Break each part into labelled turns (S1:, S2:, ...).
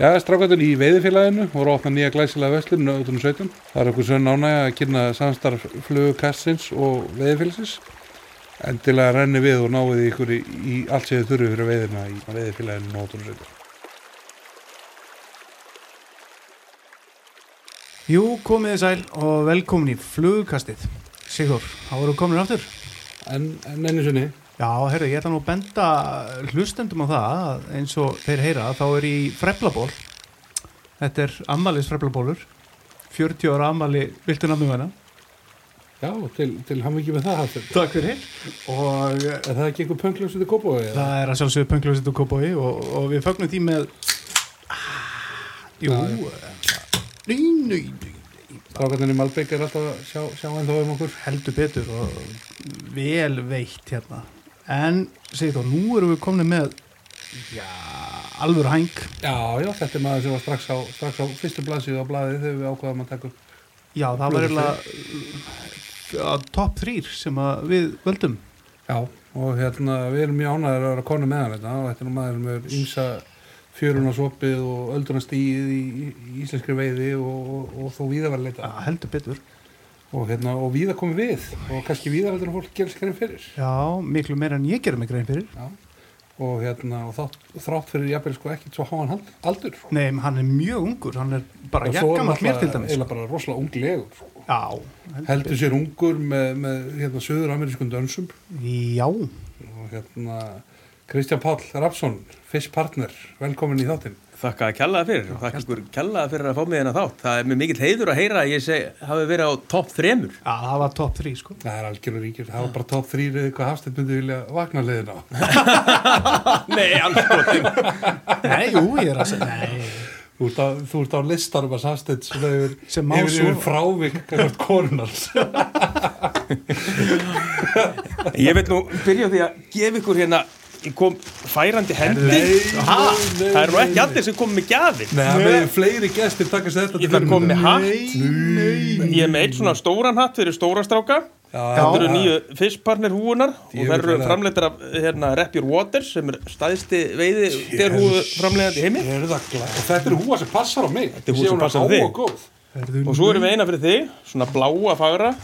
S1: Já, strákatun í veiðifélaginu voru að opna nýja glæsilega veslun nöðutunum 17. Það er okkur sönn ánæg að kynna samstarf flugkassins og veiðifélagsins. Endilega renni við og náið ykkur í, í allt séðu þurru fyrir veiðina í veiðifélaginu nöðutunum 17.
S2: Jú, komið þið sæl og velkomin í flugkastið. Sigur, þá voru komin aftur.
S1: En, en enni sunni,
S2: Já, herru, ég ætla nú að benda hlustendum á það að eins og þeir heyra þá er í freflaból. Þetta er ammalis freflabólur. 40 ára ammali viltu namnum hana.
S1: já, til, til hann ekki með það hafður.
S2: Takk fyrir. Og eh,
S1: Er það ekki einhver pöngljósið til Kópavogi? eða?
S2: það er að sjálfsögðu pöngljóðsitt og kópói og, og við fögnum því með... Ah, jú,
S1: Já,
S2: eh, nei, nei, nei.
S1: Strákatun í Malbygg er alltaf að sjá, sjá en þá um okkur.
S2: heldur betur og vel veitt hérna en segið þá, nú erum við komin með já, alvöru hæng
S1: Já, já, þetta er maður sem var strax á, strax á fyrstu blaðsíðu á blaðið þegar við ákvaðum að taka upp.
S2: já, það var eiginlega uh, top 3 sem að við völdum
S1: Já, og hérna við erum mjög ánægðar að vera konu með hann þetta og þetta er nú maður sem er ymsa fjörunarsopið og öldrunarstíð í, í í íslenskri veiði og, og, og þó víðavarleita
S2: já, Ah, heldur betur
S1: og hérna, og víða komið við og kannski víðavarleitur fólk gerst hverjum fyrir
S2: já, miklu meira en ég gerum mig grein fyrir
S1: Já, og hérna, og þátt, þrátt fyrir jafnvel sko ekkert svo háan hal- aldur sko.
S2: nei, hann er mjög ungur, hann er bara
S1: Og svo er
S2: jakkamall mér til
S1: náttúrulega
S2: dæmis
S1: eiginlega bara rosalega unglegur sko.
S2: já,
S1: heldur sér ungur með, með hérna, söður-amerískun dönsum
S2: já,
S1: og hérna, Kristján Páll Rapsson, fiskpartner, velkomin í þáttinn
S3: Þakka að kjallaða fyrir og þakka ykkur kjallaða fyrir að fá mig þennan þátt. Það er mér mikill heiður að heyra að ég seg, hafi verið á topp þremur.
S2: já, það var top 3 sko
S1: Það er algjörður ríkjur, það var bara top 3 eða eitthvað hafstitt myndi vilja vakna leiðin á.
S3: Nei, anskotin.
S2: nei, jú, ég er að segja nei,
S1: Þú ert á, þú ert á listanum að hafstitt sem hefur,
S2: Sem má
S1: hefur,
S2: svo-
S1: hefur frávik eitthvað konunars.
S3: Ég vil nú byrja á því að gefa ykkur hérna, ég kom færandi hendi. Ha?
S1: nei,
S3: Það eru nú
S1: nei,
S3: ekki allir sem kom með gjafir.
S1: Nei, það með fleiri gestir takast þetta
S3: Ég þarf að koma með hatt.
S1: Nei,
S3: Ég er með eitt svona stóran hatt fyrir stóra stráka. Það eru nýju fiskpartner húunar og
S1: Djöfull
S3: það eru
S1: er það.
S3: framleitar af hérna, Rep Your Waters sem er staðisti veiði derhúu framleitandi heimi.
S1: Er það glæð? Og þetta er húa sem passar á mig.
S3: er húa
S1: Sé
S3: sem
S1: hún
S3: passar á
S1: há
S3: þig.
S1: Og góð.
S2: Herðu,
S3: Og svo erum við eina fyrir þig, svona bláa fagra.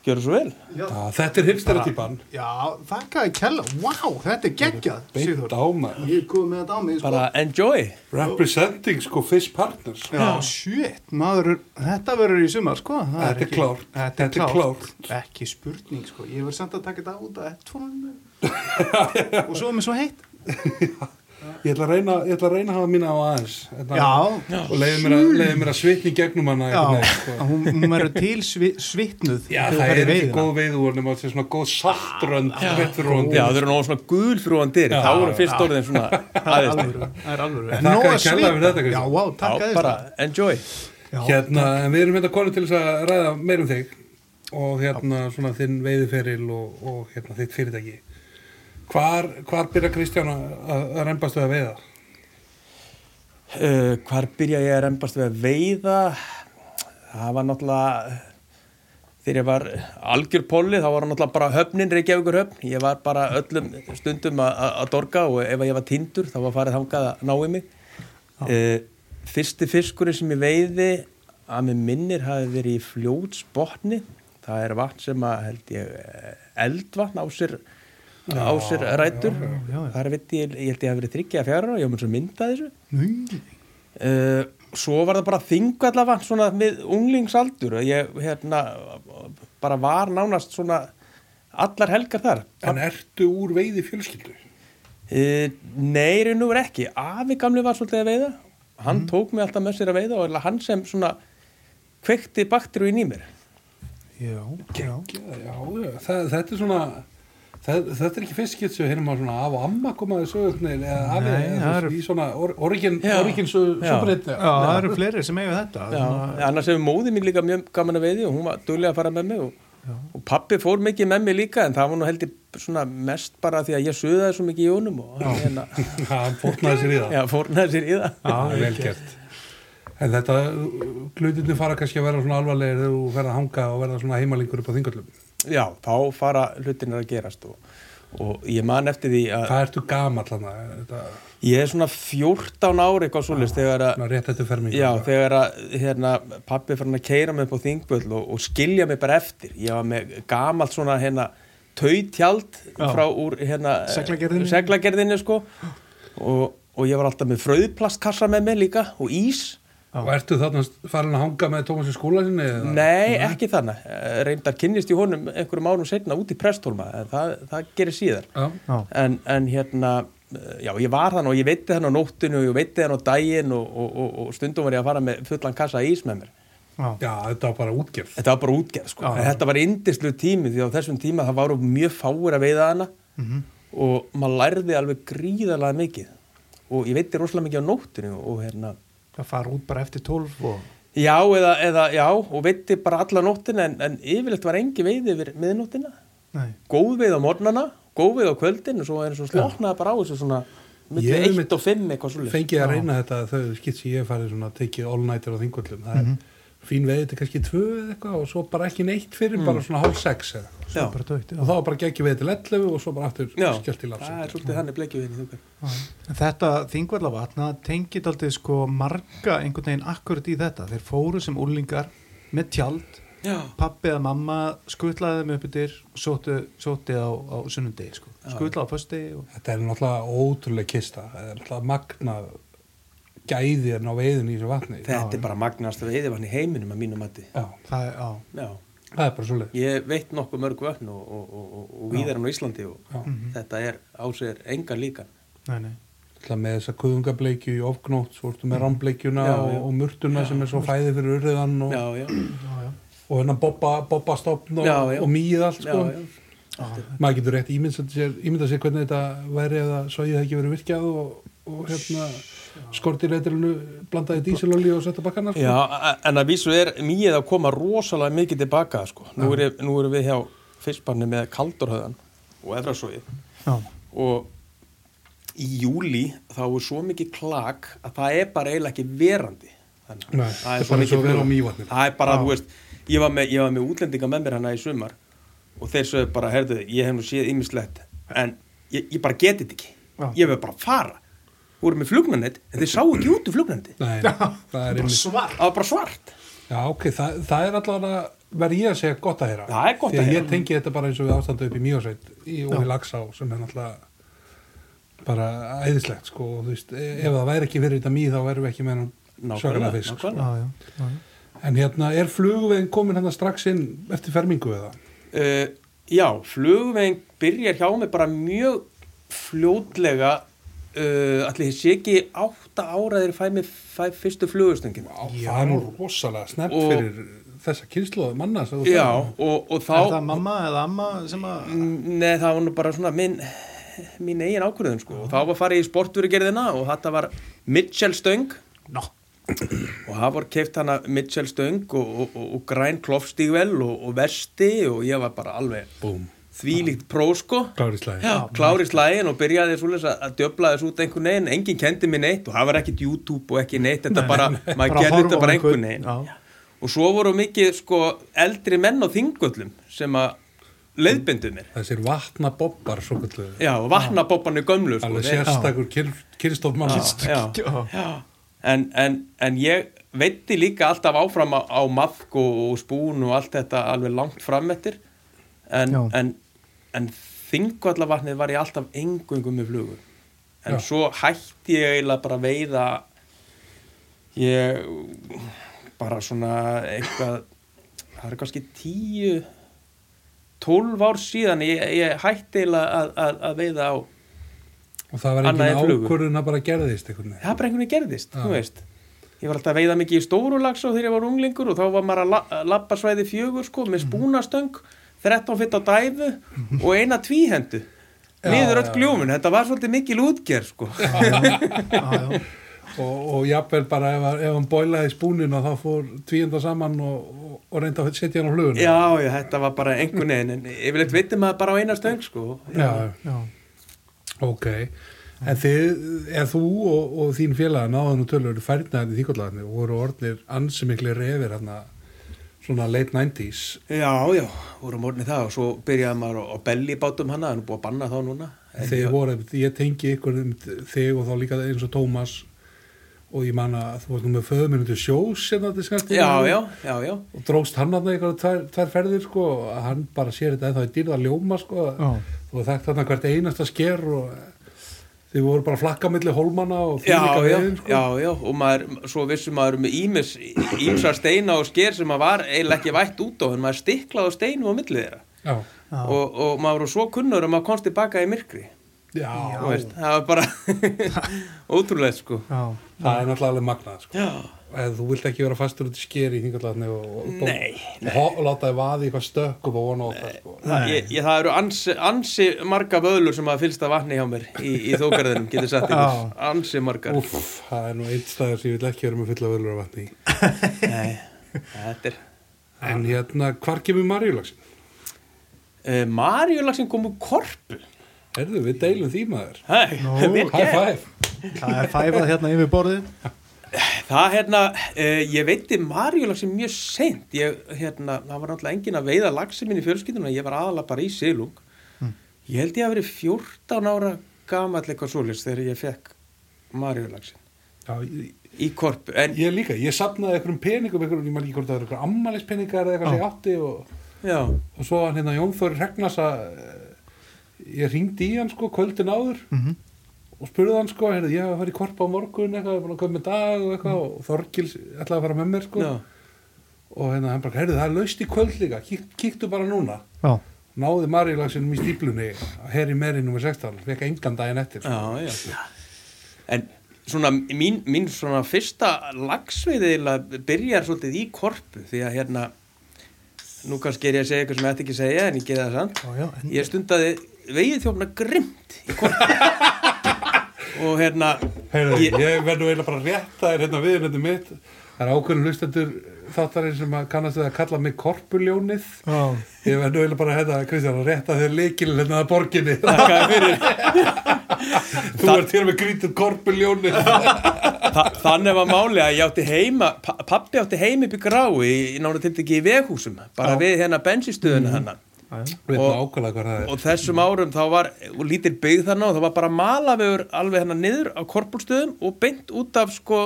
S3: Gjörðu svo vel.
S1: Já, þetta er hipstera típan.
S2: já, þakkaði kella, wow, þetta er geggjað Sigþór.
S1: Beitt áma.
S2: Ég kom með þetta á mig, sko.
S3: Bara enjoy.
S1: Representing sko fish partners.
S2: Já, shit, maður, þetta verður í sumar, sko.
S1: Þetta
S2: Það
S1: er
S2: ekki-
S1: klárt.
S2: Þetta er
S1: Þetta er
S2: klárt. Ekki spurning, sko. Ég verður samt að taka þetta út að ettónum. og svo er mér svo heitt.
S1: Ég ætla að reyna, ég ætla að, reyna að hafa mína á aðeins. Þetta-
S2: Já,
S1: og leiði mér, að- leyfðu mér að svitni í gegnum hana
S2: já,
S1: einhvern veginn, sko.
S2: að hún, hún verður til svi, svitnuð.
S1: já
S2: þegar þú
S1: það
S2: ferð í
S1: er ekki
S2: veiðina.
S1: góð veiðúr nema að sé svona góð saltrönd vettfyrrúandi
S3: Já, þau eru náðu svona gulfrúandir.
S1: Já,
S3: Þá eru
S1: já.
S3: fyrst orðin svona
S2: Það er
S3: aðeins.
S2: alvöru, það er alvöru.
S1: En
S2: Nóg
S1: þakkaði
S2: að
S1: kærlega fyrir
S2: svita.
S1: þetta, Kristján.
S2: Já, wow,
S3: Já,
S2: takk að
S3: bara enjoy.
S2: þess.
S1: hérna, en við erum hérna konið til þess að ræða meir um þig og hérna svona þinn veiðuferil og, og hérna þitt fyrirtæki hvar, hvar byrja Kristján að, að að rembast við að veiða?
S3: Uh, hvar byrja ég að rembast við að veiða? Það var náttúrulega, þegar ég var algjör polli, þá var náttúrulega bara höfnin, Reykjavíkur höfn. Ég var bara öllum stundum að- að að dorga og ef ég var tindur, þá var farið þangað að ná í mig. Uh, fyrsti fiskurinn sem ég veiði, að mér minnir, hafi verið í fljótsbotni. Það er vatn sem að, held ég, eh, eldvatn á sér, á sér rætur.
S2: já, já.
S3: Þar veit ég, ég held ég hafi verið þryggja fjara og ég var mér svo myndað þessu.
S2: Nú,
S3: Uh, svo var það bara þingvallavatn svona með unglingsaldur ég hérna bara var nánast svona allar helgar þar
S1: En ertu úr veiði fjölskyldu?
S3: uh, nei, reynu verið ekki afi gamli var svolítið að veiða hann tók mig alltaf með sér að veiða og eiginlega hann sem svona kveikti bakteríu inn í mér
S2: já, já.
S1: Já, já, það, þetta er svona Það, þetta er ekki fyrst skipt sem við heyrum að svona af og amma komaði sögurnir eða afi
S2: Nei,
S1: eða
S2: það
S1: þú
S2: eru-
S1: veist, í svona or, origin,
S3: Já.
S1: origin svo,
S3: Já.
S1: svo breytta
S2: Já, það eru fleiri sem eiga þetta.
S3: Já,
S2: Svona-
S3: Eh, annars hefur móðið mín líka mjög gaman að veiði og hún var duglega að fara með mig og, og pappi fór mikið með mig líka en það var nú heldur svona mest bara því að ég suðaði svo mikið í jónum og hann hérna,
S1: hann fórnaði sér í það
S3: já, fórnaði sér í það
S1: það er vel gert en þetta, glutinu fara kannski að vera svona alvarlegir þegar þú ferð að hanga og verða svona heimalingur upp á þingallum
S3: Já, þá fara hlutinir að gerast og, og ég man eftir því að
S1: Hvað ertu gamall þarna? Þetta,
S3: ég er svona 14 ári eitthvað
S2: Ah,
S3: svoleiðist þegar að
S1: svona rétt eftir fermingu.
S3: Já, þegar að hérna, pappi fann að keira mig upp á þingvöld og, og skilja mig bara eftir. Ég var með gamalt svona hérna tautjald
S2: Já.
S3: frá úr hérna
S2: Seglagerðinni.
S3: seglagerðinni sko og, og ég var alltaf með fröðplastkassa með mig líka og ís.
S1: Og ertu þarna farin að hanga með Tómas í skóla sinni? eða?
S3: Nei, ekki þannig. Eh, Reyndar kynnist ég honum einhverjum árum setna út í presthólma en það, það gerir síðar.
S1: Já,
S2: Já,
S3: En, en hérna, eh, já, ég var þann og ég veitti hann á nóttinu og ég veitti hann á daginn og, og, og, og stundum var ég að fara með fullan kassa af ís með mér.
S2: já,
S1: já þetta var bara útgerð.
S3: Þetta var bara útgerð sko.
S2: Já, já.
S3: En þetta var indislu tími því á þessum tíma það varu mjög fáir að veiða hana
S2: Mhm.
S3: og maður lærði alveg gríðarlega mikið og ég veitir rosalega mikið á nóttinu og hérna
S2: það fara út bara eftir 12 og
S3: já eða, eða já og veitir bara alla nóttina en, en yfirleitt var engi veiði yfir miðnóttina
S2: nei,
S3: góð veið á mornana, góð veið á kvöldin og svo er eins og sloknaði bara á þessu svona
S1: Ég
S3: millir
S1: hef
S3: 1
S1: einmitt-
S3: og 5 eitthvað svolítið
S1: Fengið að reyna þetta þau skitt sem ég hef farið svona að tekið all-nighter á þingvöldum. Það er fín veið til kannski tvö eða eitthvað og svo bara ekki neitt fyrir
S3: Mm.
S1: bara svona hálf sex eða eitthvað.
S3: já,
S2: bara dögt
S1: Og þá var bara geggjum veið til 11 og svo bara aftur
S3: já.
S1: skjölt í
S3: það er
S1: lafsum.
S3: svolítið þannig blekið við henni
S2: En þetta þingvallavatna tengið aldrei sko marga einhvern veginn akkurat í þetta. Þeir fóru sem úlingar með tjald,
S3: já,
S2: pappi eða mamma skutlaði þeim upp yfir, sóttu, sótti á, á sunnundegi sko. Skutlaði á fösti og
S1: Þetta er náttúrulega ótrúlega kista. Það er náttúrulega magnað gæðirn á veiðin í þessu vatni.
S3: þetta er bara magnast að veiði í heiminum að mínu mati
S1: Já,
S2: það er á.
S3: já
S1: það er bara svo
S3: Ég veit nokkuð mörg vötn og, og, og, og, og víðar hann á Íslandi og
S1: Já.
S3: þetta er á sér engan líkan.
S2: Nei, nei.
S1: Ætla með þessa kuðungableikju í ofgnótt, svo ertu með rambleikjuna
S3: Mm. Já,
S1: og,
S3: já.
S1: og murtuna sem er svo fæði fyrir urðan og,
S3: Já, já.
S2: Já, já.
S1: og hennan bobba, bobba stopn og,
S3: Já, já.
S1: og mýð allt
S3: já,
S1: sko.
S3: já.
S1: Maður getur rétt ímyndað sér, ímyndað sér hvernig þetta væri ef það svæði það ekki verið virkjað og, og hérna skortirreitilinu blandaði dísilolíu og setta bakkana sko.
S3: Já, a- en að vísu er mýið að koma rosalega mikið tilbaka, sko. Nú erum, nú erum við hjá fyrstbarni með kaldurhöðan og efrasóið
S2: Já,
S3: og í júli þá er svo mikið klak að það er bara eiginlega ekki verandi. Þannig,
S1: Nei,
S3: það
S1: þetta er bara eins og að vera á
S3: flug.
S1: Mývatni.
S3: Það er bara, þú veist, ég var með, ég var með útlendinga með mér hana í sumar og þeir sögðu bara, herðu, ég hef nú séð ýmislegt, en ég, ég bara geti þetta ekki.
S2: Já.
S3: Ég hef bara að fara. Þú voru með flugnarnett, en þeir sáu ekki út úr flugnarnetti.
S1: Nei, það er
S2: bara
S1: einmitt.
S2: svar.
S3: Það var bara svart.
S1: Já, ok, það, það er allavega, verð ég að segja gott að heyra.
S3: Það er gott að
S1: Því
S3: heyra.
S1: ég tengi þetta bara eins og við ástandu upp í Mjósveit í- og í Lagsá sem er náttúrulega bara æðislegt, sko. og Þú veist, e- ef það væri ekki verið þetta mýð þá værum við ekki með hann sögulega fisk. sko.
S2: Já, já, já.
S1: En hérna, er flugveginn komin hérna strax inn eftir fermingu eða?
S3: Uh, já, flugveginn byrjar hjá mig bara mjög fljótlega uh, allir þessi ekki átta ára þegar ég fæ mig fæ fyrstu flugustöngin
S1: Já. Það er nú rosalega snepp
S3: Og-
S1: fyrir þessa kynsluðu manna sem þú
S3: Já,
S1: sagðir.
S3: og, og
S2: Er það
S3: þá
S2: mamma eða amma sem að...
S3: Nei, það var nú bara svona minn, mín eigin ákvörðun sko. og þá var farið í sportvörugerðina og þetta var Mitchell Stöng
S2: Nó.
S3: og það var keift hana Mitchell Stöng og, og, og, og græn klofstígvel og, og vesti og ég var bara alveg
S1: Búm,
S3: þvílíkt pró sko
S1: klárið slæði.
S3: Já, klári slægin og byrjaði svoleiðis að að döbla þessu út einhvern veginn, enginn kendi mér neitt og það var ekkit YouTube og ekki neitt, þetta bara, maður
S2: Bara
S3: gerði
S2: horfa
S3: þetta
S2: á
S3: bara
S2: einhvern,
S3: einhvern veginn.
S2: já.
S3: Og svo voru mikið sko eldri menn á þingöllum sem að leiðbindu mér.
S1: Þessir vatnabobbar, svo kalluðu.
S3: Já, og vatnabobbarnir gömlu sko.
S1: Alveg
S3: þeir-
S1: sérstakur kyrstofmann.
S3: Já,
S2: Já.
S3: já. En, en, en ég veitti líka alltaf áfram á, á mafk og, og spún og allt þetta alveg langt fram eftir en,
S2: Já.
S3: en, en þingvallavatnið var ég alltaf engungum með flugur en
S1: Já.
S3: svo hætti ég eiginlega bara að veiða ég bara svona eitthvað það er kannski tíu tólf ár síðan ég, ég hætti eiginlega að, að, að veiða á
S1: Og það var
S3: Annað er
S1: engin
S3: flugur.
S1: ákvörðun að bara gerðist einhvern veginn.
S3: það bara einhvern veginn gerðist,
S1: Já.
S3: þú veist ég var alltaf að veiða mikið í stórulags og þegar ég var unglingur og þá var maður að la- að lappa svæði fjögur sko með spúnastöng 13 fitt á dæfu og eina tvíhendu niður öll gljómun, þetta var svolítið mikil útgerð sko
S2: Já, já.
S1: og, og jafnvel bara ef, ef hann bólaði spúnin og þá fór tvíenda saman og, og, og reynda að setja hann á hlugun
S3: já, já, þetta var bara einhvern veginn en yfirleitt veitum maður bara á eina stöng sko
S2: Já,
S1: ok en þið, eða þú og, og þín félag náðan og tölur færnaðan í þýkollagarni og voru orðnir ansi miklu reyfir hann svona late 90s
S3: Já, já, vorum orðin það og svo byrjaði maður á bellibátum hana, hann er búið að banna þá núna. En
S1: þeir
S3: já,
S1: voru, ég tengi ykkur um þig og þá líka eins og Tómas og ég man að þú varst nú með föðuminn til sjós hérna til skast
S3: Já, já, já, já.
S1: og dróst hann að það eitthvað tvær, tvær ferðir sko, að hann bara sér þetta eða þá í dýrða ljóma sko,
S2: Já.
S1: og þekkt hann hvert einasta sker og þið voru bara flakka milli hólmana og sko.
S3: Já,
S1: þvílíka
S3: já,
S2: sko.
S1: veiðin,
S3: já, já, og maður, svo vissum maður um ímis, ímsa steina og sker sem maður var eiginlega ekki vætt út á, en maður stiklaði á steinu á millið þeirra.
S1: já,
S2: Já.
S3: Og, og maður var svo kunnur að maður komst tilbaka í myrkri.
S1: já,
S3: Þú Veist, það var bara ótrúlega, sko.
S2: Já.
S1: það er náttúrulega alveg magnað sko.
S3: Já,
S1: eða þú vilt ekki vera fastur út í sker í hingallatni og, og,
S3: Nei,
S1: og, og, og láta þið vaði eitthvað stökkum og vona á það sko.
S3: það, ég, ég, það eru ansi, ansi marga vöðlur sem að fylsta vatni hjá mér í, í þókarðinum, getur sagt ykkur,
S2: Já.
S3: ansi margar.
S1: Úff, það er nú einn staður sem ég vil ekki vera með fulla völur af vatni í.
S3: Nei, þetta er
S1: En hérna, hvar kemur marjulagsin?
S3: uh, Marjulagsin kom úr korpu
S1: Herðu, við deilum því maður.
S3: Hei,
S2: Nú,
S3: vel
S1: High
S3: gert.
S1: five!
S2: Það er fæfað hérna yfir borðið.
S3: Það hérna, uh, ég veitti Marjulagsin mjög seint ég, hérna, Það var náttúrulega engin að veiða lagsin minn í fjölskylduna Ég var aðalega bara í silung
S1: Hmm.
S3: Ég held ég að verið 14 ára gamall eitthvað svolis Þegar ég fekk Marjulagsin
S1: Já, ég,
S3: í korpu En
S1: ég líka, ég sapnaði einhverjum peningum, einhverjum, ég man ekki hvort það eru einhverjum ammælispeningar eða eitthvað sem ég átti og,
S3: já,
S1: og svo hann hérna Jón Þóri Regnasa, eh, ég ringdi í hann sko kvöldin áður
S2: Mhm.
S1: og spurði hann sko, herðu, ég hef að fara í korpa á morgun eitthvað, ég er búin að koma með dag og eitthvað og Þorgils ætlaði að fara með mér sko
S3: Mm. já,
S1: og hérna hann bara, herðu, það er laust í kvöld líka, Kík, kíktu bara núna.
S2: Já.
S1: náði marjulagsinum í stíplunni að herri meri nr. 16 fekk engan daginn eftir sko.
S3: já, já En svona, mín, mín svona fyrsta lagsveið eiginlega byrjar svolítið í korpu Því að hérna, nú kannski er ég að segja eitthvað sem ég ætti ekki að segja En ég geði það samt
S2: Já, já, en-
S3: Ég stundaði vegið þjófna grimt í korpu Og hérna,
S1: Heyrðu,
S3: ég,
S1: ég verð nú eiginlega bara rétt það er hérna viðinöndu mitt það er ákveðin hlustendur þáttarinn sem að kannast við að kalla mig korpuljónið
S2: Já.
S1: ég verð nú eiginlega bara hérna Kristján að rétta þér leikilin hérna að borginni
S3: þakkaði fyrir
S1: þú ert hér með grítið korpuljónið
S3: Þa- Þannig var máli að ég átti heima pa- Pabbi átti heima upp í grái í, í nána tiltekki í veghúsum Bara við hérna bensinstöðuna hennar
S2: Já.
S1: við erum
S3: Og-
S1: ákveðlega hvað það er
S3: og þessum árum þá var og lítil byggð þannig og það var bara malavegur alveg hennar niður á korpulstöðum og beint út af sko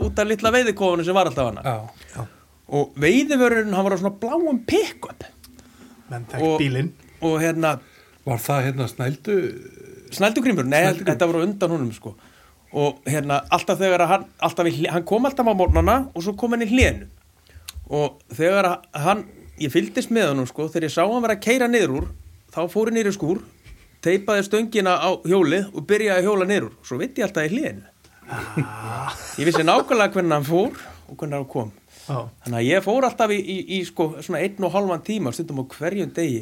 S3: út af litla veiðikofunu sem var alltaf hana
S1: Já.
S3: og veiðivörurinn hann var á svona bláum pick-up
S2: Menn
S3: Og-
S2: tek bílinn.
S3: og hérna
S1: var það hérna snældu
S3: snældugrímur, nei
S1: Snældugrímur.
S3: þetta voru undan honum sko og hérna alltaf þegar að hann, alltaf í, hlé- hann kom alltaf á mornana og svo kom hann í hlénu og þegar að hann ég fylgdist með honum sko, þegar ég sá hann vera að keira niður úr, þá fór ég niður í skúr teipaði stöngina á hjólið og byrjaði að hjóla niður úr, svo vitt ég alltaf í hlénu ég vissi nákvæmlega hvernig hann fór og hvernig hann kom
S2: Já.
S3: þannig að ég fór alltaf í, í, í sko, svona einn og halvan tíma stundum á hverjum degi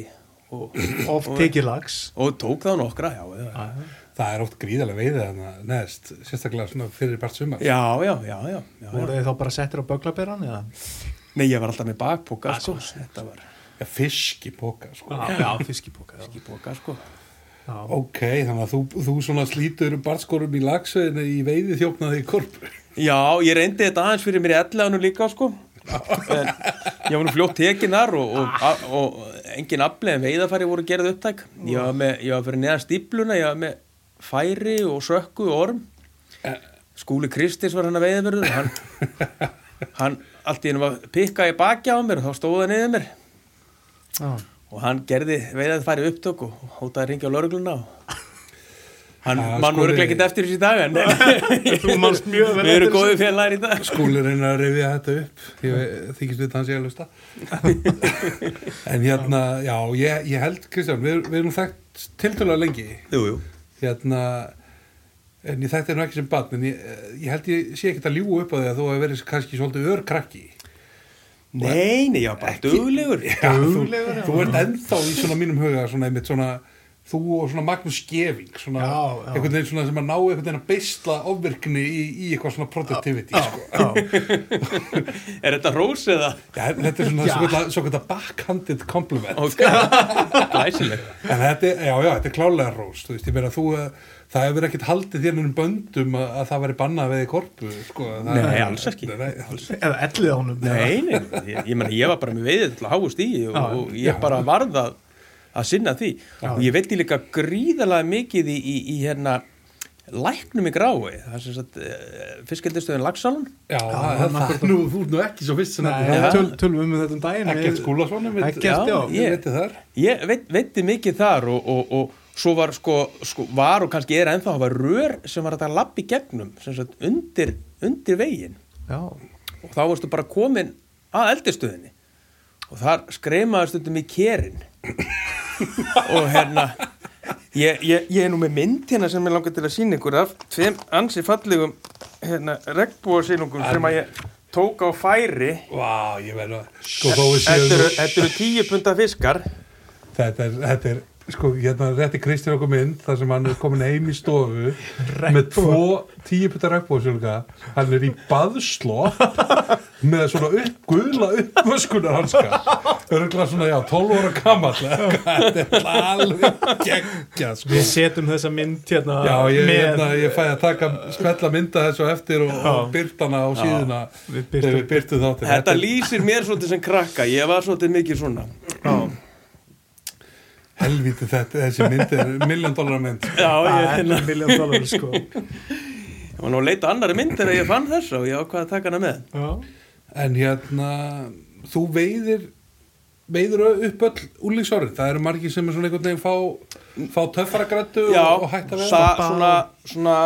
S3: og,
S2: Oft tekið lags.
S3: og tók þá nokkra já, já, já.
S1: það er oft gríðarlega veiðið hérna neðst sérstaklega svona fyrir part sumar
S3: Já, já, já, já, já, já.
S2: Voru þið þá bara settir á böglaberan eða?
S3: Nei, ég var alltaf með bakpoka, sko. Þetta var
S1: Já, fisk í póka sko.
S2: Já, fiskipóka. Já.
S3: ekki poka, sko.
S2: Já.
S1: Ok, þannig að þú, þú svona slítur barskorum í lagsveðinu í veiði þjófnaði í korpu.
S3: Já, ég reyndi þetta aðeins fyrir mér í ellegaðinu líka, sko. En ég var nú fljótt tekin þar og, og, a- og engin aflegin veiðafæri voru gerð upptæk. Ég var, með, ég var fyrir neðan stípluna, ég var með færi og sökku og orm. Skúli Kristins var hann að veiðverður. Hann, hann allt í hennu var pikka í baki á mér og þá stóða niður mér.
S2: Já.
S3: og hann gerði veiðað farið upptök og hótaði að ringja á laurugluna og hann
S1: Ah,
S3: mann
S1: Skúli-
S3: voru ekki eftir þessi í dag en
S2: Þú manst mjög vel
S3: sko, við
S2: eftir
S3: erum góði félagar í dag
S1: Skúli reyna að rifja þetta upp, ég ve- þykist við hans ég að lusta. en hérna, já, ég, ég held, Kristján, við, við erum þekkt tiltölulega lengi.
S3: jú, jú.
S1: Hérna, en ég þekkti hérna ekki sem barn, en ég, ég held ég sé ekkert að ljúga upp á því að þú hefur verið kannski svolítið örkrakki.
S3: nei, nei, já, bara duglegur
S1: Já, þú, þú ert ennþá í svona mínum huga, svona einmitt svona þú og svona Magnús Geving svona,
S2: Já, já.
S1: einhvern veginn svona sem að ná einhvern veginn að beisla ofvirkni í, í eitthvað svona productivity sko.
S2: já,
S3: Er þetta rós eða?
S1: ja, þetta er
S2: Já.
S1: svona svo kvæta backhanded compliment
S3: Ok. Glæsileg.
S1: en þetta er, já, já, þetta er klálega rós þú veist, ég meina þú, eh, það hefur ekkert haldið þér um böndum að, að það væri bannað veið í korpu sko, það-
S3: Nei, alls ekki.
S1: Nei, alls
S2: eða ellið ánum
S3: Nei, nei, ég, ég, meni, ég var bara með veiðið til að háast í og,
S2: Já.
S3: og ég bara varð að, að sinna því og ég veit líka gríðalega mikið í, í, í hérna læknum í grái, það er sem sagt eh, fiskildistöðin Laxalun
S1: Já, það, það, það, nú, þú ert nú ekki svo fyrst sem
S2: Nei,
S1: þetta
S3: Já.
S2: töl, tölum við um þetta um daginn
S1: Ekkert
S2: við-
S1: Skúlason
S2: Eggert, já,
S1: ég
S3: ég-
S1: veit þar
S3: ég veit, veitti mikið þar og, og, og svo var sko, sko var og kannski er ennþá það var rör sem var hægt að lappa í gegnum sem sagt undir, undir veginn
S2: Já,
S3: og þá varstu bara komin að eldistöðinni og þar skreimaði stundum í kérinn og hérna ég, ég, ég er nú með mynd hérna sem ég langar til að sína ykkur af tveim ansi fallegum hérna, regnbúasilungum sem að ég tók á færi
S1: Vá, ég verður að sko þó við
S3: Þetta
S1: séum
S3: eru- þetta eru tíu punta fiskar
S1: þetta er, þetta er sko, hérna rétti Kristján okkur mynd þar sem hann er komin heim í stofu með tvo tíuputta regnbóðsjölga hann er í baðslopp með svona upp, gula uppvöskunar hanska örgla svona, já, 12 óra gamall þetta er alveg geggja sko.
S2: við setjum þessa mynd hérna
S1: já, ég,
S2: með
S1: hérna, ég fæ að taka skvella mynda þessu á eftir og, og byrtana á síðuna
S2: Við birtum-
S1: þegar við byrtum þáttir
S3: Þetta lýsir mér svolítið sem krakka ég var svolítið mikið svona
S1: helviti þetta, þessi mynd er miljón dólar mynd
S3: Já, ég,
S2: Það
S3: hérna,
S2: er miljón dólar sko
S3: ég var nú að leita annari mynd þegar ég fann þessa og ég ákvaði að taka hana með
S2: Já,
S1: En hérna, þú veiðir veiðir upp öll úlíksárið, það eru margir sem er svona einhvern veginn fá, fá töffaragrættu
S3: Já,
S1: og, og hætt að veiða
S3: sa- svona, svona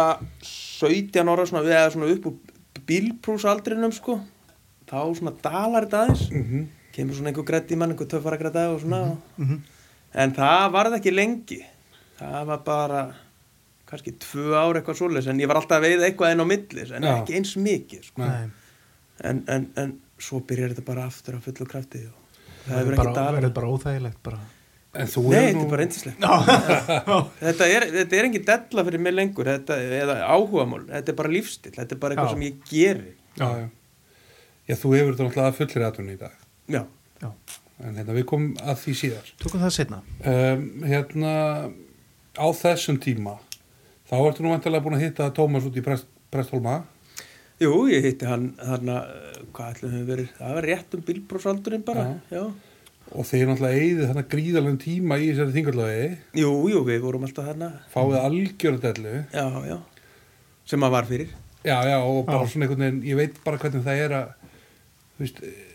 S3: 17 ára svona, eða svona upp úr bílprúsaldrinum sko þá svona dalar þetta aðeins kemur svona einhver grætt í mann, einhver töffara grætt og svona en það varð ekki lengi það var bara kannski tvö ár eitthvað svoleiðis en ég var alltaf að veiða eitthvað einn á millis en
S1: Já.
S3: ekki eins mikið sko.
S2: nei
S3: en, en, en svo byrjar þetta bara aftur að fullu krafti og það
S2: Það
S3: hefur
S2: er
S3: ekki
S2: bara,
S3: dalað
S2: verður bara óþægilegt bara
S1: En þú
S3: Nei,
S1: er
S3: þetta
S1: nú,
S3: er bara reyndislegt
S2: Já,
S3: Þetta er, þetta er engin della fyrir mig lengur þetta, eða áhugamál, þetta er bara lífstil þetta er bara eitthvað
S2: Já.
S3: sem ég geri
S1: já, já. já, þú hefur þetta náttúrulega að fullir aðtunni í dag
S3: Já,
S2: já,
S1: En hérna, við komum að því síðar
S2: tökum það setna
S1: um, Hérna, á þessum tíma þá ertu nú vantilega búin að hitta Tómas út í Prest, Presthólma
S3: jú, ég hitti hann þarna, eh, hvað ætlum við verið það var rétt um bílbrósaldurinn bara já.
S1: og þeir náttúrulega eigið þannig gríðalegum tíma í þessari þingarlagi
S3: Jú, jú, við vorum alltaf þarna
S1: fáið algjörðallu
S3: Já, já, sem maður var fyrir
S1: Já, já, og bara svona einhvern veginn, ég veit bara hvernig það er að, þú veist, eh,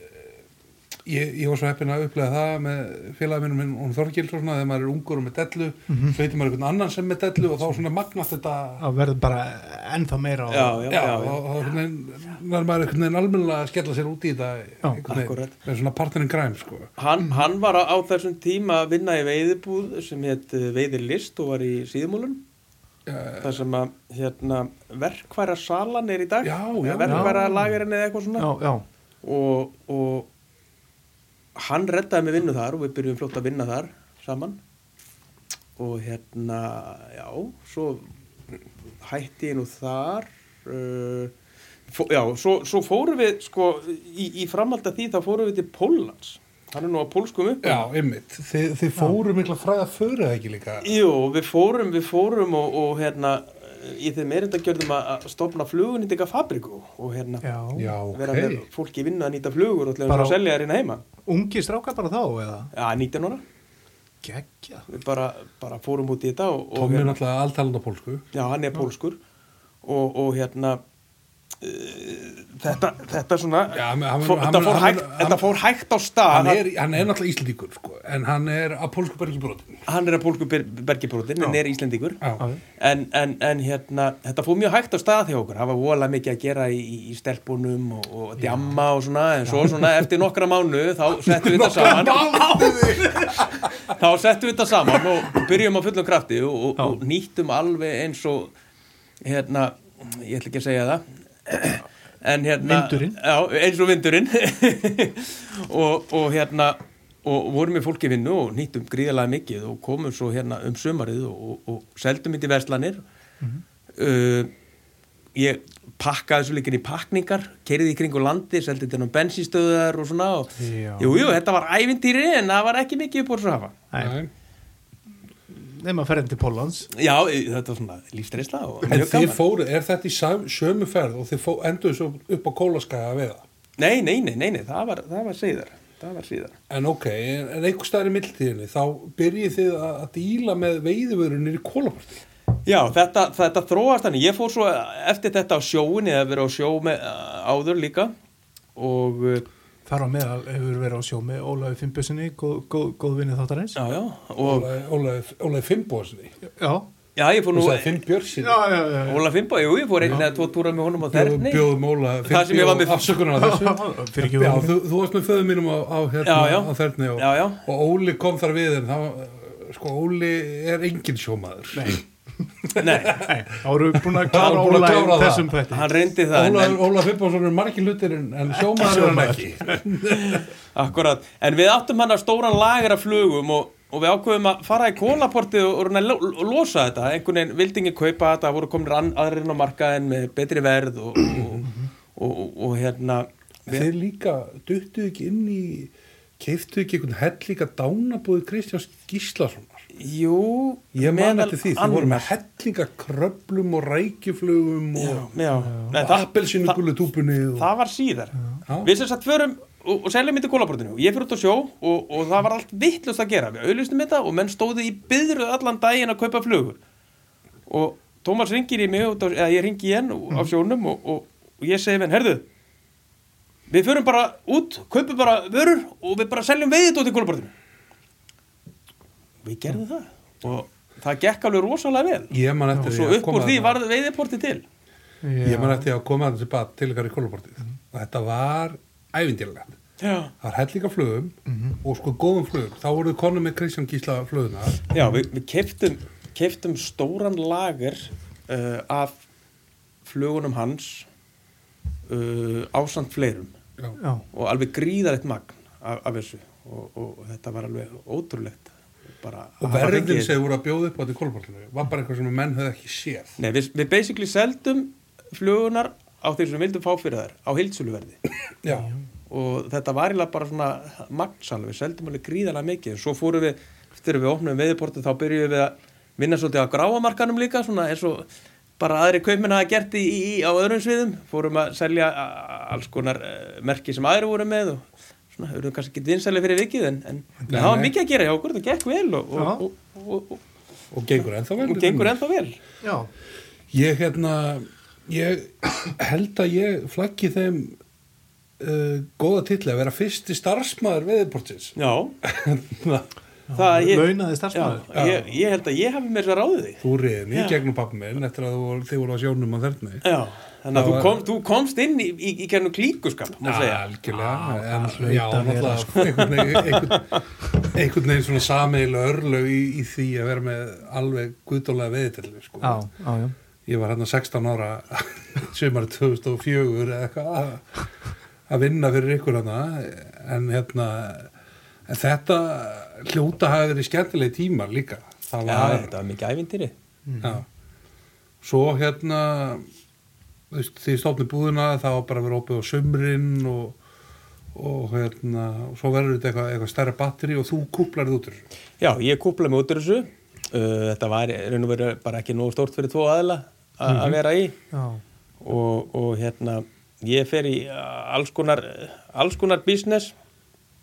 S1: ég, ég var svo heppin að upplega það með félagaminum minn, hún Þorgils og svona, þegar maður er ungur og með dellu, svo heitir maður einhvern annan sem með dellu og þá svona magnast þetta,
S2: Það verður bara ennþá meira á
S3: Já, já,
S1: já,
S3: já,
S1: þá
S3: já.
S1: þá einhvern veginn, nær maður einhvern veginn almennilega að skella sér út í þetta,
S2: Já,
S1: einhvern veginn,
S3: akkurat.
S1: með svona partnerinn græm, sko.
S3: Hann, hann var á, á þessum tíma að vinna í veiðibúð sem hétt veiðilist og var í síðumúlun
S1: Eh,
S3: þar sem að hérna, verkværa salan er í dag
S1: Já, já, já.
S3: verkværa lagerinn eða eitthvað svona
S2: já, já.
S3: og, og hann reddaði mig vinnu þar og við byrjum fljótt að vinna þar saman og hérna, já, svo hætti ég nú þar uh, fó, já, svo, svo fórum við sko, í, í framhald að því þá fórum við til Pólans hann er nú að pólskum upp
S1: Já, ymmit, þið, þið fóru mikla fræða fyrir það ekki líka.
S3: Jú, við fórum, við fórum og, og hérna, í þeim erindagjörðum að að stopna flugunýtinga fabriku og hérna
S2: já.
S1: Já, ok.
S3: vera með fólki vinna að nýta flugur og til
S2: Bara á-
S3: að selja þær inn heima
S2: Ungi strákar bara þá eða
S3: Já, 19 ára
S2: Gekkja
S3: við bara, bara fórum út í þetta og, og hérna,
S1: Tommi er náttúrulega alltalanda pólsku.
S3: já, hann er pólskur og, og hérna e, þetta, þetta svona
S1: Já, hann- hann-
S3: fór,
S1: hann-
S3: þetta, fór
S1: hann-
S3: hægt,
S1: hann-
S3: þetta fór hægt á stað
S1: Hann er, hann er náttúrulega íslendingur, sko, en hann er að pólsku bergi brotin.
S3: hann er að pólsku bergibrótin en er íslendingur
S1: Já,
S3: en, en, en hérna, þetta fór mjög hægt á stað hjá okkur, það var vola mikið að gera í, í- í stelpunum og, og djamma og svona, en svo svona eftir nokkra mánu þá settum við þetta saman þá settum við þetta saman og byrjum á fullum krafti og, og, og nýttum alveg eins og hérna, ég ætla ekki að segja það en hérna
S2: Vindurinn.
S3: já, eins og vindurinn og, og hérna og vorum með fólki vinnu og nýttum gríðalega mikið og komum svo hérna um sumarið og, og, og seldum þetta í verslanir
S2: Mhm.
S3: uh, ég pakkaði svo líka inn í pakningar keiriði í kringu landi, seldi þetta á bensinstöðar og svona og,
S2: Já.
S3: jú, jú, þetta var ævintýri en það var ekki mikið upp úr svo hafa
S2: Nei,
S1: Nei.
S2: nema ferðin til Pólans
S3: já, þetta var svona lífstreisla og
S1: En
S3: mjög
S1: þið
S3: gaman
S1: fóruð, er þetta í sam, sömu ferð og þið fó, endur svo upp á kólaskaga að veiða?
S3: nei, nei, nei, nei, nei, það var, það var síðar það var síðar
S1: En ok, en, en einhver staðar í mildtíðinni, þá byrjið þið að, að díla með veiðivörunir í kólaparti.
S3: Já, þetta, þetta þróast þannig. Ég fór svo eftir þetta á sjóin eða verið á sjó með, eh, áður líka og uh,
S2: Þar á meðal hefur verið á sjó með Ólafi Finnbjörnssoni, góð, góð, góð vinnið þáttarins
S3: já, já, og
S1: Ólaði Fimboðsni.
S2: Já,
S3: já, ég
S1: Þú
S3: fór nú
S1: sagði Fimbjörnsinni.
S2: já, já, já.
S3: Óla Fimbo, jú, ég fór einn eða tvo túra með honum á þerni
S1: Bjóðum Óla
S3: Það sem ég var með-
S1: afsökunar að þessu.
S2: Fyrir ekki
S1: Já,
S2: voru
S1: þú, þú varst með föðum mínum á, á, hérna,
S3: Já, já.
S1: á þerni og,
S3: Já, já.
S1: og Óli kom þar við en þá, sko, Óli er engin sjómaður. Nei,
S3: Nei,
S2: Nei, þá eru við búin að
S1: Þá erum
S2: klára
S1: við búin að
S2: Óla í
S1: klára það.
S2: þessum þetta
S3: hann reyndi það en,
S1: Óla, Óla Fimboðsson er margir hlutir en, en sjómaður er hann ekki.
S3: en, akkurat, en við áttum hann að stóran lager af flugum og, og við ákveðum að fara í kólaportið og, og reyna að lo- losa þetta einhvern veginn vildingi kaupa þetta, voru komin rann, aðririnn á markaðin með betri verð og, og, og, og, og hérna
S1: Þeir líka duttu ekki inn í, keiftu ekki einhvern hell líka dánabúði Kristjáns Gíslasonar.
S3: Jú,
S1: Ég man
S3: meðal
S1: eftir því, þú voru
S3: annars.
S1: með hellinga kröplum og rækjuflugum og
S3: já, Nei, það,
S1: appelsinu gullu túpunni og...
S3: það var síðar
S1: Já.
S3: við sem sagt förum og, og seljum þetta í kólabortinu ég fyrir út á sjó og, og það var allt vittlust að gera við auðlustum þetta og menn stóðu í byðruð allan daginn að kaupa flugur og Tómas ringir í mig út á, eða ég ringi í henn á sjónum og, og, og ég segi menn, herðu við förum bara út, kaupum bara vörur og við bara seljum veiðið út í kólabortinu við gerðum það og það gekk alveg rosalega vel
S1: Ég man
S3: og
S1: eftir
S3: svo
S1: að
S3: upp úr
S1: koma
S3: því
S1: þarna-
S3: varð veiðiporti til
S1: Ég man eftir að koma þarna tilbaka til ykkar í kólabortið.
S3: Mhm.
S1: Þetta var ævindýrlegt.
S3: já,
S1: Það var hellinga flugum
S3: Mhm.
S1: og sko góðum flugum. Þá voru þið konum með Kristján Gísla fluguna.
S3: já við, við keftum, keftum stóran lager uh, af flugunum hans uh, ásand fleirum
S1: Já.
S2: Já,
S3: og alveg gríðarlegt magn af, af þessu og, og, þetta var alveg ótrúlegt bara,
S1: Og
S3: hafa
S1: verðin
S3: fengið-
S1: sem þið voru að bjóða upp á þetta í kólabortinu var bara eitthvað sem menn höfðu ekki séð.
S3: Nei, við, við basically seldum flugunar á þeir sem við vildum fá fyrir þær á heildsöluverði
S1: Já.
S3: og þetta var eiginlega bara svona magnsal, við seldum alveg gríðarlega mikið og svo fórum við, þegar við opnum veðiportin þá byrjuðum við að vinna svolítið á gráamarkanum líka, svona eins og bara aðri kaupmenn hafa gert í, í, á öðrum sviðum fórum að selja a- a- alls konar eh, merki sem aðri voru með og svona, eruðum kannski ekki vinsæli fyrir vikið en, en
S1: Nei,
S3: það var
S1: nei.
S3: mikið að gera hjá okkur, það gekk vel og, og, og, og, og,
S1: Og gengur ennþá vel.
S3: og, gengur ennþá vel
S2: já,
S1: Ég hérna, ég held að ég flaggi þeim uh, góða titli að vera fyrsti starfsmæður veðiportins.
S3: Já, Hérna,
S1: Þú
S3: það
S2: Launaði starfsmaður.
S3: Já, ég, ég held að ég hafi mér sér ráðið því
S1: reyðin í
S3: Já.
S1: gegnum pappi minn eftir að þú, voru- þið voru á sjónum á þerni.
S3: Já, þannig
S1: Það
S3: að þú,
S1: var-
S3: kom, þú komst inn í, í, í kennum klíkuskap, má segja.
S1: Algjörlega, en
S2: hlaut
S1: já,
S2: að vera,
S1: náttúrulega
S3: sko.
S1: einhvern veginn- einhvern- einhvern veginn svona sameiginlega örlög í, í því að vera með alveg guðdólega veðitilli, sko.
S2: já, já, já.
S1: Ég var hérna 16 ára sumar 2004 eða eitthvað að- að vinna fyrir ykkur hana, en hérna, en þetta hljóta hafi verið skemmtilegi tímar líka. Það
S3: Já,
S1: var,
S3: þetta var mikið ævintýri.
S1: Já. Svo hérna þú veist, því stofnir búðuna það var bara að vera opið á sömrin og, og hérna og svo verður þetta eitthvað, eitthvað stærra batteri og þú kúplar þetta út úr þessu.
S3: Já, ég kúplaði mig út úr þessu. Uh, þetta var í raun og veru bara ekki nóg stórt fyrir tvo aðila a- að vera í
S2: já.
S3: og, og hérna, ég fer í uh, alls konar, alls konar business.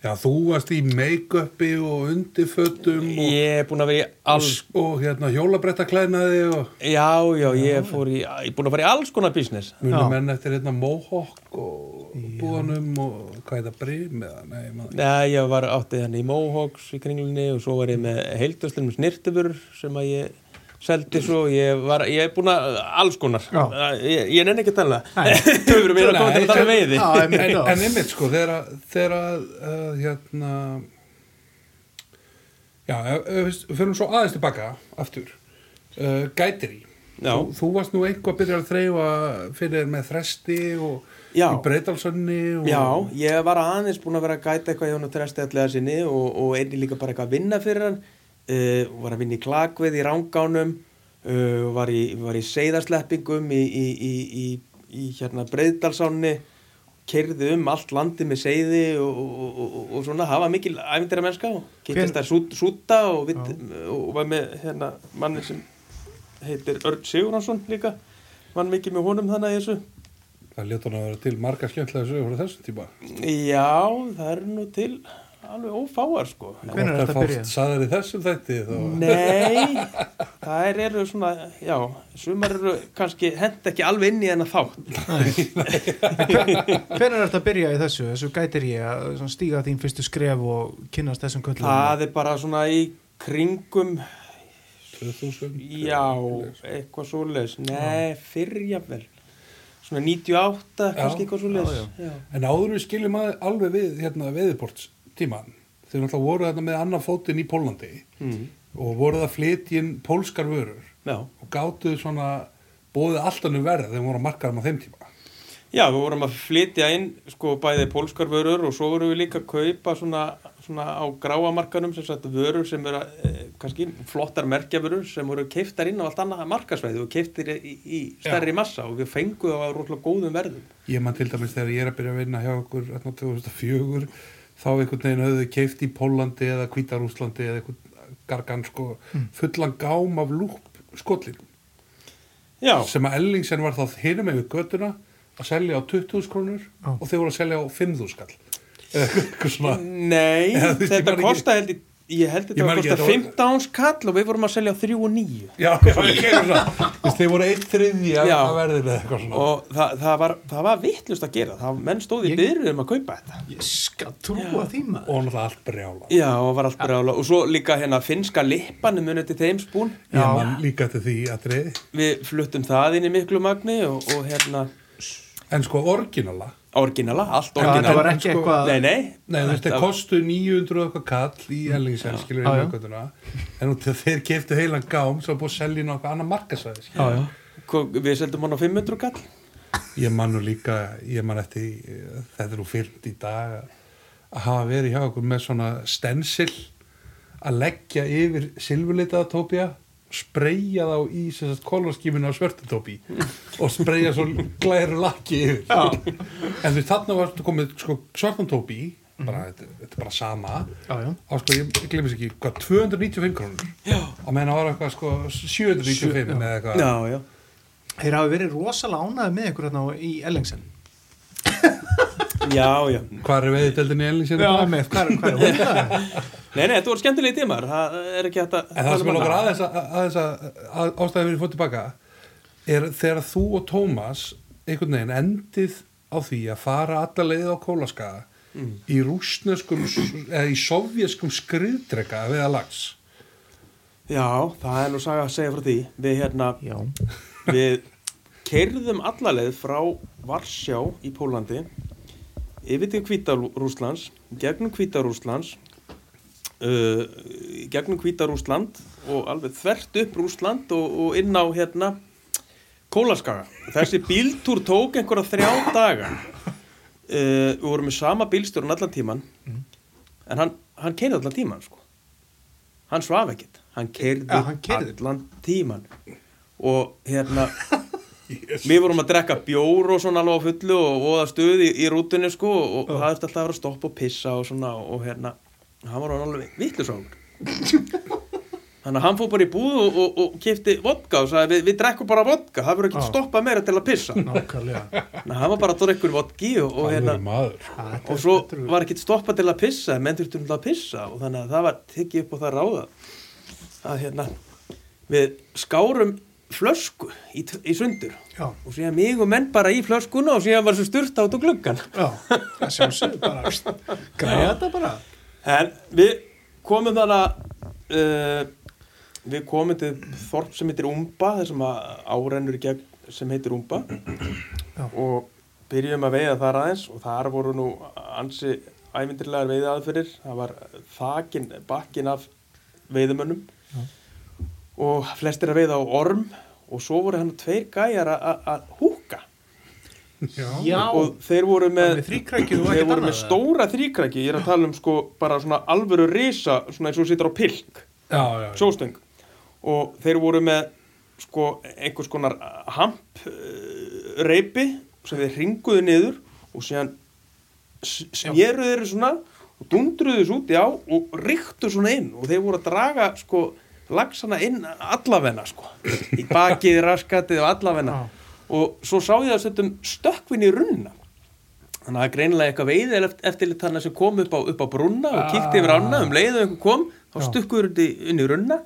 S1: Já, þú varst í make-upi og undirfötum og,
S3: Ég er búin að vera í alls,
S1: og hérna hjólabrettaklænaði og
S3: já, já, ég fór í, ég er búin að vera í alls konar business.
S2: Já.
S1: munum menn eftir hérna mohawk og búðanum og hvað er það brim eða nei, maður.
S3: Nei, ég var áttið hann í Mohawks í kringlunni og svo var ég með heildöslum snirtifur sem að ég seldi svo, ég var, ég er búin að alls konar,
S2: Já.
S3: ég, ég nenni ekki að tala þau eru mér að koma til að tala um veiði
S2: Já,
S1: en,
S2: einmitt, já.
S1: en einmitt sko þegar að- þegar að uh, hérna já, ef- ef við förum svo aðeins tilbaka aftur uh, gætir í
S3: Já.
S1: Þú, þú varst nú eitthvað að byrja að þreyfa fyrir með þresti og
S3: Já.
S1: í breytalsönni og...
S3: Já, ég var aðeins búin að vera að gæta eitthvað hjá hann og tresti allega sinni og, og einnig líka bara eitthvað að vinna fyrir hann uh, var að vinna í klakvið í rángánum uh, var, í, var í seiðarsleppingum í, í, í, í, í hérna breyðdalsánni kerði um allt landi með seiði og, og, og, og, og svona hafa mikil æfindir að mennska og kynntist að sút, súta og, vitt, og var með hérna manni sem heitir Örn Sigurhansson líka vann mikið með honum þannig að þessu
S1: Það ljóta hann að vera til marga skemmtilega sögur á þessum tíma.
S3: Já, það eru nú til alveg ófáar sko.
S2: Hvenær er
S1: Hvort
S2: þetta að
S1: fást
S2: byrja?
S1: Sagðar í þessum þætti þá...
S3: Nei, það eru svona, já, sumar eru kannski hend ekki alveg inn í hennar þátt.
S2: Hvernig er þetta að byrja í þessu? Þessu gætir ég að svona, stíga þín fyrstu skref og kynnast þessum köllum
S3: Það er bara svona í kringum,
S1: 2000.
S3: já, eitthvað svoleiðis. Nei, fyrrjafvel. Svona 98, kannski eitthvað svoleiðis. Já,
S1: En áður við skiljum að, alveg við hérna veðiborts tíman. Þeir náttúrulega voru þarna með annan fótinn í Pólandi
S3: Mm.
S1: og voru það flytjinn pólskar vörur
S3: já.
S1: og gátuð svona bóðið allt annum verð þegar voru að markaðum á þeim tíma.
S3: Já, við vorum að flytja inn sko bæði pólskar vörur og svo vorum við líka að kaupa svona, svona á gráamarkanum sem sagt vörur sem eru eh, kannski flottar merkjavörur sem voru keiftar inn á allt annað markasvæði og keiftir í, í stærri massa og við fengum það á rútla góðum verðum.
S1: Ég man til dæmis þegar ég er að byrja að vinna hjá okkur hérna 2004 þá einhvern veginn höfðu keift í Pólandi eða Kvítarúslandi eða einhvern gargan sko fullan gám af lúpp skollingum
S3: Já,
S1: sem að Ellingsen var þá hinum yfir göttuna að selja á 20.000 krónur
S2: Já.
S1: og þeir voru að selja á 5.000 skall eða eitthvað svona
S3: nei,
S1: Já, þú veist, ég man
S3: þetta
S1: ekki-
S3: kosta held ég, ég held
S1: Ég
S3: þetta
S1: man
S3: að
S1: ekki,
S3: kosta
S1: þetta var-
S3: 15 skall og við vorum að selja á 3 og 9.
S1: já, já, ég kemur svona Þú veist, þeir voru eitt þriðji
S3: Já.
S1: að verðinu eða eitthvað svona
S3: Og það, það var, það var vittlust að gera, það menn stóði
S2: Ég-
S3: í byrju um að kaupa þetta.
S2: Ég skal trúa því maður
S1: og náttúrulega allt brjála
S3: Já, og var allt brjála og svo líka hérna finnska lippan munið til þeim spún
S1: ég man líka til því að dreði
S3: við fluttum það inn í miklu magni og, og hérna
S1: en sko orginala
S3: orginala, allt
S2: Já, þetta var
S3: orginala
S2: ekki
S1: sko-
S2: eitthvað
S3: Nei, nei,
S1: Nei, þú veist, þeir kostu 900 og eitthvað kall í Ellingsen, skilur
S2: Já, já.
S1: við mjögkvölduna en út af þeir keftu heilan gám sem var búið að selja inn á eitthvað annar markasæði skilur.
S2: já, já.
S3: ko- við seldum hann á 500 kall
S1: Ég man nú líka, ég man eftir eh, þetta er nú fyrnt í dag að- að hafa verið hjá okkur með svona stensil að leggja yfir silfurlitaða tópja spreyja þá í sem sagt kolvarskíminu á svörtutópi og spreyja svo glæru lakki yfir já. en þú veist, þarna varstu komið sko, svartantópi bara, þetta, þetta er bara sama
S2: Já, já.
S1: á sko, ég glemis ekki, hvað, 295 krónur já. á meðan það var eitthvað sko 795 eða eitthvað
S3: Já, já
S2: Þeir hafi verið rosalega ánæði með ykkur hérna í Ellingsen
S3: Já, já
S1: hvað er veiðdeldin í Ellingsinu?
S2: með, hvað er- hvað er hún?
S3: Nei, nei, þetta voru skemmtilegi tímar það er ekki hægt að
S1: En það sem er okkur aðeins að, aðeins að, að ástæði fyrir fótt tilbaka er þegar þú og Tómas einhvern veginn endið á því að fara alla leið á kólaskaða
S3: Mm.
S1: í rúsneskum eða í sovjeskum skriðdrega við að lags
S3: Já, það er nú saga að segja frá því Við hérna,
S2: Já,
S3: við kerðum allaleið frá Varsjá í Pólandi yfir til Kvítarúslands gegnum Kvítarúslands uh, gegnum Kvítarúsland og alveg þvert upp Rúsland og, og inn á hérna Kólaskaga þessi bíltúr tók einhverja þrjá daga uh, við vorum með sama bílstjórn allan tíman
S2: Mhm.
S3: en hann, hann keirði allan tíman sko. hann svaf ekkert hann keirði
S2: Ja, hann keyrði.
S3: allan tíman og hérna Við vorum að drekka bjór og svona alveg á fullu og voða stuð í, í rútunni sko og það eftir alltaf að vera að stoppa og pissa og svona og hérna, hann var orðinn alveg vittlusáður. Þannig að hann fór bara í búð og, og, og kefti vodka og sagði við, við drekkum bara vodka, það verður ekki
S2: Já.
S3: að stoppa meira til að pissa.
S2: nákvæmlega
S3: Þannig að hann var bara að drekka vodki og, og hérna,
S1: maður
S3: og svo var ekki stoppa til að pissa menn þurftum til að pissa og þannig að það var tekið upp og það ráða að hérna við skárum flösku í, t- í sundur
S2: Já.
S3: og síðan mig og menn bara í flöskuna og síðan var svo sturt át og gluggan
S2: Já, það sjálfsögðu bara Græða þetta bara
S3: en við komum þarna uh, við komum til þorp sem heitir Umba þessum að árennur í gegn sem heitir Umba
S2: Já.
S3: og byrjum að veiða þar aðeins og þar voru nú ansi ævindirlegar veiði aðferðir það var þakin, bakkin af veiðumönnum og flestir að veiða á orm og svo voru hann tveir gæjar að- að að húka
S1: Já.
S2: Já,
S3: og þeir voru
S2: með
S3: með
S2: þrýkrækju og
S3: þeir
S2: ekkert
S3: voru
S2: annað
S3: með stóra þrýkræki ég er að tala um sko bara svona alvöru risa svona eins og þú situr á pilk
S1: Já, já, já.
S3: sjóstöng og þeir voru með sko einhvers konar eh, hamp uh, reypi sem þeir ringuðu niður og síðan snéruðu þeir svona og dundruðu þessu út já og ríktu svona inn og þeir voru að draga sko lagsana inn allavegna sko í bakið, raskatið og allavegna
S2: Já.
S3: og svo sá ég að stundum stökkvinn í runna þannig að það er greinilega eitthvað veið eftirlit þannig sem kom upp á, upp á brunna og kíkti yfir ána um leið og einhver kom þá stukkuður þetta í- inn í runna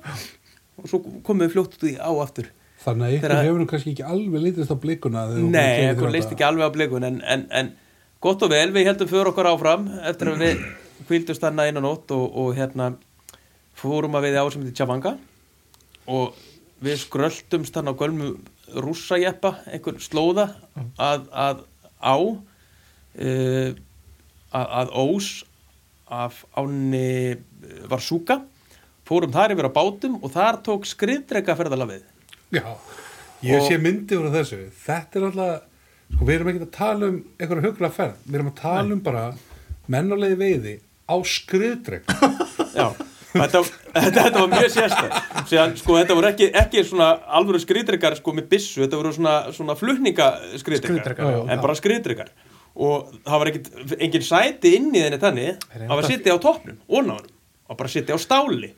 S3: og svo komum við fljótt út í á aftur
S1: Þannig að ykkur
S3: Þeirra-
S1: hefur nú kannski ekki alveg litist á blikuna þegar þú kemur
S3: Nei,
S1: til
S3: okkur
S1: þetta.
S3: leist ekki alveg á blikun en, en, en gott og vel, við heldum fyrir okkur áfram eftir að við kvíldust þarna inn á nótt og, og hérna fórum að við á sem þetta Tjavanga og við skröltumst þarna á gölmu rússajeppa einhver slóða að, að á uh, að, að ós af áni Varsúka fórum þar yfir á bátum og þar tók skriðdrega ferðalafið
S1: Já, ég
S3: Og-
S1: sé myndi úr þessu. Þetta er alltaf, sko við erum ekki að tala um einhverja hugla ferð. Við erum að tala um bara mennulegi veiði á skriðdreng.
S3: Já, þetta, þetta, þetta var mjög sérstæð Síðan, sko, þetta voru ekki, ekki svona alvöru skriðdrekar sko, með byssu, þetta voru svona, svona flutninga
S2: Skriðdrekar, já,
S3: en bara skriðdrekar og það var ekkit, engin sæti inn í þenni þannig
S2: Herra,
S3: það var
S2: þetta-
S3: sitja á toppnum, ónáðunum og bara sitja á stáli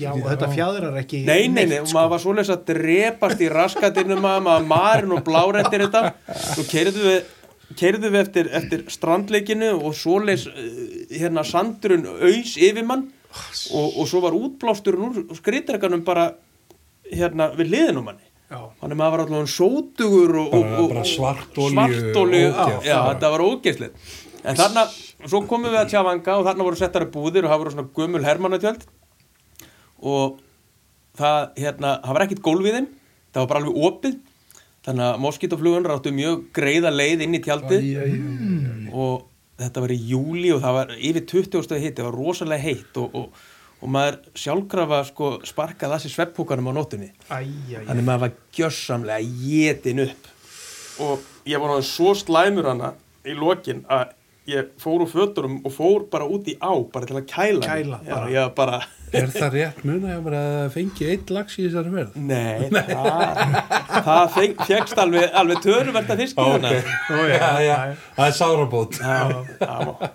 S2: já, og þetta fjadrar ekki
S3: Nei, nei, nei,
S2: neitt, sko.
S3: maður var svoleiðis að drepast í raskatinu maður, maður marinn og blárættir þetta Svo keirðu við keirðu við eftir, eftir strandleikinu og svoleiðis eh, hérna sandurinn auðs yfir mann og, og svo var útblásturinn úr skriðdreganum bara hérna við liðinum manni
S2: Já.
S3: Þannig maður var allavega svartugur og, og,
S1: Bara-
S3: og,
S1: bara
S3: og
S1: svartolíu,
S3: svartolíu,
S1: ógeð.
S3: já, þetta var ógeðslið. En þarna, svo komum við að Tjavanga og þarna voru settar upp búðir og það voru svona gömul hermannatjöld og það, hérna, það var ekkit gólf í þeim, það var bara alveg opið, þannig að moskítoflugun ráttu mjög greiða leið inn í tjaldið og þetta var í júli og það var yfir 20 stöði hitt, það var rosalega heitt og, og, og maður sjálfkrafa sko sparkaði að sér svepphúkanum á nóttunni
S2: Æjæj,
S3: þannig maður var gjörsamlega jétin upp og ég var náttúrulega svo slæmur hana í lokin að ég fór úr föturum og fór bara út í á bara til að kæla mig.
S2: Kæla,
S3: Já,
S2: bara.
S3: ég var bara,
S1: Er það rétt mun að ég bara fengi eitt lags í þessari verð?
S3: nei, það, það fegst alveg, alveg töruverta fisk í hana
S1: já, já, það er sárabót.
S3: Já, það má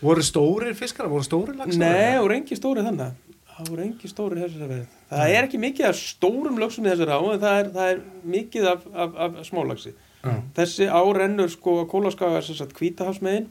S2: voru stórir fiskara, voru stórir lagsar
S3: Nei, það voru engi stóri þannig Það voru engi stóri þessari verð Það er ekki mikið af stórum lögsum í þessari á en það er, það er mikið af, af, af smálagsi
S1: Já.
S3: Þessi á rennur sko kólaskaga er sem sagt kvítahafsmeðin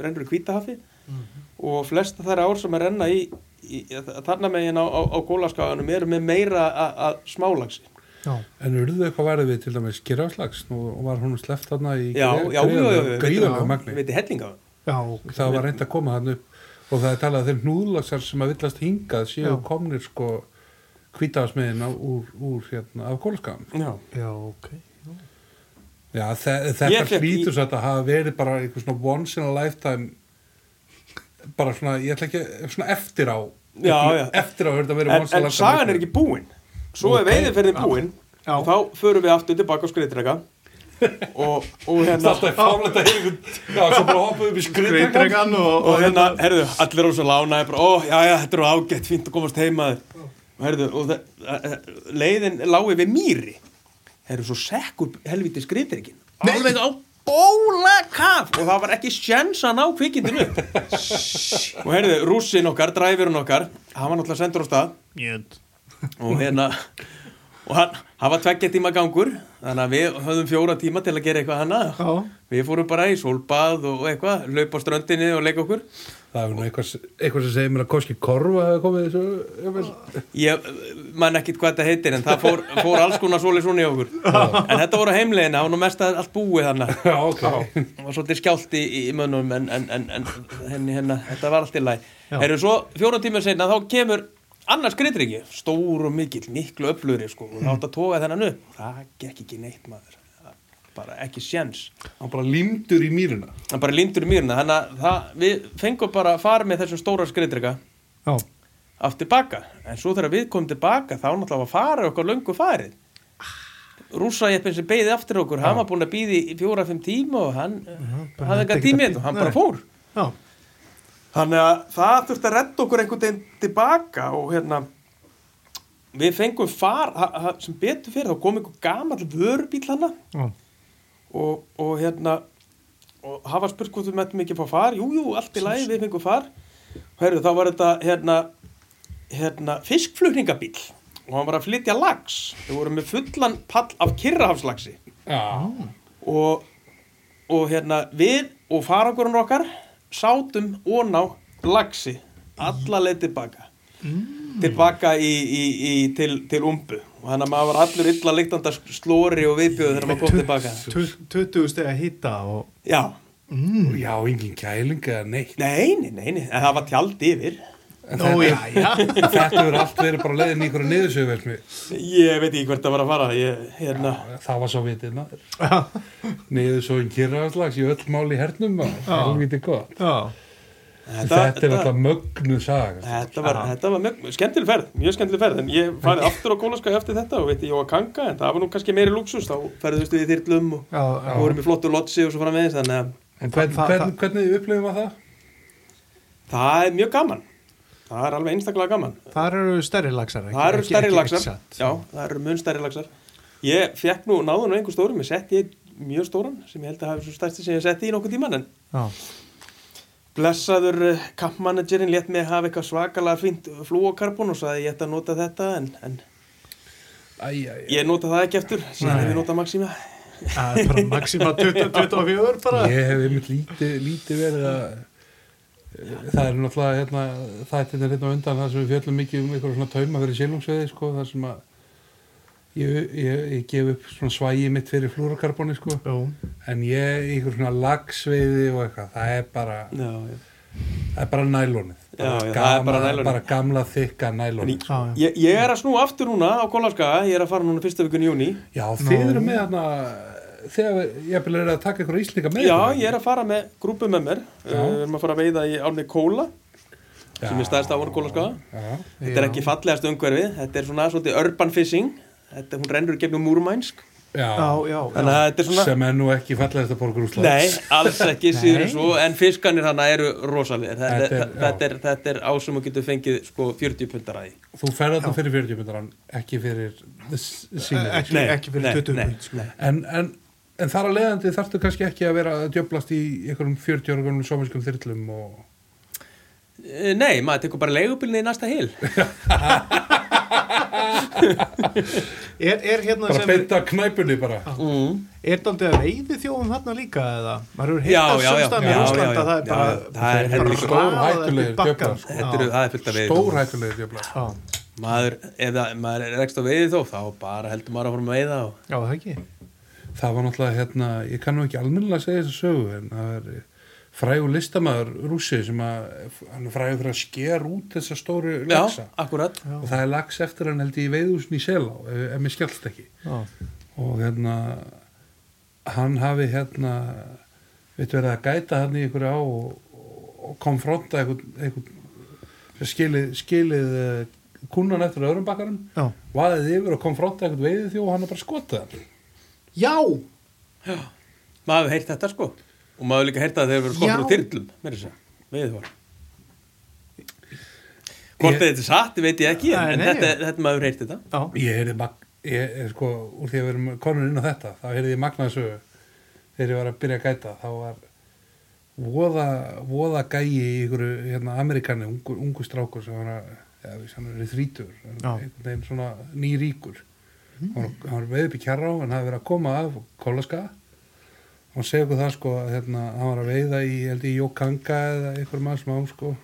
S3: rennur í kvítahafi
S1: Mhm.
S3: og flesta þær ár sem er renna í, í þarna megin á, á, á kólaskaganum eru með meira a- að smálagsi
S2: Já,
S1: En urðu eitthvað værið við til dæmis gerafslags og var hún sleppt þarna í
S3: Já, já, já, já, já,
S1: gríðanlega
S3: Við
S1: magni.
S3: veitir hellinga
S2: já, ok.
S1: Það var reynd að koma hann upp og það er talað að þeir núðlagsar sem að villast hingað séu
S2: Já.
S1: komnir sko hvítafsmiðin úr, úr hérna af kólaskam.
S3: Já
S2: já, ok
S1: Já, þe
S3: Ég
S1: þetta
S3: fékk í-
S1: hlýtur satt að hafa verið bara einhver svona once in a lifetime bara svona, ég ætla ekki svona eftir á
S3: Já, já.
S1: eftir á hefur þetta verið
S3: en,
S1: once in a
S3: en
S1: lifetime
S3: sagan er ekki búin svo er veiðiferðin búin
S2: Já.
S3: og þá förum við aftur tilbaka á skriðdrega og, og
S1: Það er
S3: hérna
S1: alltaf fálega þetta hefur já, svo bara hoppaðu upp í skriðdregan
S2: Greitregan og,
S3: og hérna, herðu, allir á svo lánaði bara, ó, já, já, þetta eru ágætt, fínt að komast heimaður og herðu, og það, eh, leiðin lági við mýri herðu, svo sekkur helviti skriðdregin alveg á bóla kaf og það var ekki sjens að ná kvikindinu og herðu, rússin okkar, dræfirinn okkar hann var náttúrulega sendur á stað
S2: Njönd.
S3: og hérna og hann, hann var tveggja tíma gangur þannig að við höfðum fjóra tíma til að gera eitthvað hana
S2: Já.
S3: við fórum bara í sólbað og eitthvað laupa á ströndinni og leika okkur
S1: Það er nú eitthvað, eitthvað sem segir mér að koski korfa hefur komið þessu jafnvel.
S3: ég man ekkit hvað þetta heitir en það fór, fór alls konar svolítið svona í okkur en þetta voru á heimlegin, það var nú mest að allt búið þannig
S1: Já, ok
S3: það var svolítið skjált í, í mönnum en, en, en, en henni, henni, þetta var allt í læg
S2: Já.
S3: erum svo fjórum tíma senna þá kemur annars gritryggi, stór og mikill miklu öflugri sko, og þátt að toga þennan upp það gekk ekki neitt maður bara ekki sjens
S1: Hann bara límdur í mýruna
S3: hann bara lindur í mýruna þannig að það, við fengum bara að fara með þessum stóra skritrygga
S2: Já,
S3: aftur baka en svo þegar við komum tilbaka þá náttúrulega var farið okkar löngu farið rússajeppin sem beigði aftur okkur, hann var búin að býði í fjóra-fimm tíma og hann
S2: Mhm, bara nennti
S3: hafði enga
S2: ekkert að
S3: tími
S2: bíða.
S3: og hann
S2: Nei.
S3: bara fór
S2: já,
S3: Þannig að það þurfti að redda okkur einhvern veginn tilbaka og hérna við fengum far ha- ha- sem betur fyrir þá kom einhver gamall vörubíl hana
S2: já,
S3: og, og hérna og hafa spurt hvort við mettum ekki að fá far jú, jú, allt í lagi, við fengum far og herru, þá var þetta hérna, hérna fiskflutningabíl og hann var að flytja lags við vorum með fullan pall af kyrrahafslaxi
S1: Já.
S3: og, og hérna við og farangurinn okkar sátum ón á lagsi alla leið tilbaka tilbaka í, í, í, til, til umbu og þannig að maður var allur illa líktanda slóri og viðbjöðu þegar maður kom tilbaka
S2: Tu- 20 steg að hýta og
S3: já,
S1: Já, engin kæling eða neitt.
S3: nei, nei, nei, nei. en það var tjald yfir
S2: Nó, já, já,
S1: Þetta hefur allt verið bara leiðin í einhverju niðursögverfni.
S3: ég veit ekki hvert það var að fara ég, hérna,
S1: Það var svo vitið maður. Niðursögin kyrraðslags í öll máli hernum maður.
S2: Já.
S1: Helviti gott.
S2: já,
S1: Þetta, er alltaf mögnu saga.
S3: þetta var, þetta var mjög, skemmtileg ferð, mjög skemmtileg ferð en ég farið aftur á Kólaska eftir þetta og veit ég á að kanga en það var nú kannski meiri lúksus þá ferðustu við þyrlum og
S2: já, já.
S3: og vorum í flottu lotsi og svo framvegis þannig að
S1: En hvern,
S2: Það-
S1: hvern, hvernig upplifum að það?
S3: það er mjög gaman það er alveg einstaklega gaman
S2: Það eru stærri laxar ekki-
S3: það eru
S2: ekki-
S3: stærri
S2: ekki-
S3: laxar
S2: ekki satt.
S3: já, það eru mun stærri laxar ég fekk nú náðun á einhver stórum ég setti ég mjög stóran sem ég held að hafi svo stærsti sem ég setti í nokkuð tíman en
S2: Já,
S3: blessaður kappmanagerinn létt mig hafa eitthvað svakalega fínt flúokarbon og sagði ég ætti að nota þetta en, en
S1: Æ, æ, æ.
S3: ég nota það ekki eftir síðan
S2: Nei.
S3: hef ég nota Maxima
S2: það er bara maxima 20-24 bara
S1: Ég hef einmitt lítið, lítið verið að það er náttúrulega hérna, þættin er hérna á undan þar sem við fjöllum mikið um einhverja svona tauma fyrir silungsveði sko, þar sem að ég, ég, ég gef upp svona svægi mitt fyrir flúrakarboni sko,
S2: Jú,
S1: en ég í einhver svona lagsveiði og eitthvað það er bara,
S3: já, já.
S1: það er bara nælónið
S3: Já, já, það er bara nælonið.
S1: bara gamla þykka nælónið sko.
S2: já, já
S3: Ég, ég er að snúa aftur núna á Kólaska ég er að fara núna fyrsta vikun í júni
S1: Já, þið eru með hérna þegar við- ég er að taka einhverja íslika með
S3: Já, ég er að fara með grúpu með mér Uh, Við erum að fara að veiða í ánni Kóla sem er stæðst á ánni Kóla
S1: Já,
S3: Þetta er
S2: Já.
S3: ekki fallegast umhverfi Þetta er svona svolítið urban fishing þetta, Hún rennur í gegnum múrumænsk
S2: Já,
S1: já,
S2: já,
S3: Þannig að þetta er svona
S1: sem er nú ekki fallegasta borgur úr
S3: Nei, alls ekki síður en
S2: Nei.
S3: svo en fiskanir hana eru rosalegir þetta,
S1: Þetta er-
S3: þetta, þetta, er- þetta er á sem þú getur fengið sko 40 pundar að því
S1: Þú ferð þarna fyrir 40 myndarann, ekki fyrir sína.
S2: ekki,
S3: Nei,
S2: ekki fyrir
S3: nei,
S2: 20
S3: nei,
S2: pund, sko.
S3: nei.
S1: En, en, en þar að leiðandi þarftu kannski ekki að vera að djöblast í einhverjum 40 ára gamlum somalskum þyrlum og...
S3: Eh, Nei, maður tekur bara leigubilni í næsta hil
S2: Er, er hérna
S1: Bara
S2: sem
S1: beinta knæpunni bara.
S3: mm.
S2: Er daldið að veiði þjóðum þarna líka eða? Maður hefur
S3: Já,
S2: heilt að sumstaðan í
S3: já, já. Já, já,
S2: Rúsland
S3: já.
S2: að það er
S3: Já,
S2: bara
S3: já. Það
S2: bara
S3: er helvíti
S2: raðað
S1: stórhættulegir
S2: upp í bakkann.
S1: djöflar, sko.
S3: Þetta eru, það er fullt af veiðum
S1: Stórhættulega djöblast.
S2: Já,
S3: Maður, ef það, maður er ekst á veiði þó þá bara heldur maður að fara með veiða og
S2: já, það ekki
S1: Það var náttúrulega, hérna, ég kannu ekki almennilega segja þessa sögu, en það er eh, frægur listamaður rússi sem að, hann er frægur fyrir að sker út þessa stóru laxa.
S3: Já, akkurat
S1: Og það er lax eftir hann held ég í veiðúsin í Selá, ef, ef mér skjálst ekki.
S2: Já,
S1: og hérna hann hafi hérna við verið að gæta hann í einhverju á og, og konfronta einhvern, einhvern sem skilið, skilið eh, kúnan eftir öðrum bakkarum
S2: já,
S1: vaðið yfir og konfronta einhvern veiðið þjó og hann er bara skotað hann
S2: já,
S3: Maður hefur heyrt þetta sko og maður hefur líka heyrt það þegar við erum skotnir
S2: Já.
S3: á tyrlum með þess að, veiðið var Hvort
S1: Ég-
S3: ég... þetta er satt, veit ég ekki
S2: Nei,
S3: en
S2: nei.
S3: þetta, þetta maður hefur heyrt þetta
S2: já.
S1: ég heyrði mag- ég er sko úr því að við erum konur inn á þetta þá heyrði ég magnaðsögu þegar ég var að byrja að gæta þá var voða, voða gæi í einhverju hérna, amerikani, ungu, ungu strákur sem var að, já, við sem hann er þrítur
S2: Já.
S1: einhvern veginn svona nýríkur mm. hann var- hann var veið upp í kjarrá en hafði verið að koma af kólaska og hann segi okkur það sko að hérna, hann var að veiða í, held ég, Jókanga eða einhver maður smá sko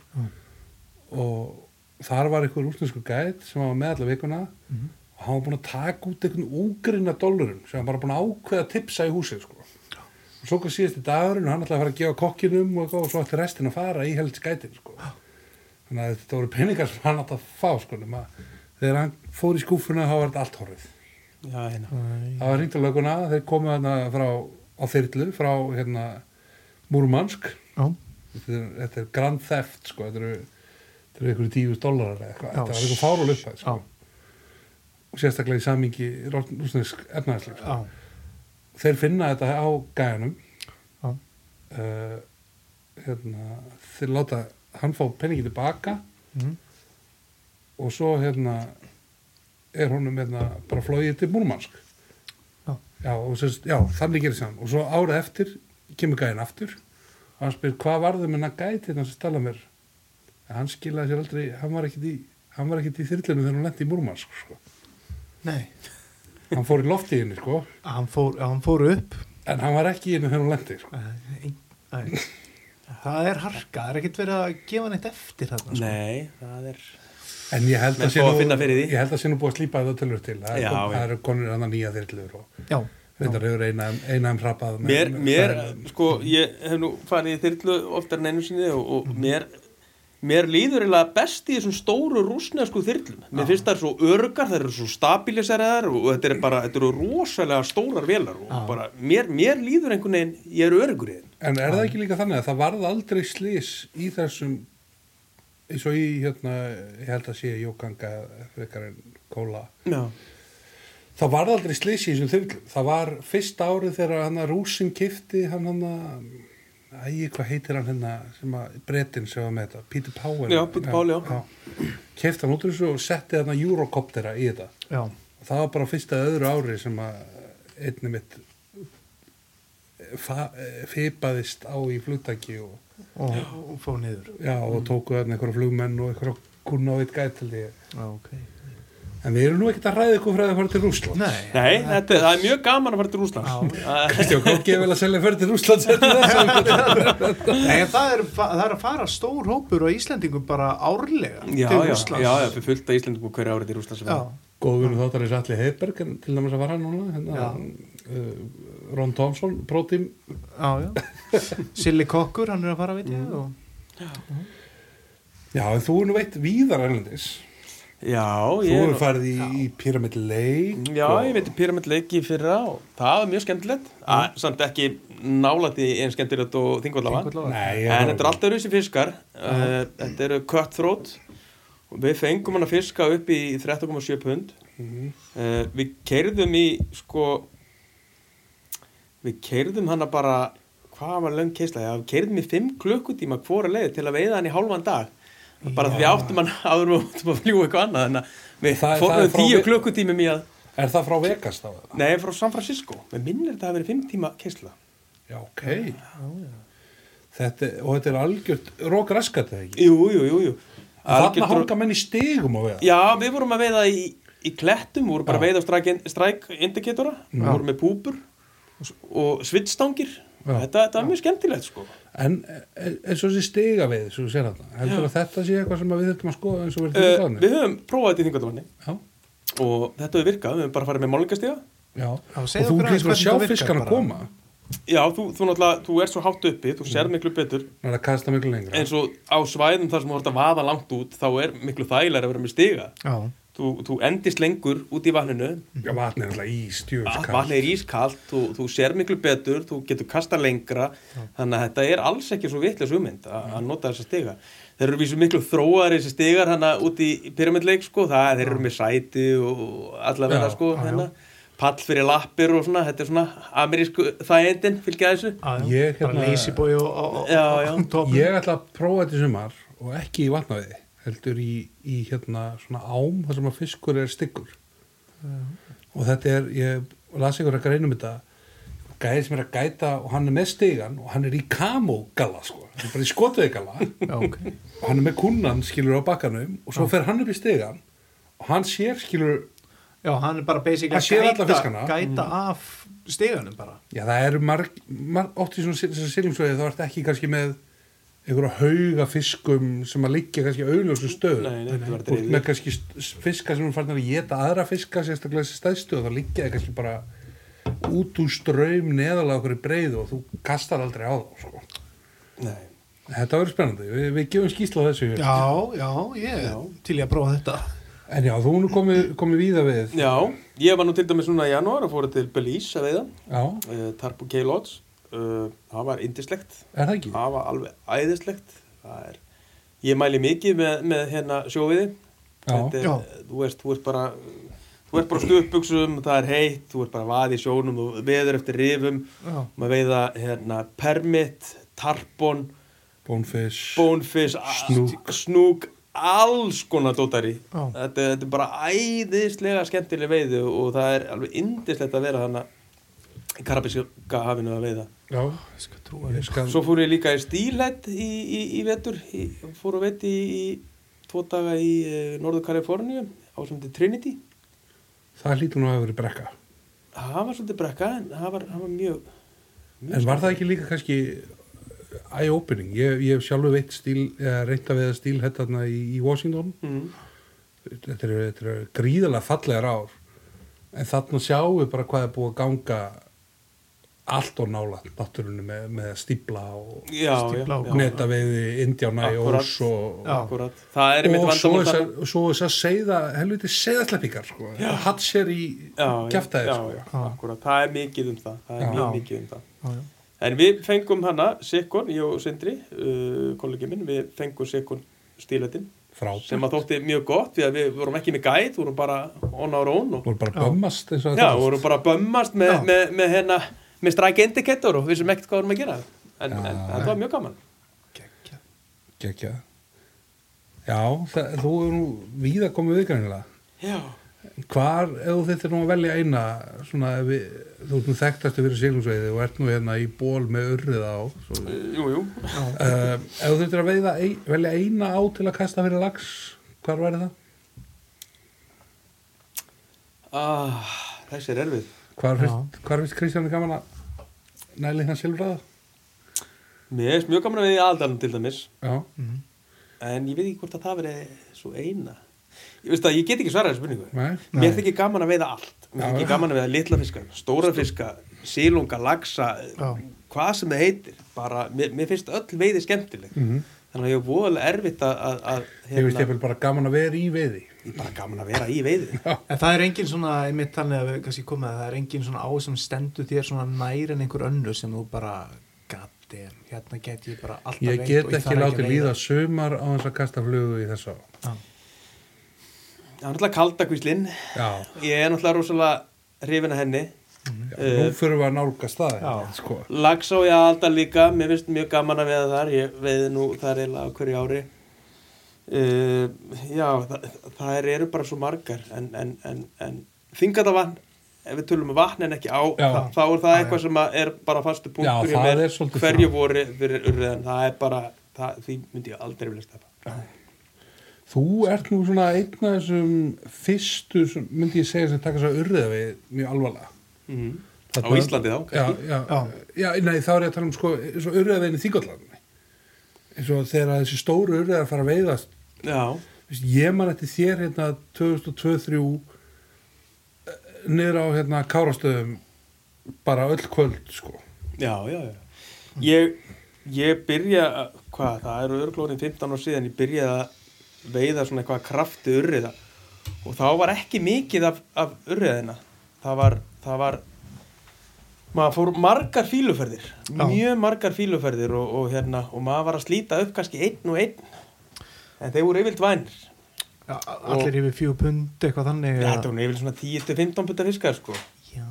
S1: og þar var einhver úsnesku gæt sem var með alla vikuna og hann var búinn að taka út einhvern úgrinna dollarum sem hann bara búinn að ákveða að tipsa í húsið sko. og svo hvað síðast í dagurinn og hann ætlaði að fara að gefa kokkinum og, eitthvað, og svo ætti restin að fara í helst gætin sko. þannig að þetta voru peningar sem hann ætti að fá sko, nema þegar hann fór í skúfuna þá var þetta allt horfið
S3: Já, hérna
S1: það var hringt á löguna, þeir komu þarna frá, á þyrlu frá hérna, Múrmansk
S2: já.
S1: þetta er, þetta er grand theft sko, þetta eru þetta eru einhverju tífus dólarar eða eitthvað,
S2: Já.
S1: þetta var einhverju fárul upphæð sko. sérstaklega í samingi rúsnesk efnaðarslíf
S2: Já,
S1: þeir finna þetta á gæjanum
S2: já,
S1: uh, hérna, þeir láta hann fá peningin tilbaka
S2: mm,
S1: og svo hérna er honum hérna bara flóið til Múrmansk
S2: Já.
S1: já, og sérst, já þannig gerir hann og svo árið eftir kemur gæðin aftur og hann spyr hvað varðum en að gæti hérna sem stala mér en hann skilaði sér aldrei, hann var ekkit í hann var ekkit í þyrlunum þegar hann lendi í Múrmansk sko.
S2: nei
S1: hann fór í lofti henni sko
S2: Hann fór, hann fór upp
S1: en hann var ekki í henni þegar hann lendi sko.
S2: Nei, nei. Það er harka, það er ekkert verið að gefa neitt eftir þarna sko.
S3: Nei, það er
S1: en ég held
S3: Menn
S1: að sé
S3: fá að
S1: nú-
S3: finna fyrir því.
S1: ég held að sé nú búið að slípa þetta tölur til það
S3: Já,
S1: er kom-
S3: já.
S1: það eru konur annar nýja þyrlur og
S2: Já,
S1: reyndar hefur eina, eina um hrapað með-
S3: Mér,
S1: með-
S3: mér
S1: með-
S3: sko, ég hef nú farið í þyrlu oftar en einu sinni og, og mér mér líður eiginlega best í þessum stóru rúsnesku þyrlum. Mér finnst það er svo örgar, það eru svo stabiliseraðar og þetta er bara, þetta eru rosalega stórar velar og
S2: Já.
S3: bara, mér, mér líður einhvern veginn, ég er örgur í þeim.
S1: En er það ekki líka þannig að það varð aldrei slís í þessum eins og í hérna, ég held að sé Jókanga frekar en Kóla
S3: Já.
S1: það varð aldrei slís í þessum þyrlum það var fyrst árið þegar hann að rúsin kifti hann hann að æg, hvað heitir hann hérna sem að brettin sem var með þetta, Peter Powell
S3: Já, Peter Powell, já.
S1: kifti hann út úr þessu og setti hann að Eurocoptera í þetta
S2: já,
S1: það var bara fyrsta öðru ári sem að einnig mitt feipaðist á í flugtaki og
S2: og, og fór niður
S1: Já,
S3: Mm.
S1: og tóku þarna einhverja flugmenn og einhverja kunna á eitt gætali.
S2: Já, ok
S1: En við erum nú ekkert að ræða ykkur fyrir að fara til Rúsland.
S2: Nei,
S3: Nei, þetta, það er mjög gaman að fara til Rúslands. Það-
S1: Kristján, góð vel að selja fyrir til hérna. Rúsland setja þess.
S2: Nei, en það er, það er að fara stór hópur á Íslendingum bara árlega
S3: Já,
S2: til
S3: já,
S2: Rússlands.
S3: já, já, við fullta Íslendingum á hverju árið í Rúslands.
S2: já,
S1: Góðvinu þáttarins Alli Heiberg, en til dæmis að fara núna, hérna, uh, Ron Thompson, prótím.
S2: já, já. Silli Kokkur, hann er að fara, veit ég og...
S1: Já, en þú er nú veitt víðar ennlandis.
S3: Já,
S1: Þú
S3: ég,
S1: er farið í, í Pyramid Lake.
S3: já, ég veit pyramid leiki fyrra og það var mjög skemmtilegt. Mm. Samt ekki nálætti eins skemmtilegt og þingvallafa.
S2: Þingvallavatn.
S1: Nei, ég-
S3: En þetta er alltaf rúsi fiskar. Uh, þetta eru cutthroat. Og Við fengum hann að fiska upp í 13,7 pund.
S1: Mhm.
S3: Uh, við keirðum í, sko, við keirðum hann að bara, hvað var löng keisla? Já, við keirðum í 5 klukkutíma hvora leiði til að veiða hann í hálfan dag. Bara því við áttum hann áður og áttum að fljúa eitthvað annað. Þannig að við
S1: Það- það er
S3: fórðum
S1: frá
S3: 10
S1: við-
S3: klukkutímum í að,
S1: Er það frá Vegas þá? eða?
S3: nei, frá San Francisco. Við minnir þetta að verið 5 tíma keisla.
S1: Já, ok. Þetta, og þetta er algjört rók raskat eða ekki?
S3: Jú, jú, jú, jú.
S1: Þarna
S3: Algjört-
S1: hanga menn í stigum á veða.
S3: Já, við vorum að veiða í, í klettum, við vorum bara að
S1: Já.
S3: veiða á strike- strike indicatora, við
S1: Já.
S3: vorum með púpur og svitstangir,
S1: Já.
S3: þetta, þetta var mjög skemmtilegt sko.
S1: En e- eins og þessi stiga við, svo sér þetta, heldur að þetta sé eitthvað sem að við þurfum að skoða eins og verður
S3: Uh,
S1: þingvallavatni?
S3: við höfum prófað þetta í þingatofni
S1: Já,
S3: og þetta hefur virkað, við höfum bara farið með málingastega.
S1: já.
S2: Já,
S1: Og
S2: segðu
S1: þú getur
S2: okkur aðeins
S1: bara að
S2: hvernig
S1: sjá
S2: þetta virkar
S1: fiskana
S2: bara.
S1: koma,
S3: Já, þú, þú náttúrulega, þú ert svo hátt uppi, þú sér miklu betur,
S1: það er að kasta miklu lengra.
S3: eins og á svæðum þar sem þú ert að vaða langt út, þá er miklu þægilega að vera með stiga.
S2: Já,
S3: Þú, þú endist lengur út í vatninu,
S1: Já, vatni er alltaf ístjöfis
S3: vatnið Ah, er ískalt, þú, þú sér miklu betur, þú getur kasta lengra, þannig að þetta er alls ekki svo vitlega sumynd að, að nota þessa stiga. Þeir eru vísið miklu þróar þessi stigar hann út í pyramidleik sko, það þeir eru með sæti og allavega
S1: Já,
S3: sko,
S2: já, já.
S3: hérna, pall fyrir lappir og svona, þetta er svona amerísku þægindin, fylgja þessu.
S2: já,
S1: Ég,
S2: bara
S1: hérna-
S2: leysibói og, og, og,
S3: Já, já.
S2: og topum.
S1: Ég ætla að prófa þetta í sumar og ekki í vatnaviði, heldur í, í hérna svona ám þar sem að fiskur er styggur. Og þetta er, ég las ykkur að greinum þetta, gæði sem er að gæta og hann er með stigan og hann er í kamógalla sko, hann er bara í skotuðigalla.
S2: Já, ok
S1: og hann er með kunnan skilur á bakkanum og svo fer hann upp í stegan og hann sér skilur
S2: Já, hann er bara basic
S1: Hann sér alla fiskana.
S2: gæta af stegunum bara
S1: já það eru marg, marg oft í svona sil- þessar silungsvegi þá ertu ekki kannski með einhverja hauga fiskum sem að liggja kannski á auðljósum stöð
S3: Nei, nei, þetta var
S1: og
S3: dreifið.
S1: með kannski st- s- fiska sem er farin að geta aðra fiska sérstaklega þessi stæðstu og þá liggja það kannski bara út úr ströym neðalega okkur í breiðu og þú kastar aldrei á þá sko.
S3: Nei.
S1: þetta verður spennandi, Vi, við gefum skýsla á þessu
S2: Já, já, ég
S3: Já.
S2: til ég að prófa þetta
S1: en já, þú nú komið, komið víða við
S3: Já, ég var nú til dæmis núna í janúar að fóra til Belize að veiða,
S1: já,
S3: uh, Tarpu K-Lodge, uh, það var indislegt.
S1: er það ekki?
S3: Það var alveg æðislegt. Það er, ég mæli mikið með, með hérna sjóviði.
S1: Já.
S3: Þetta er,
S2: Já.
S3: Þú, veist, þú veist bara, þú ert bara stuðbuksum, það er heitt, þú ert bara vaði í sjónum, þú veður eftir rifum,
S2: Já.
S3: maður veiða hérna, permit, tarpon,
S1: Bonefish
S3: bonefish,
S1: Snúk.
S3: snúk, snúk alls konar dótari.
S2: Já.
S3: Þetta, þetta er bara æðislega skemmtileg veiðu og það er alveg indislegt að vera þarna í Karabíska hafinu að veiða.
S1: Já,
S2: Ég skal trúa
S1: ég
S2: þér.
S1: skal
S3: Svo fór ég líka í stílætt í, í, í vetur, í, fór að veiði í, í tvo daga í eh, Norður Kaliforníu á sem þetta Trinity.
S1: Það hlýtur nú að hafa verið brekka
S3: Það var svolítið brekka en það var, það var mjög...
S1: En var það ekki líka kannski eye-opening? Ég, ég hef sjálfur veitt stíl, eða reynda við að stíl hérna í, í Washington
S3: Mm.
S1: þetta eru þetta er gríðalega fallegar ár en þarna sjáum við bara hvað er búið að ganga allt og nála náttúrunni með, með stípla og
S3: Já, já,
S2: Stífla og
S3: já.
S1: netaveiði, indjána í
S3: Akkúrat.
S1: ós og,
S2: Já.
S3: Akkurat. Það er mitt
S1: og svo
S3: vandamál
S1: þessar
S3: þarna.
S1: svo þessar seiða, helviti seiðasleppingar sko. hatt sér í
S3: Já, já,
S1: kjaftaði
S3: já, já,
S1: sko.
S2: Já.
S3: akkurat, það er mikið um það það er
S1: Já.
S3: mjög
S2: Já.
S3: mikið um það
S2: Já, já.
S3: en við fengum hana, Sikon, ég og Sindri uh, kollegi minn, við fengum Sikon stílætin,
S1: frábært
S3: sem að þótti mjög gott því að við vorum ekki með gæð, vorum bara on our own og,
S1: voru bara bömmast eins og
S3: já,
S1: þetta var.
S3: vorum bara bömmast með,
S2: Já.
S3: með, með hérna, með stræk indikator og við sem ekkert hvað vorum að gera en, en,
S1: Já.
S3: en það var mjög gaman
S2: Geggjað.
S1: Geggjað. já, það, þú er nú víða komið viðgænilega
S3: já,
S1: Hvar, ef þú þittir nú að velja eina svona, ef við, þú ert nú þekktast að vera sílungsveiði og ert nú hérna í ból með urrið á svo, uh,
S3: Eh, jú, jú
S1: ef þú þittir að veiða, ein, velja eina á til að kasta fyrir lags, hvar væri það?
S3: ah, þessi er erfið
S1: Hvar
S2: Já.
S1: finnst, hvar finnst Kristján gaman að næli hann sílfræða?
S3: mér er mjög gaman að við í aðdalum til dæmis
S1: Já,
S2: Mhm.
S3: en ég veit ekki hvort að það veri svo eina ég veist að ég get ekki svarað þessu spurningu
S1: nei,
S3: mér þykir gaman að veiða allt mér
S1: Já.
S3: þykir gaman að veiða litla fiska, stóra fiska sílunga, laxa,
S2: Já.
S3: hvað sem það heitir bara, mér, mér finnst öll veiði skemmtileg
S1: Mhm.
S3: þannig að ég er voðalega erfitt að, að, að hérna,
S1: ég veist ég vel bara gaman að vera í veiði.
S3: ég er bara gaman að vera í veiði
S2: En það er engin svona, einmitt þannig að við kannski komið að það er engin svona á sem stendur þér svona nær en einhver önnu sem þú bara gati, hérna get ég bara alltaf
S1: Ég
S2: veitt
S1: get
S2: og
S1: ekki
S2: þarf
S1: látið
S2: að
S1: líða
S2: veiða.
S1: sumar á þess að kasta flugu í þessu á.
S2: Já.
S3: það er náttúrulega kaldakvíslinn
S1: Já,
S3: ég er náttúrulega rosalega hrifin að henni
S1: já nú fyrir við að nálgast það,
S2: Eh, Já.
S1: sko.
S3: laxa og ég alltaf líka, mér finnst mjög gaman að veiða þar ég veiði nú þar eiginlega á hverju ári Uh, já, það, það eru bara svo margar en, en, en, en þingatavatn ef við tölum um vatn en ekki á
S1: Já.
S3: þá, þá er það eitthvað sem að er bara fastu punktur
S1: Já,
S3: í
S1: það
S3: mér
S1: er svolítið
S3: hverju
S1: það.
S3: voru fyrir urðan það er bara, það, því myndi ég aldrei vilja stefa
S1: Þú ert nú svona einn af þessum fyrstu, sem myndi ég segja, sem taka svo urða við mjög alvarlega.
S3: mm. á
S1: Þarna-
S3: Íslandi þá
S1: Já, já, já. nei, þá er ég að tala um sko, svo urða veginn í Þingvallandinni. Eins og þegar þessi stóru urðaðar fara að veiðast.
S3: já,
S1: Vist, ég man eftir þér hérna 2002-2003 eh, niður á hérna Kárastöðum bara öll kvöld, sko.
S3: já, já, já. ég, ég byrja að- hvað, það eru örglóðin 15 ár síðan ég byrjaði að veiða svona eitthvað krafti urriða og þá var ekki mikið af, af urriðina það var, það var maður fór margar fíluferðir
S2: Já.
S3: mjög margar fíluferðir og, og, hérna, og maður var að slíta upp kannski einn og einn en þeir voru yfirlt vænir
S2: Já, Allir yfir fjú pund, eitthvað þannig.
S3: þetta
S2: eða-
S3: voru yfirlt svona 10-15 putta fiskar sko
S2: Já.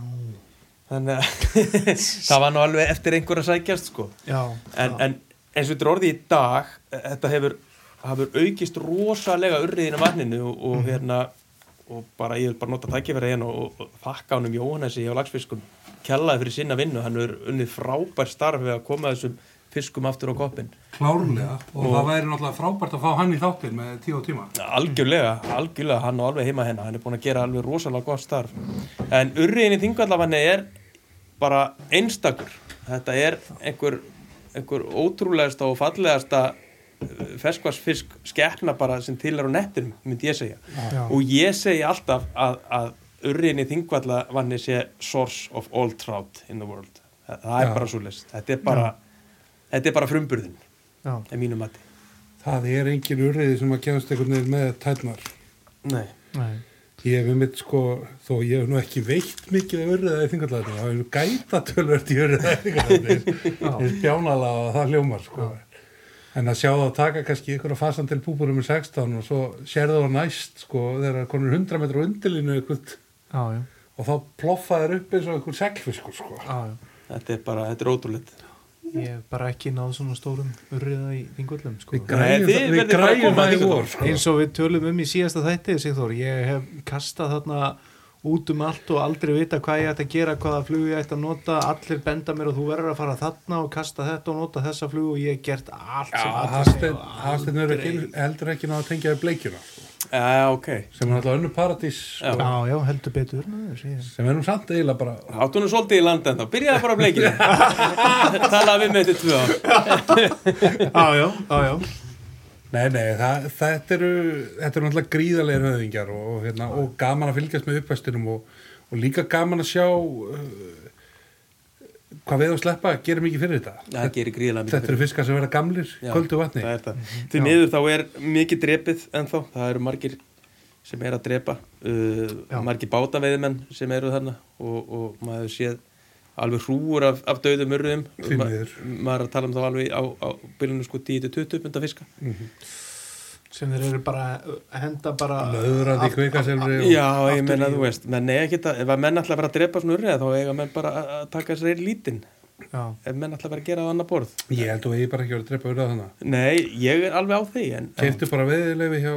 S3: þannig að það var nú alveg eftir einhver að sækjast sko
S2: Já.
S3: en,
S2: já.
S3: en eins og þetta er orðið í dag eh, þetta hefur, hefur aukist rosalega urriðin á vatninu og, og hérna og bara ég vil bara nota tækifæri hérna og, og þakka honum Jóhannesi hjá lagsfiskum kjallaði fyrir sinna vinnu, hann er unnið frábær starf við að koma þessum fiskum aftur á koppin
S1: Klárlega. Og, það væri náttúrulega frábært að fá hann í þáttin með tíu og tíma.
S3: algjörlega, algjörlega hann á alveg heima hérna, hann er búin að gera alveg rosalega gott starf en urriðin í þingallafanni er bara einstakur þetta er einhver, einhver ótrúlegasta og fallegasta ferskvarsfisk skepna bara sem til er á nettinum, myndi ég segja
S2: Já.
S3: og ég segi alltaf að, að urriðin í þingallafanni sé source of all trout in the world það, það er
S1: Já.
S3: bara svo list þetta er bara, þetta er bara frumburðin
S2: Já.
S3: er mínu mati
S1: Það er engin urriði sem að kemast einhvern veginn með tætnar.
S3: Nei.
S2: Nei.
S1: Ég hef um mitt sko, þó ég hef nú ekki veitt mikið að urriða í þingallæðinu, það hefur gæta tölvört í urriða í þingallæðinu, það er bjánala og það hljómar sko. En að sjá það að taka kannski ykkur að um fasan til búburum í 16 og svo sérðu það næst sko, þegar það konur 100 metra á undirlínu ykkur
S2: já, já,
S1: og þá ploffa þær upp eins og einhver seglfiskur sko.
S2: já, já.
S3: Þetta er bara, þetta er ótrúleitt
S2: Ég hef bara ekki náð svona stórum urriða í þingullum sko.
S1: Við græjum
S3: Nei,
S1: það-
S3: þið
S1: við
S3: verðið bara að
S1: græjum
S3: koma
S1: það í
S3: hingað.
S1: vor sko.
S2: Eins og við tölum um í síðasta þætti Sigþór, ég hef kastað þarna út um allt og aldrei vita hvað ég ætti að gera hvaða flug ég ætti að nota allir benda mér og þú verður að fara þarna og kasta þetta og nota þessa flug og ég hef gert allt sem allir
S1: Hafsteinn
S2: og
S1: Hafsteinn er ekki,
S2: aldrei-
S1: heldur ekki náða að tengja í bleikjuna sko.
S3: Já, ok
S1: sem er alltaf önnu paradís
S3: Já.
S1: sko.
S2: Já, já, heldur betur maður, ég-
S1: sem er nú samt eiginlega bara
S3: Áttu nú svolítið í landa en þá, byrjaði bara að bleikinu Talaði við með þetta tvö ár
S2: Já, já, já, já
S1: Nei, nei, það, þetta eru þetta eru náttúrulega gríðarlega höfðingjar og, og, hérna, og gaman að fylgjast með uppvestinum og, og líka gaman að sjá uh, hvað við að sleppa gerum ekki fyrir þetta
S3: Það gerir gríðlega mikið
S1: Þetta eru fiskar sem verða gamlir,
S3: Já,
S1: köldu vatni
S3: það er það. Því miður þá er mikið drepið ennþá, það eru margir sem er að drepa uh,
S2: Já.
S3: margir bátaveiðimenn sem eru þarna og, og maður séð alveg hrúur af, af döðum urðum
S1: Því
S3: Ma-
S1: miður.
S3: maður er að tala um þá alveg á, á bylunum sko 10-20 punda fiska
S1: Mm.
S2: sem þeir eru bara að henda bara
S1: Löðrandi kvikaselri og-
S3: já, ég menna þú veist menn eiga ekki það, ef að menn ætla að vera að drepa svona urðið þá eiga menn bara að- að taka sér einn lítinn
S2: já,
S3: ef menn ætla að vera að gera á annar borð
S1: Ég held að ég bara ekki verið að drepa verða þannig
S3: nei, ég er alveg á því en, en,
S1: Keftu bara veðilefi hjá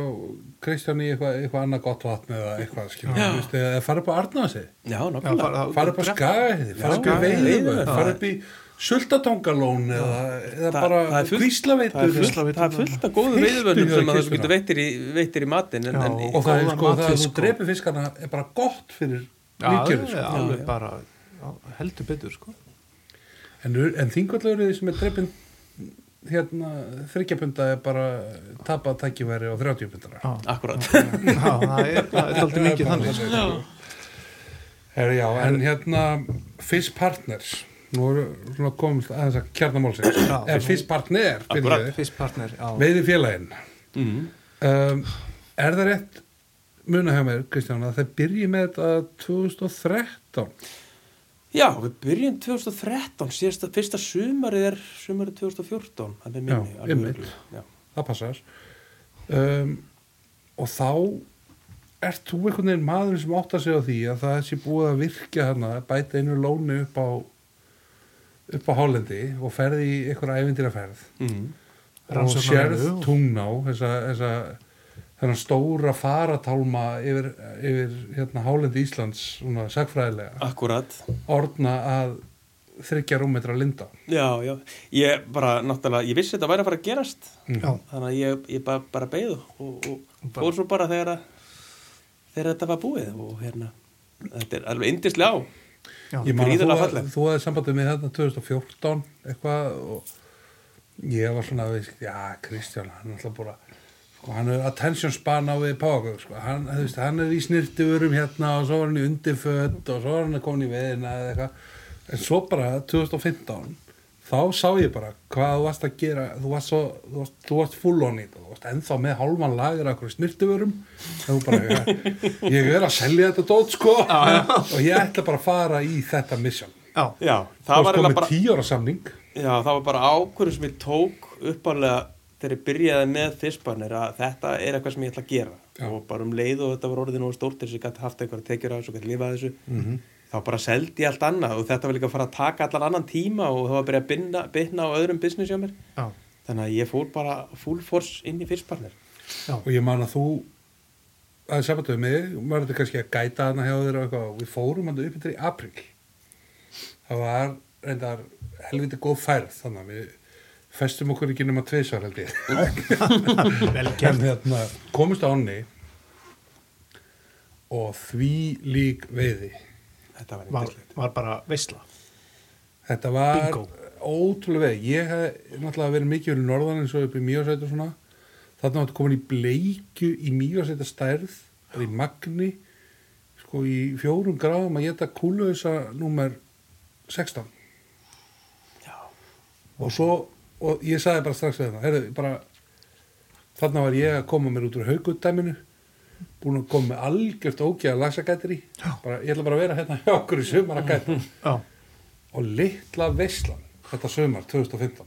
S1: Kristján í eitthvað eitthva annað gott vatn eða eitthvað skilur, þú veist, eða fara upp á Arnási
S3: já,
S2: já,
S3: nokkulega
S2: bara-
S1: fara upp á Skagaheiði, fara upp í
S3: Skagaheiði,
S1: Veiðivöð
S3: já.
S1: fara upp í Sultatangalón eða, eða
S3: Þa-
S1: bara
S3: það er fullt- Það er
S1: Kvíslaveitur
S3: fullt, það er fullt af góðu veiðvörnum
S1: Fylltu
S3: sem
S1: það
S3: að
S1: í
S3: þú getur veittir í, veittir í matinn en,
S2: Já,
S3: en í,
S1: og það er
S2: góðan
S1: sko það að
S2: matfisk,
S1: þú
S2: sko.
S1: drepi fiskana er bara gott fyrir
S2: já,
S1: nýtjöru
S2: já,
S1: sko.
S2: alveg
S3: Já, já.
S2: bara já, heldur betur sko
S1: en, en þingvallurðið sem er drepin hérna þryggjapunda er bara tapað tækifæri á 30 pundara
S2: já,
S3: akkurat
S2: já það er, það er aldrei mikið þannig
S1: Her, já, en hérna Fish Partners nú erum við svona komist aðeins að kjarnamálsins
S2: Já.
S1: eða Fish Partner
S3: Akkurat.
S2: fyrstpartner, já,
S1: veiði félagin
S3: mm.
S1: um, er það rétt muna hjá mér Kristján að það byrji með þetta 2013
S3: já, við byrjum 2013 síðasta, fyrsta sumarið er sumarið 2014 það er minni,
S1: Já,
S3: alveg
S1: einmitt.
S3: örugglega. Já.
S1: það passar um, og þá ert þú einhvern veginn maður sem átt að segja því að það sé búið að virkja hérna bæta einu lóni upp á upp á Hálendi og ferði í einhverja ævindiraferð
S3: Mm.
S1: og
S2: Rannsóknar-
S1: sérð
S2: og-
S1: tungná þessa, þessa þennan stóra faratálma yfir, yfir hérna Hálendi Íslands svona sagfræðilega
S3: akkurat
S1: orðna að þryggja rúmmetra linda
S3: já, já, ég bara náttúrulega ég vissi þetta væri að fara að gerast
S2: já,
S3: þannig að ég, ég bara, bara beigðu og, og
S2: Bara-
S3: fór svo bara þegar að þegar þetta var búið og hérna þetta er alveg indislega á
S2: já,
S1: Ég man að
S3: Gríðarlega
S1: þú,
S3: fallegt.
S1: þú hafði sambandið með þetta 2014 eitthvað og ég var svona að veist, já Kristján hann er alltaf bara sko, hann er attention span á við pákök sko. hann, þú veist, hann er í snirtiðurum hérna og svo var hann í undirföld og svo var hann að koma í veðina eða eitthvað en svo bara 2015 þá sá ég bara hvað þú varst að gera þú varst, svo, þú varst, þú varst full on í þetta þú varst ennþá með hálfan lagur af hverju snirtiðurum þú bara, ég er að selja þetta dót sko og ég ætla bara að fara í þetta mission
S2: já,
S3: já,
S1: Það
S3: það var
S1: var
S3: eiginlega
S1: komið
S3: bara
S1: tíu ára samning
S3: Já, það var bara ákvörðu sem ég tók uppálega þegar ég byrjaði með fyrstbarnir að þetta er eitthvað sem ég ætla að gera
S1: Já.
S3: og bara um leið og þetta var orðið nógu stórt þess að ég gæti haft eitthvað að tekjur af þessu og gæti lifað af þessu
S1: Mhm.
S3: -hmm. þá bara seldi ég allt annað og þetta var líka að fara að taka allan annan tíma og það var að byrja að binna, binna á öðrum business hjá mér
S2: já,
S3: þannig að ég fór bara full force inn í fyrstbarnir
S2: já,
S1: og ég man að þú aðeins sambanduði mig, maður þetta kannski að gæta hana hjá þér og eitthvað, og við fórum hann upp yfir í apríl það var reyndar helviti góð færð þannig að við festum okkur ekki nema tvisvar held ég
S2: vel
S1: en
S2: gert
S1: hérna komist á onni og því lík veiði
S3: Þetta var
S2: var,
S3: yndislegt.
S2: var bara veisla
S1: Þetta var
S2: Bingo.
S1: ótrúlega veið. Ég hef náttúrulega verið mikið fyrir norðan eins og upp í mýjasætu og svona. Þarna var þetta komin í bleikju í mýjasæta stærð, eða í magni, sko í fjórum gráðum að geta kúluðisa númer 16.
S3: Já,
S1: Og svo, og ég sagði bara strax við það, heyrðu, bara, þarna var ég að koma mér út úr haugutdæminu, búin að koma með algjört ógæða lagsagættir í. Bara, ég ætla bara að vera hérna hjá okkur í sumar að gæta.
S2: já,
S1: og litla veislan þetta sömar 2015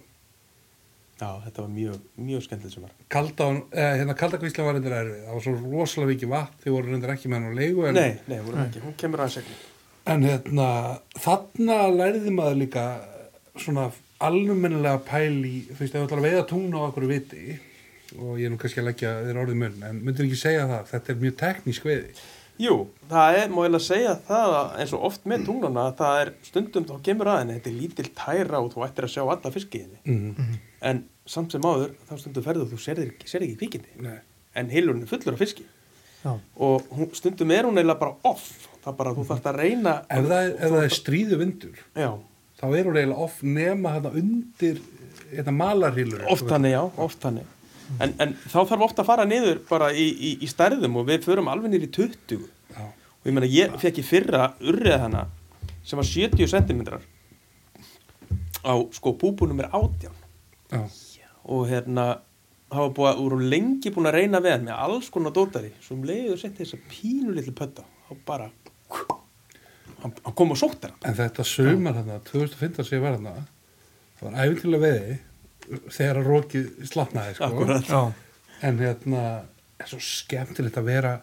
S3: Já, þetta var mjög, mjög skemmtilegt sumar.
S1: Kalda, eh, hérna kaldakvísla var reyndar erfið það var svo rosalega mikið vatn, þið voru reyndar ekki með hann á leigu en,
S3: Nei, nei, vorum ekki. Hún kemur aðeins ekki.
S1: en hérna, þarna lærði maður líka svona almennilega pæl í þú veist, ef þú ætlar að veiða tungna á okkur viti og ég er nú kannski að leggja þér orðið mun en myndir ekki segja það, þetta er mjög teknísk veiði
S3: Jú, það er, má ég að segja það að eins og oft með tunglana, að það er stundum þá kemur aðeins, þetta er lítil tæra og þú ættir að sjá alla fiskiðinni.
S1: mm.
S3: En samt sem áður, þá stundum ferðu og þú sér ekki, sér ekki píkinni.
S1: Nei.
S3: En heilurinn er fullur af fiski.
S2: Já.
S3: Og hún, stundum er hún eiginlega bara off. Það er bara, þú þarft að reyna.
S1: ef það, er- ef það er stríðu vindur
S3: Já,
S1: þá er hún eiginlega oft nema hérna undir hérna malarhýlur
S3: oft hannig, já, oft hannig. En, en þá þarf ofta að fara niður bara í, í, í stærðum og við förum alveg niður í 20.
S1: Já.
S3: og ég meina ég fekk í fyrra urrið hana sem var 70 cm á sko búbúnum er 18
S1: Já.
S3: og hérna hafa búið að voru lengi búin að reyna við hann með alls konar dótari sem leiður setti þessa pínu litlu pötta og bara hann, hann kom og sótt hann
S1: en þetta sumar hérna 2015 sem ég var hérna það var æfintilega veiði þegar að rokið slapnaði sko.
S3: Akkúrat.
S2: Já.
S1: en hérna er svo skemmtilegt að vera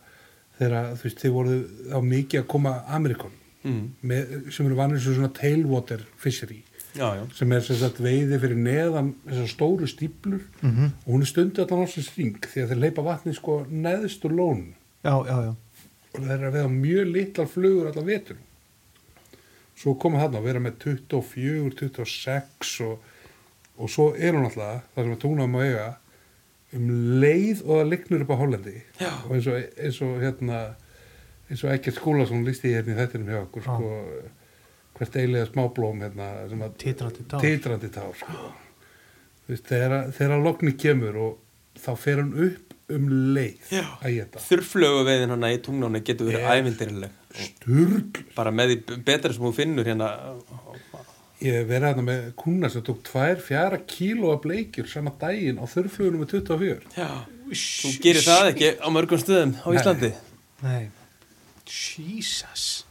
S1: þegar þú veist þið voru á mikið að koma Amerikon
S3: mm.
S1: með, sem eru vanið svo svona tailwater fishery
S3: já, já,
S1: sem er sem sagt veiði fyrir neðan þessar stóru stíplur
S2: Mhm.
S1: og hún er stundu allan ásins ring því að þeir leipa vatni sko neðst úr lónum
S2: já, já, já.
S1: og það er að veiða mjög litlar flugur allar vetur svo koma þarna að vera með 24, 26 og, og svo er hún alltaf það sem að tungnaðum að eiga um leið og það lignur upp á Hollandi
S3: Já.
S1: og eins og, eins og hérna eins og ekkert skóla sem hún listi hérna í þettinum hjá okkur
S2: Já.
S1: sko, hvert eilega smáblóm hérna, sem að
S2: Titrandi tár.
S1: titrandi tár sko. Þú veist, þegar, að- þegar að lokni kemur og þá fer hún upp um leið
S3: Já.
S1: að geta
S3: þurflögu veiðin hana í tungnáni getur verið
S1: Yes.
S3: ævindirileg
S1: sturgl
S3: bara með því betra sem hún finnur hérna
S1: Ég hef verið hérna með kuna sem tók tvær fjara kíló af bleikjur sama daginn á þurrflugunum með 24.
S3: já, þú gerir það ekki á mörgum stöðum á
S1: Nei.
S3: Íslandi
S2: Nei. Jesus.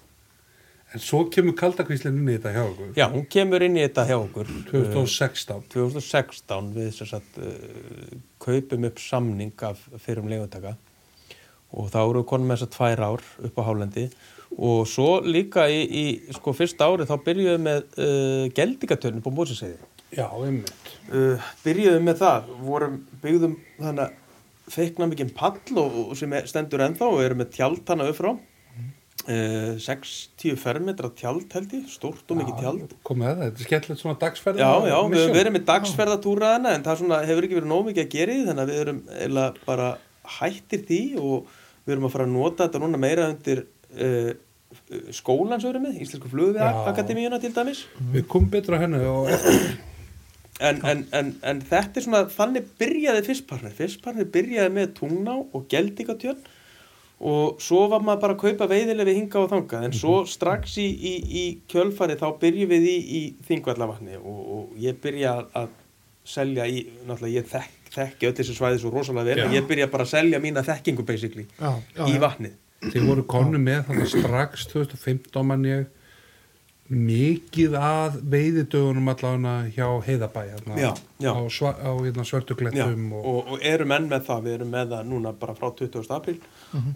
S1: En svo kemur kaldakvíslinn inn í þetta hjá okkur.
S3: Já, hún kemur inn í þetta hjá okkur eh,
S1: 2016.
S3: 2016 við sem sagt uh, kaupum upp samning af fyrrum leigutaka og þá eru við konum með þess að tvær ár upp á hálendi og svo líka í, í sko fyrsta ári þá byrjuðum við með uh, geldingatörnum på Mósinseiði
S1: Já, einmitt.
S3: uh, byrjuðum með það vorum byggðum þannig að feikna mikið pall og, og sem er, stendur ennþá og erum með tjald hana upp frá uh, 60 fermetra tjald held ég, stórt og mikið tjald
S1: Kom með það, þetta er skemmtilegt svona dagsferð.
S3: Já, já, við höfum verið með dagsferðatúraðana en það svona hefur ekki verið nóg mikið að gera í því, þannig að við erum eiginlega bara hættir því og við erum að fara að nota þetta núna meira undir uh, skólan sem við erum með, Íslensku
S1: Já.
S3: flugviðakademíuna til dæmis
S1: Við komum betra henni og
S3: en, en, en, en þetta er svona, þannig byrjaði fyrstpartner, fyrstpartner byrjaði með tungná og geldingatjörn og svo var maður bara að kaupa veiðilega við hinga og þangað en svo strax í, í, í kjölfari þá byrjum við í, í þingvallavatni og, og ég byrja að selja í, náttúrulega ég þekk, þekki öll þessi svæði svo rosalega vel
S1: Já.
S3: en ég byrja bara að selja mína þekkingu basically
S2: Já, já,
S3: í
S2: já.
S3: vatnið
S1: þið voru konu með þannig strax 2015 mann ég mikið að veiðidögunum allavega hjá Heiðabæ hérna,
S3: Já, já.
S1: á, sva, á hérna,
S3: Já,
S1: svörtuglettum
S3: og, og, erum enn með það, við erum með það núna bara frá 20. apríl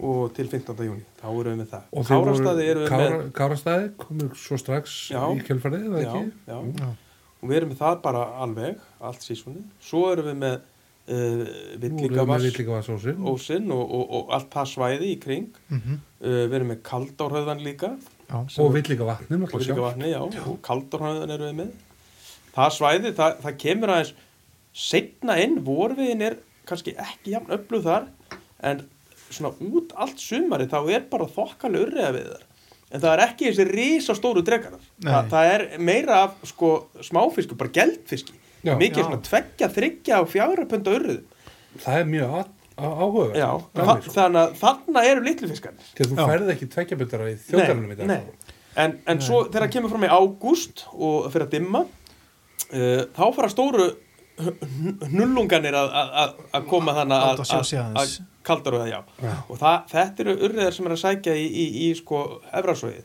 S3: og til 15. júni, þá erum við með það.
S1: Og
S3: Kárastaði erum við með...
S1: Kára, Kárastæði komur svo strax
S3: Já.
S1: í kjölfarið, eða
S3: já,
S1: ekki? Mm.
S3: já.
S2: Já.
S3: og við erum með það bara alveg allt sísunni, svo erum við með uh,
S1: Villíkavass.
S3: villíkavass
S1: Villíkavassósi.
S3: ósinn og, og, og allt það svæði í kring
S1: Mm.
S2: Mhm.
S3: uh, við erum með kaldárhauðan líka
S2: Já,
S1: Og
S2: sem-
S1: Villíkavatni,
S3: og
S1: náttúrulega. sjálft.
S3: síkavatni, já, og kaldárhauðan erum við með það svæði, það, það kemur aðeins setna inn, vorviðin er kannski ekki jafn öflug þar en svona út allt sumari þá er bara þokkalega urriða við þar en það er ekki þessi risastóru dregarar Þa,
S2: Nei.
S3: það er meira af sko, smáfisku, bara geldfiski
S1: Já.
S3: mikið
S2: Já.
S3: svona tveggja, þryggja og fjára pönda urriðum
S1: Það er mjög á- á- áhugavert.
S3: já,
S1: Gaman,
S3: þa-
S1: sko.
S3: þannig að þarna eru litlu fiskarnir
S1: Þegar þú
S2: Já.
S1: færði ekki tveggjaböndara í þjóðgarunum í dag.
S3: Nei, nei. En, en svo þegar kemur fram í ágúst og fyrir að dimma uh, þá fara stóru hnullunganir að, að, að- að koma þannig að,
S2: Láta sjá sig
S3: að, að
S2: aðeins.
S3: kaldar og það já.
S1: Já.
S3: Og það, þetta eru urriðar sem er að sækja í, í, í sko efrasóið.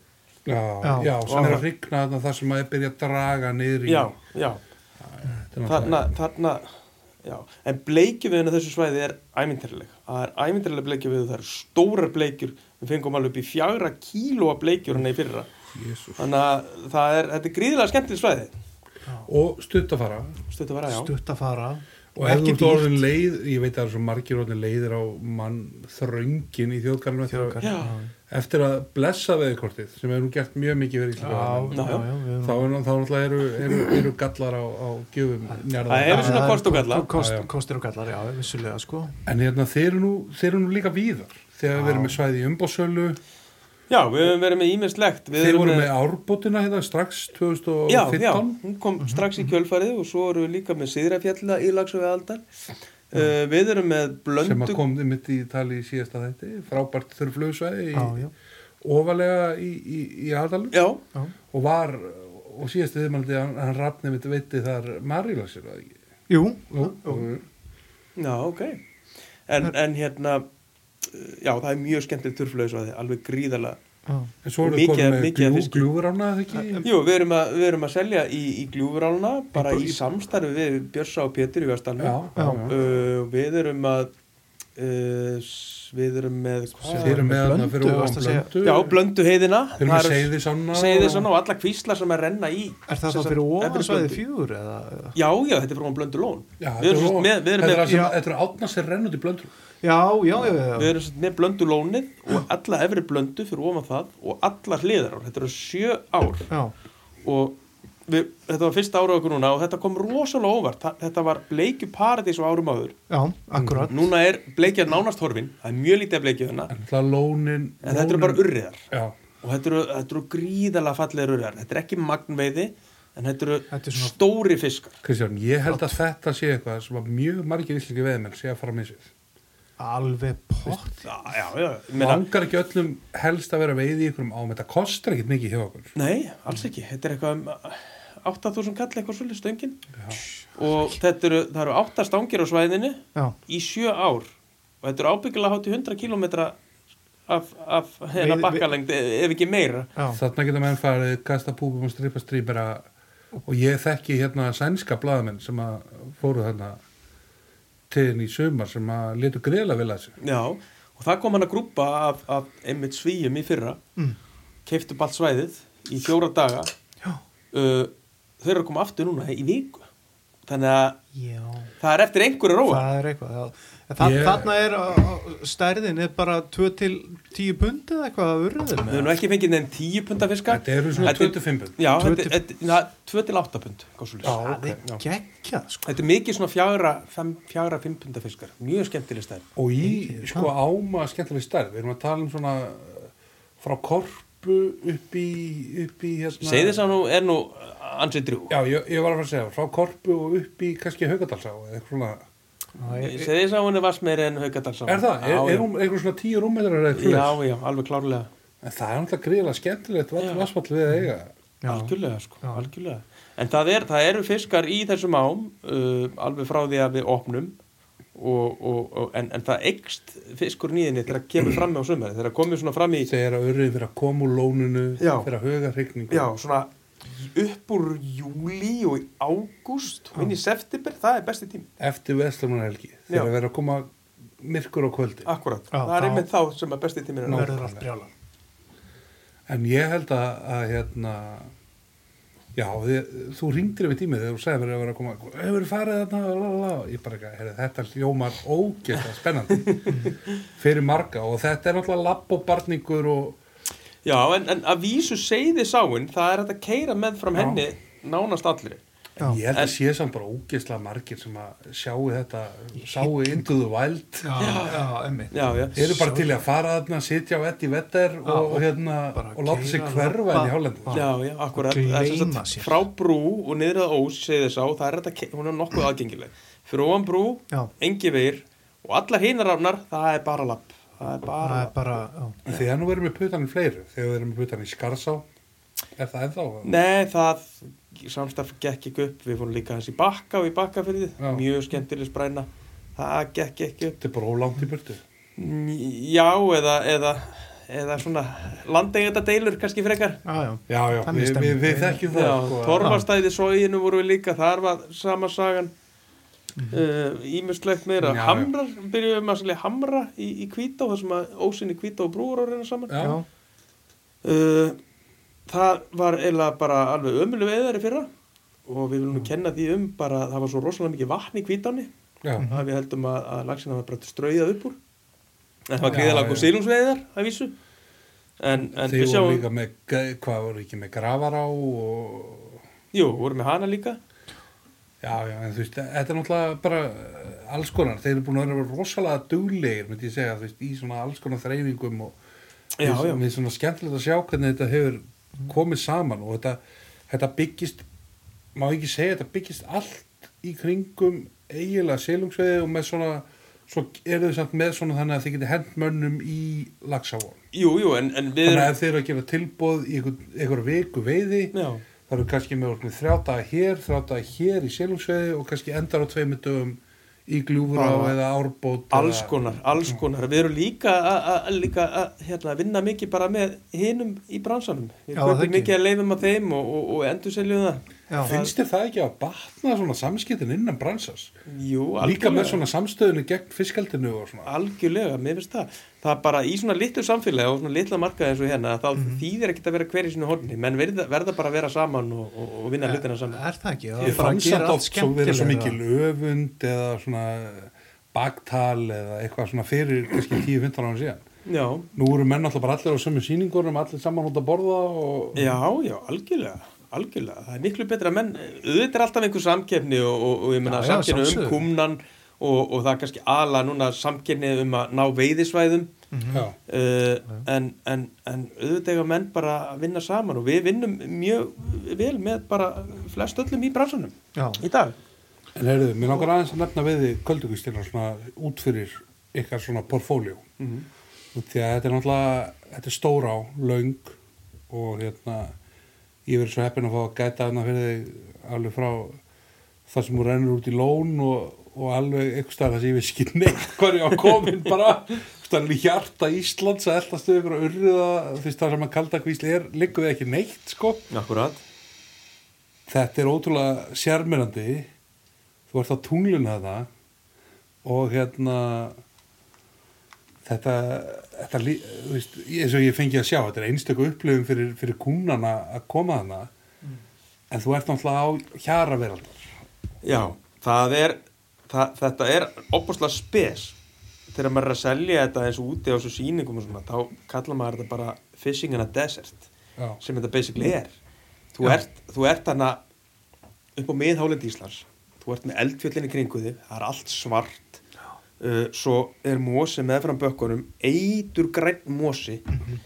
S1: Já, já,
S2: Já.
S1: já sem er að
S3: Og-
S1: hrygna þarna þar sem að er byrja að draga niður í.
S3: Já, já.
S1: Þetta er náttúrulega-
S3: Þarna, þarna Já, en bleikjuviðin á þessu svæði er æmyndarleg. Það er æmyndarleg bleikjuviðu, það eru stórar bleikjur, við fengum alveg upp í fjagra kílóa bleikjur hann hérna í fyrra.
S1: Jesús.
S3: Þannig að það er, þetta er gríðilega skemmtileg svæði.
S1: Og stutt að fara.
S3: Stutt að vera, já.
S2: stutt að fara
S1: Og ef þú
S2: Ekki
S1: ert orðin leið, ég veit að það er svo margir orðin leiðir á mann þröngin í þjóðgarðinu
S2: Þjóðgarð.
S3: Já,
S1: eftir að blessa veðikortið sem hefur nú gert mjög mikið verið í
S2: já,
S1: Íslandið.
S2: já, já, við erum
S1: Þá er nú- þá náttúrulega eru, eru, eru gallar á, á gjöfum
S3: það
S1: njarðar.
S3: hefur svona
S2: Það er
S3: kost og galla.
S2: kost,
S1: Já, já.
S2: kostir og gallar, já, vissulega sko
S1: En hérna, þeir eru nú, þeir eru nú líka víðar. Þegar við erum með svæði í umbósölu,
S3: Já, við höfum verið með ímislegt.
S1: þeir voru með árbótina hérna strax
S3: Já, já,
S1: 2015.
S3: hún kom strax í
S1: Mhm.
S3: kjölfarið og svo erum við líka með Sigrafjalla í Lagsöfi Aldal. Uh, við erum með
S1: sem að
S3: blöndu
S1: kom mitt í tali í síðasta þætti, frábært þurrflöðsvæði í,
S2: já, já,
S1: ofalega í, í, í Adalum
S3: Já,
S2: já,
S1: og var, og síðast viðmældi hann, hann rafni mitt veitti þar Marílasir, að ekki?
S2: jú,
S1: Jú,
S3: já, ok. En, en hérna, uh, já, það er mjög skemmtilegt turflaus að þið, alveg gríðala.
S2: já.
S1: En svo eru
S3: Mikið-
S1: komið með
S3: mikið af
S1: gljú,
S3: fiski.
S1: gljúfrána, eða ekki?
S3: Jú, við erum að, við erum að selja í, í gljúfuráluna, bara
S1: Í-
S3: í samstarfi við Björsa og Pétur í
S1: Já,
S3: Vestalmi.
S1: já,
S2: Já.
S1: já.
S3: Uh, við erum að, uh, s- við erum með, hvað
S1: Þeir eru með
S2: Blöndu,
S1: þarna fyrir ofan
S2: varstu að segja?
S1: blöndu.
S3: Já, blöndu heiðina.
S1: Þeir eru með seiði sanna.
S3: Segði svona og alla kvíslar sem er renna í
S2: er það
S3: sem
S2: þá
S3: sagt-
S2: fyrir
S3: þetta er
S2: ofan svæði
S3: Blöndu.
S2: fjögur eða, eða?
S3: Já, já, þetta er frá blöndu lón
S1: Já,
S3: Við
S1: þetta
S3: erum sem sagt
S1: er
S3: með- við erum
S1: Þetta er
S3: með-
S1: það sem- þetta eru átna sér renn út í blöndur.
S2: já, já, já,
S3: Við
S2: já, já.
S3: erum sem sagt með blöndu lónið og alla efri blöndu fyrir ofan það og alla hliðar ár, þetta eru sjö ár
S2: já.
S3: og við, þetta var fyrsta ára okkur núna og þetta kom rosalega óvart Þa- þetta var bleikju paradís á árum áður
S2: Já, akkurat
S3: núna er bleikja nánast horfin það er mjög lítið að bleikja þarna
S1: En það lónin.
S3: en þetta eru
S1: lónin-
S3: bara urriðar
S1: Já,
S3: og þetta eru, þetta eru gríðalega fallegar urriðar þetta er ekki magnveiði en þetta eru
S2: Þetta er svona-
S3: stóri fiskar
S1: Kristján, ég held að þetta sé eitthvað sem að mjög margir íslenski veðmenn sé að fara með sér.
S2: alveg pott
S3: já, já, já, ég meina-
S1: Langar ekki öllum helst að vera veið í ykkurum ám. Þetta kostar ekkit mikið hjá okkur.
S3: Nei, alls ekki. Þetta er eitthvað um uh, 8000 kall eitthvað svolítið stöngin og þetta eru, það eru 8 stangir á svæðinu
S2: já,
S3: í 7 ár og þetta eru ábyggilega hátt í 100 km af, af
S2: Við-
S3: hérna
S2: við-
S3: bakkalengd ef ekki meira.
S2: já,
S1: Þarna geta menn farið, kasta púpum og strippa strýpera og ég þekki hérna sænska blaðamenn sem að fóru þarna til henni í sumar sem að letu greiðlega vel að sér.
S3: Já, og það kom hann að grúpa af, af einmitt svíjum í fyrra
S2: mm.
S3: keiftu balt svæðið í fjóra daga
S2: já,
S3: uh, þau eru að koma aftur núna í viku. Þannig að
S2: já.
S3: það er eftir einhverju róa.
S2: það er eitthvað já. En Þa,
S1: Ég-
S2: þarna er á- á- stærðin er bara 2 til 10 pund eða eitthvað að urðin
S3: Við höfum nú ekki fengið nefn 10 punda fiska.
S1: Þetta eru svona
S3: Þetta er-
S1: 25 pund.
S3: Já,
S2: Tvö
S3: þetta
S2: til-
S3: þetta- na, tvö til átta pund hvað svoleiðis.
S2: það
S1: ok, já.
S2: er geggjað sko.
S3: Þetta er mikið svona fjagra, fem, fjagra fimm punda fiskar Mjög skemmtileg stærð
S1: Og í sko áma skemmtileg stærð, við erum að tala um svona uh, frá korpu upp í, upp í hérna.
S3: Segði þess að nú er nú ansið drjú
S1: Já, ég, ég var að fara að segja, frá korpu og upp í kannski haugadalsá eða eitthvað svona.
S3: Segði þess að hún er vassmeiri en haugadalsá
S1: Er það? Er,
S3: Já,
S1: er, er hún eitthvað svona 10 rúmmetrar eða
S3: já,
S1: eitthvað?
S3: já, já, alveg klárlega
S1: En það er náttúrulega greiðlega skemmtilegt
S3: Já.
S1: vassfall við að eiga.
S2: Já.
S3: Algjörlega, sko,
S2: Já.
S3: algjörlega En það, er, það eru fiskar í þessum ám uh, Alveg frá því að við opnum og, og, og, en, en það eikst fiskur nýðinni þegar það kemur fram á sumari Þegar það komið svona fram í
S1: segir að örðin fyrir að koma úr lóninu
S3: Já.
S1: fyrir að huga hrygningu
S3: Já, svona upp úr júli og í ágúst og inn í september, það er besti tími
S1: eftir vestlumunahelgi
S3: Já.
S1: þegar að vera að koma myrkur á kvöldi
S3: Akkurat,
S2: Já,
S3: það er
S2: þá-
S3: einmitt þá sem er besti tími
S2: það verður allt brjála
S1: en ég held að, að hérna já, þið, þú ringdir yfir tímið þegar þú segir að vera að koma hefur farið þarna, lalala ég bara ekki, heyrðu, þetta hljómar ógæsta spennandi fyrir marga og þetta er náttúrulega lapp og barningur og
S3: Já, en, en að vísu seiði sáin það er hægt að keira með fram
S1: Já.
S3: henni nánast allir
S1: En
S2: já.
S1: ég held
S3: En-
S1: að sé samt bara ógæsla margir sem að sjáu þetta, sáu into the wild
S2: Já, já, emmitt
S3: Já, já,
S1: Þeir eru bara til í að fara þarna, sitja á etti vetter og, og, hérna,
S2: bara
S1: og láta sig
S2: keyra,
S1: hverfa
S2: labba.
S1: inn í hálendinu.
S3: já, já, akkurat
S2: Gleyma
S3: Það er sem sagt
S2: sér.
S3: Frá brú og niður að ós seiði sá, það er hægt að keira, hún er nokkuð aðgengileg Fyrir ofan brú,
S2: Mm. Já.
S3: engi veir og allar hinar afnar, það er bara lapp Það er bara,
S2: það er bara já.
S1: Þegar nú verðum við putan í fleiru, þegar við erum við putan í Skarsá, er það ennþá?
S3: Nei, það samstarf gekk ekki upp, við fórum líka hans í bakka og í bakkafyrði,
S1: Já.
S3: mjög skemmtileg spræna, það gekk ekki upp
S1: Þetta er bara ólangt í burtu.
S3: N- Já, eða, eða, eða svona landegenda deilur kannski frekar
S2: Já, já.
S1: Já, já,
S2: Þannig
S1: við, við,
S2: stemning.
S1: við þekkjum það.
S3: Já,
S1: sko, að-
S3: Torfastæði sóginu voru við líka, þar var sama sagan uh, ímestlegt meira
S1: Mhm. Já, já.
S3: hamrar, byrjuðum að selja hamra í, í kvítá, þar sem að ósinni kvítá og brúur á reyna saman
S1: Já.
S3: uh, það var eiginlega bara alveg ömuleg veðar í fyrra og við viljum nú kenna því um bara það var svo rosalega mikið vatn í kvítáni
S1: já,
S3: að við heldum að, að lagsina var bara strauðað upp úr en það var
S1: Já,
S3: gríðalega og
S1: já.
S3: sílungsveiðar að vísu en, en
S1: þeir
S3: við
S1: voru
S3: sjáum
S1: líka með, g- hvað voru ekki með grafará og
S3: jú, vorum með hana líka
S1: Já, já, en þú veist, þetta er náttúrulega bara eh, alls konar, þeir eru búin að vera rosalega duglegir, myndi ég segja, þú veist, í svona alls konar þreifingum og
S3: já,
S1: við-
S3: já,
S1: við svona skemmtilegt að sjá hvernig þetta hefur komið saman og þetta, þetta byggist, má ekki segja, þetta byggist allt í kringum eiginlega selungsveði og með svona, svo eru þau samt með svona þannig að þeir geti hent mönnum í lagsáan.
S3: jú, jú, en, en við
S1: Þannig að
S3: erum
S1: ef þeir eru að gera tilbóð í einhver, einhver viku veiði,
S3: já,
S1: Það eru kannski með orðinu þrjá daga hér, þrjá daga hér í Silungsveiði og kannski endar á tveimur dögum í Gljúfurá
S2: Bara
S1: eða Árbót.
S3: Ah. alls konar, alls konar við erum líka að- að- að líka að hérna, vinna mikið bara með hinum í bransanum
S2: Já,
S3: við
S2: það
S3: kaupum
S2: ekki.
S3: mikið að leifum að þeim og, og, og endur seljum það
S2: Já.
S1: Finnst þér það ekki að batna svona samskiptin innan bransas?
S3: jú,
S1: Líka með svona samstöðinu gegn fiskaldinu og svona.
S3: algjörlega, mér finnst það það er bara í svona litlu samfélagi og svona litla markaði eins og hérna þá þýðir ekkert að vera hver í sinu horni menn verða, verða bara að vera saman og, og, og vinna hlutina saman
S2: er það ekki, það
S1: Ég
S2: er bara
S1: fann
S2: að gera
S1: samt
S2: allt
S1: oft svo vera svo mikil
S2: skemmtilega
S1: öfund eða svona baktal eða eitthvað svona fyrir kannski 10-15 ára síðan.
S3: já,
S1: Nú eru menn alltaf bara allir á sömu sýningunum, allir saman hótt að borða og...
S3: já, já, algjörlega algjörlega, það er miklu betra menn auðvitað er alltaf einhver samkeppni og, og, og ég meina
S2: Já, já,
S3: samkeppni um
S2: sjálfsögðu.
S3: kumnan og, og það er kannski ala núna samkeppni um að ná veiðisvæðum
S2: Mhm.
S1: Já.
S3: uh, en, en, en auðvitað eiga menn bara að vinna saman og við vinnum mjög vel með bara flest öllum í bransunum
S2: Já.
S3: í dag
S1: En heyrðu, mér langar aðeins að nefna veiði köldugustina svona út fyrir ykkar svona portfóljó. Mm Því að þetta er náttúrulega, þetta er stóra á, löng og hérna, ég verið svo heppin að fá að gæta hana fyrir þig alveg frá það sem hún rennur út í lón og, og alveg einhvers staðar það sem ég veist ekki neitt hverju á komin bara, þannig í hjarta Íslands að eldast við ykkur að urriða, þú veist það sem að kalda kvísli er, liggum við ekki neitt sko.
S3: Akkurat
S1: þetta er ótrúlega sérmyrandi þú ert á tunglun þetta og hérna þetta, þetta lí- þú veist, eins og ég fengi að sjá þetta er einstöku upplifum fyrir, fyrir kúnana að koma þarna
S3: Mm.
S1: en þú ert náttúrulega á hjara veraldar
S3: Já, það er, það, þetta er opaslega spes þegar maður er að selja þetta eins og úti á þessu sýningum og svona, þá kallar maður þetta bara fishing in a desert
S1: Já. Mm.
S3: sem þetta basically er þú ert, þú ert þarna upp á miðhálendi Íslands þú ert með eldfjöllinni kringu þig það er allt svart uh, svo er mosi meðfram bökkunum eitur græn mosi
S1: Mhm.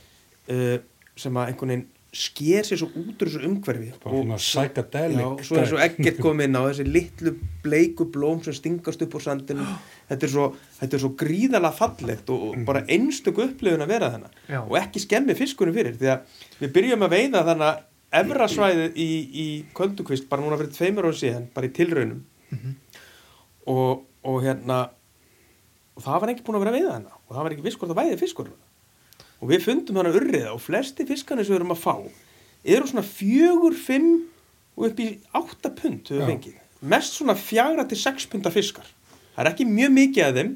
S3: uh, sem að einhvern veginn sker sér svo út úr þessu umhverfi
S1: Bara svona psychedelic
S3: já, svo er svo ekkert komið inn á þessi litlu bleiku blóm sem stingast upp úr sandinu þetta er svo, þetta er svo gríðalega fallegt og, og bara einstöku upplifun að vera þennan
S2: Já.
S3: og ekki skemmi fiskunum fyrir því að við byrjum að veiða þannig að efra svæðið í, í Köldukvist bara núna fyrir tveimur ára síðan, bara í tilraunum og, og hérna og það var ekki búin að vera að veiða hana og það var ekki viss hvort það væði fiskur hérna. og við fundum hana urriða og flesti fiskarnir sem við erum að fá eru svona fjögur, fimm og upp í átta pund höfum
S1: Já.
S3: fengið mest svona fjagra til sex punda fiskar það er ekki mjög mikið af þeim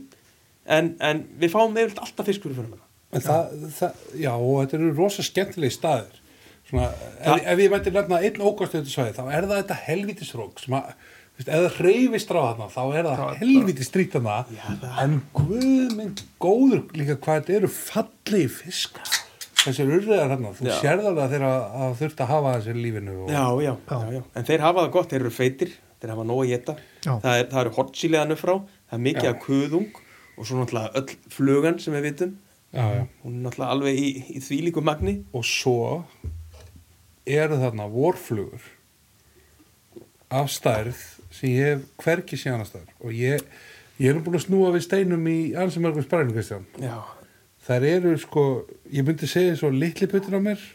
S3: en, en við fáum yfirleitt alltaf fiskur fyrir hana
S1: en það, það, já og þetta eru rosa skemmtilegi staðir svona, ef,
S3: Það-
S1: ef ég mætti nefna einn ókvæmstöðu svæði þá er það þetta helvitisrók sem að, þú veist, ef það hreyfist á þarna þá er það helvitis strýt þarna en guð minn góður líka hvað þetta eru fallegi fiskar þessir urriðar þarna, þú
S3: Já.
S1: sérð alveg að þeirra að þurft að hafa þessir lífinu og,
S3: já, já, já, já, en þeir hafa það gott, þeir eru feitir þeir hafa nóg að geta
S2: Já.
S3: það, er, það eru hortsíleðan upp frá, það er mikið
S1: Já.
S3: af kuðung og svo náttúrulega öll flugan sem við vitum
S1: já, já.
S3: hún er náttúrulega alveg í, í þvílíku magni
S1: og svo eru þarna vorflugur af stærð sem ég hef hvergi sé annars staðar og ég, ég er nú búin að snúa við steinum í ansi mörgum sprænum, Kristján
S3: já,
S1: þær eru sko, ég myndi segja svo litli puttin á mér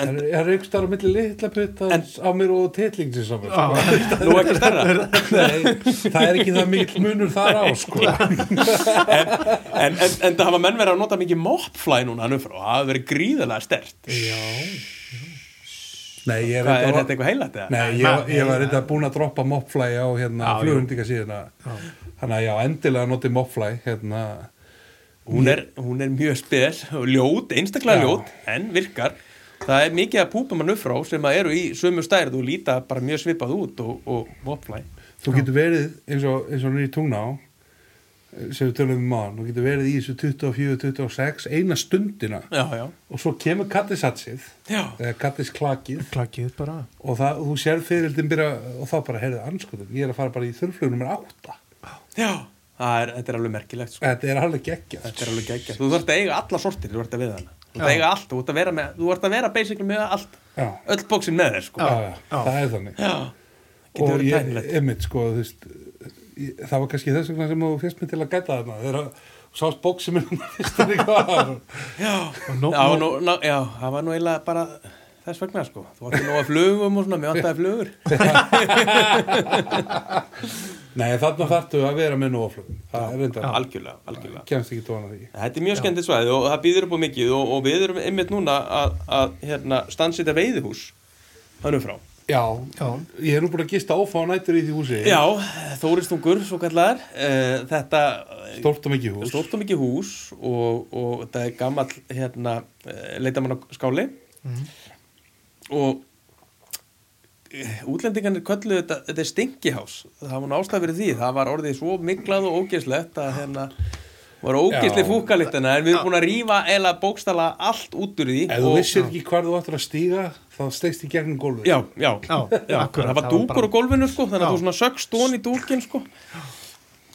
S3: En-
S1: en, þær eru ykkur starf á milli litla puttans á mér og titlingsins á mér sko.
S3: nú ekki stærra
S1: Nei, það er ekki það mikill munur þar á sko
S3: en, en, en það hafa menn verið að nota mikið mopfly núna hann umfra og það hafa verið gríðarlega stert
S1: Já Nei, ég er
S3: Hvað, er
S1: reyndar-
S3: þetta eitthvað heilætt eða?
S1: Nei, ég, ég var reynda búin að droppa mopfly á hérna,
S3: Já, jú.
S1: flugundika síðan þannig að já, endilega noti mopfly hérna,
S3: Hún er, hún er mjög spes og ljót, einstaklega
S1: Já.
S3: ljót, en virkar. Það er mikið að púpa mann upp frá sem að eru í sömu stærð og líta bara mjög svipað út og, og mopflæ.
S1: þú getur verið eins og, eins og nýr tungna á sem við tölum um maður, þú getur verið í þessu 24-26 eina stundina
S3: Já, já.
S1: og svo kemur kattisatsið
S3: Já.
S1: eða kattisklakið
S2: klakið bara
S1: og það, þú sér fyririldin byrja og þá bara heyrðu anskotum, ég er að fara bara í þurrflug nummer 8,
S3: Já. Það er, þetta er alveg merkilegt, sko.
S1: þetta er alveg geggjað
S3: Þetta er alveg geggja. Þú þarfst að eiga alla sortir, þú ert að við hana. Þú ert að
S2: Já.
S3: eiga allt, þú ert að vera með, þú ert að vera basically með allt,
S1: Já.
S3: öll bóksin með þér, sko.
S1: já, já, það er þannig
S3: Já. Getur
S1: og
S3: verið
S1: ég,
S3: tænilegt.
S1: einmitt sko þú veist, ég, það var kannski þess vegna sem þú fyrst mig til að gæta þarna þegar að- sást bók sem er fyrst að þig var
S3: Já.
S2: nú-
S3: Já, nú, ná, já, það var nú eiginlega bara þess vegna, sko. Þú varst nú að flugum og svona, mér vantaði flugur.
S1: nei þarna þarftu að vera með nóflug það er reyndar,
S3: Algjörlega, algjörlega.
S1: kemst ekki tóna því
S3: Þetta er mjög skemmtið svæði og það býður upp á mikið og, og við erum einmitt núna að, að hérna, stansita veiðihús þannig frá.
S1: já,
S2: Já.
S1: ég er nú búin að gista áfá nættur í því húsi
S3: Já, Þóristungur, svo kallar, uh, þetta
S1: stórt og mikið hús
S3: stórt og mikið hús og, og þetta er gammal hérna, uh, leitamann á skáli og eh, útlendingarnir kölluðu þetta, þetta er stinkihás, það var nástæð fyrir því, það var orðið svo miklað og ógeslegt að hérna var ógesli
S1: Já.
S3: fúkalitana en við erum búin að rífa eða bókstala allt út úr því
S1: ef þú vissir ekki hvar þú ættir að stíga þá steigst í gegnum gólfið
S3: já, já,
S2: Já,
S3: já
S2: akkurat,
S3: það var
S2: það var
S3: dúkur
S2: bara-
S3: á gólfinu sko þannig að
S2: Já.
S3: þú svona sögst stón í dúkin sko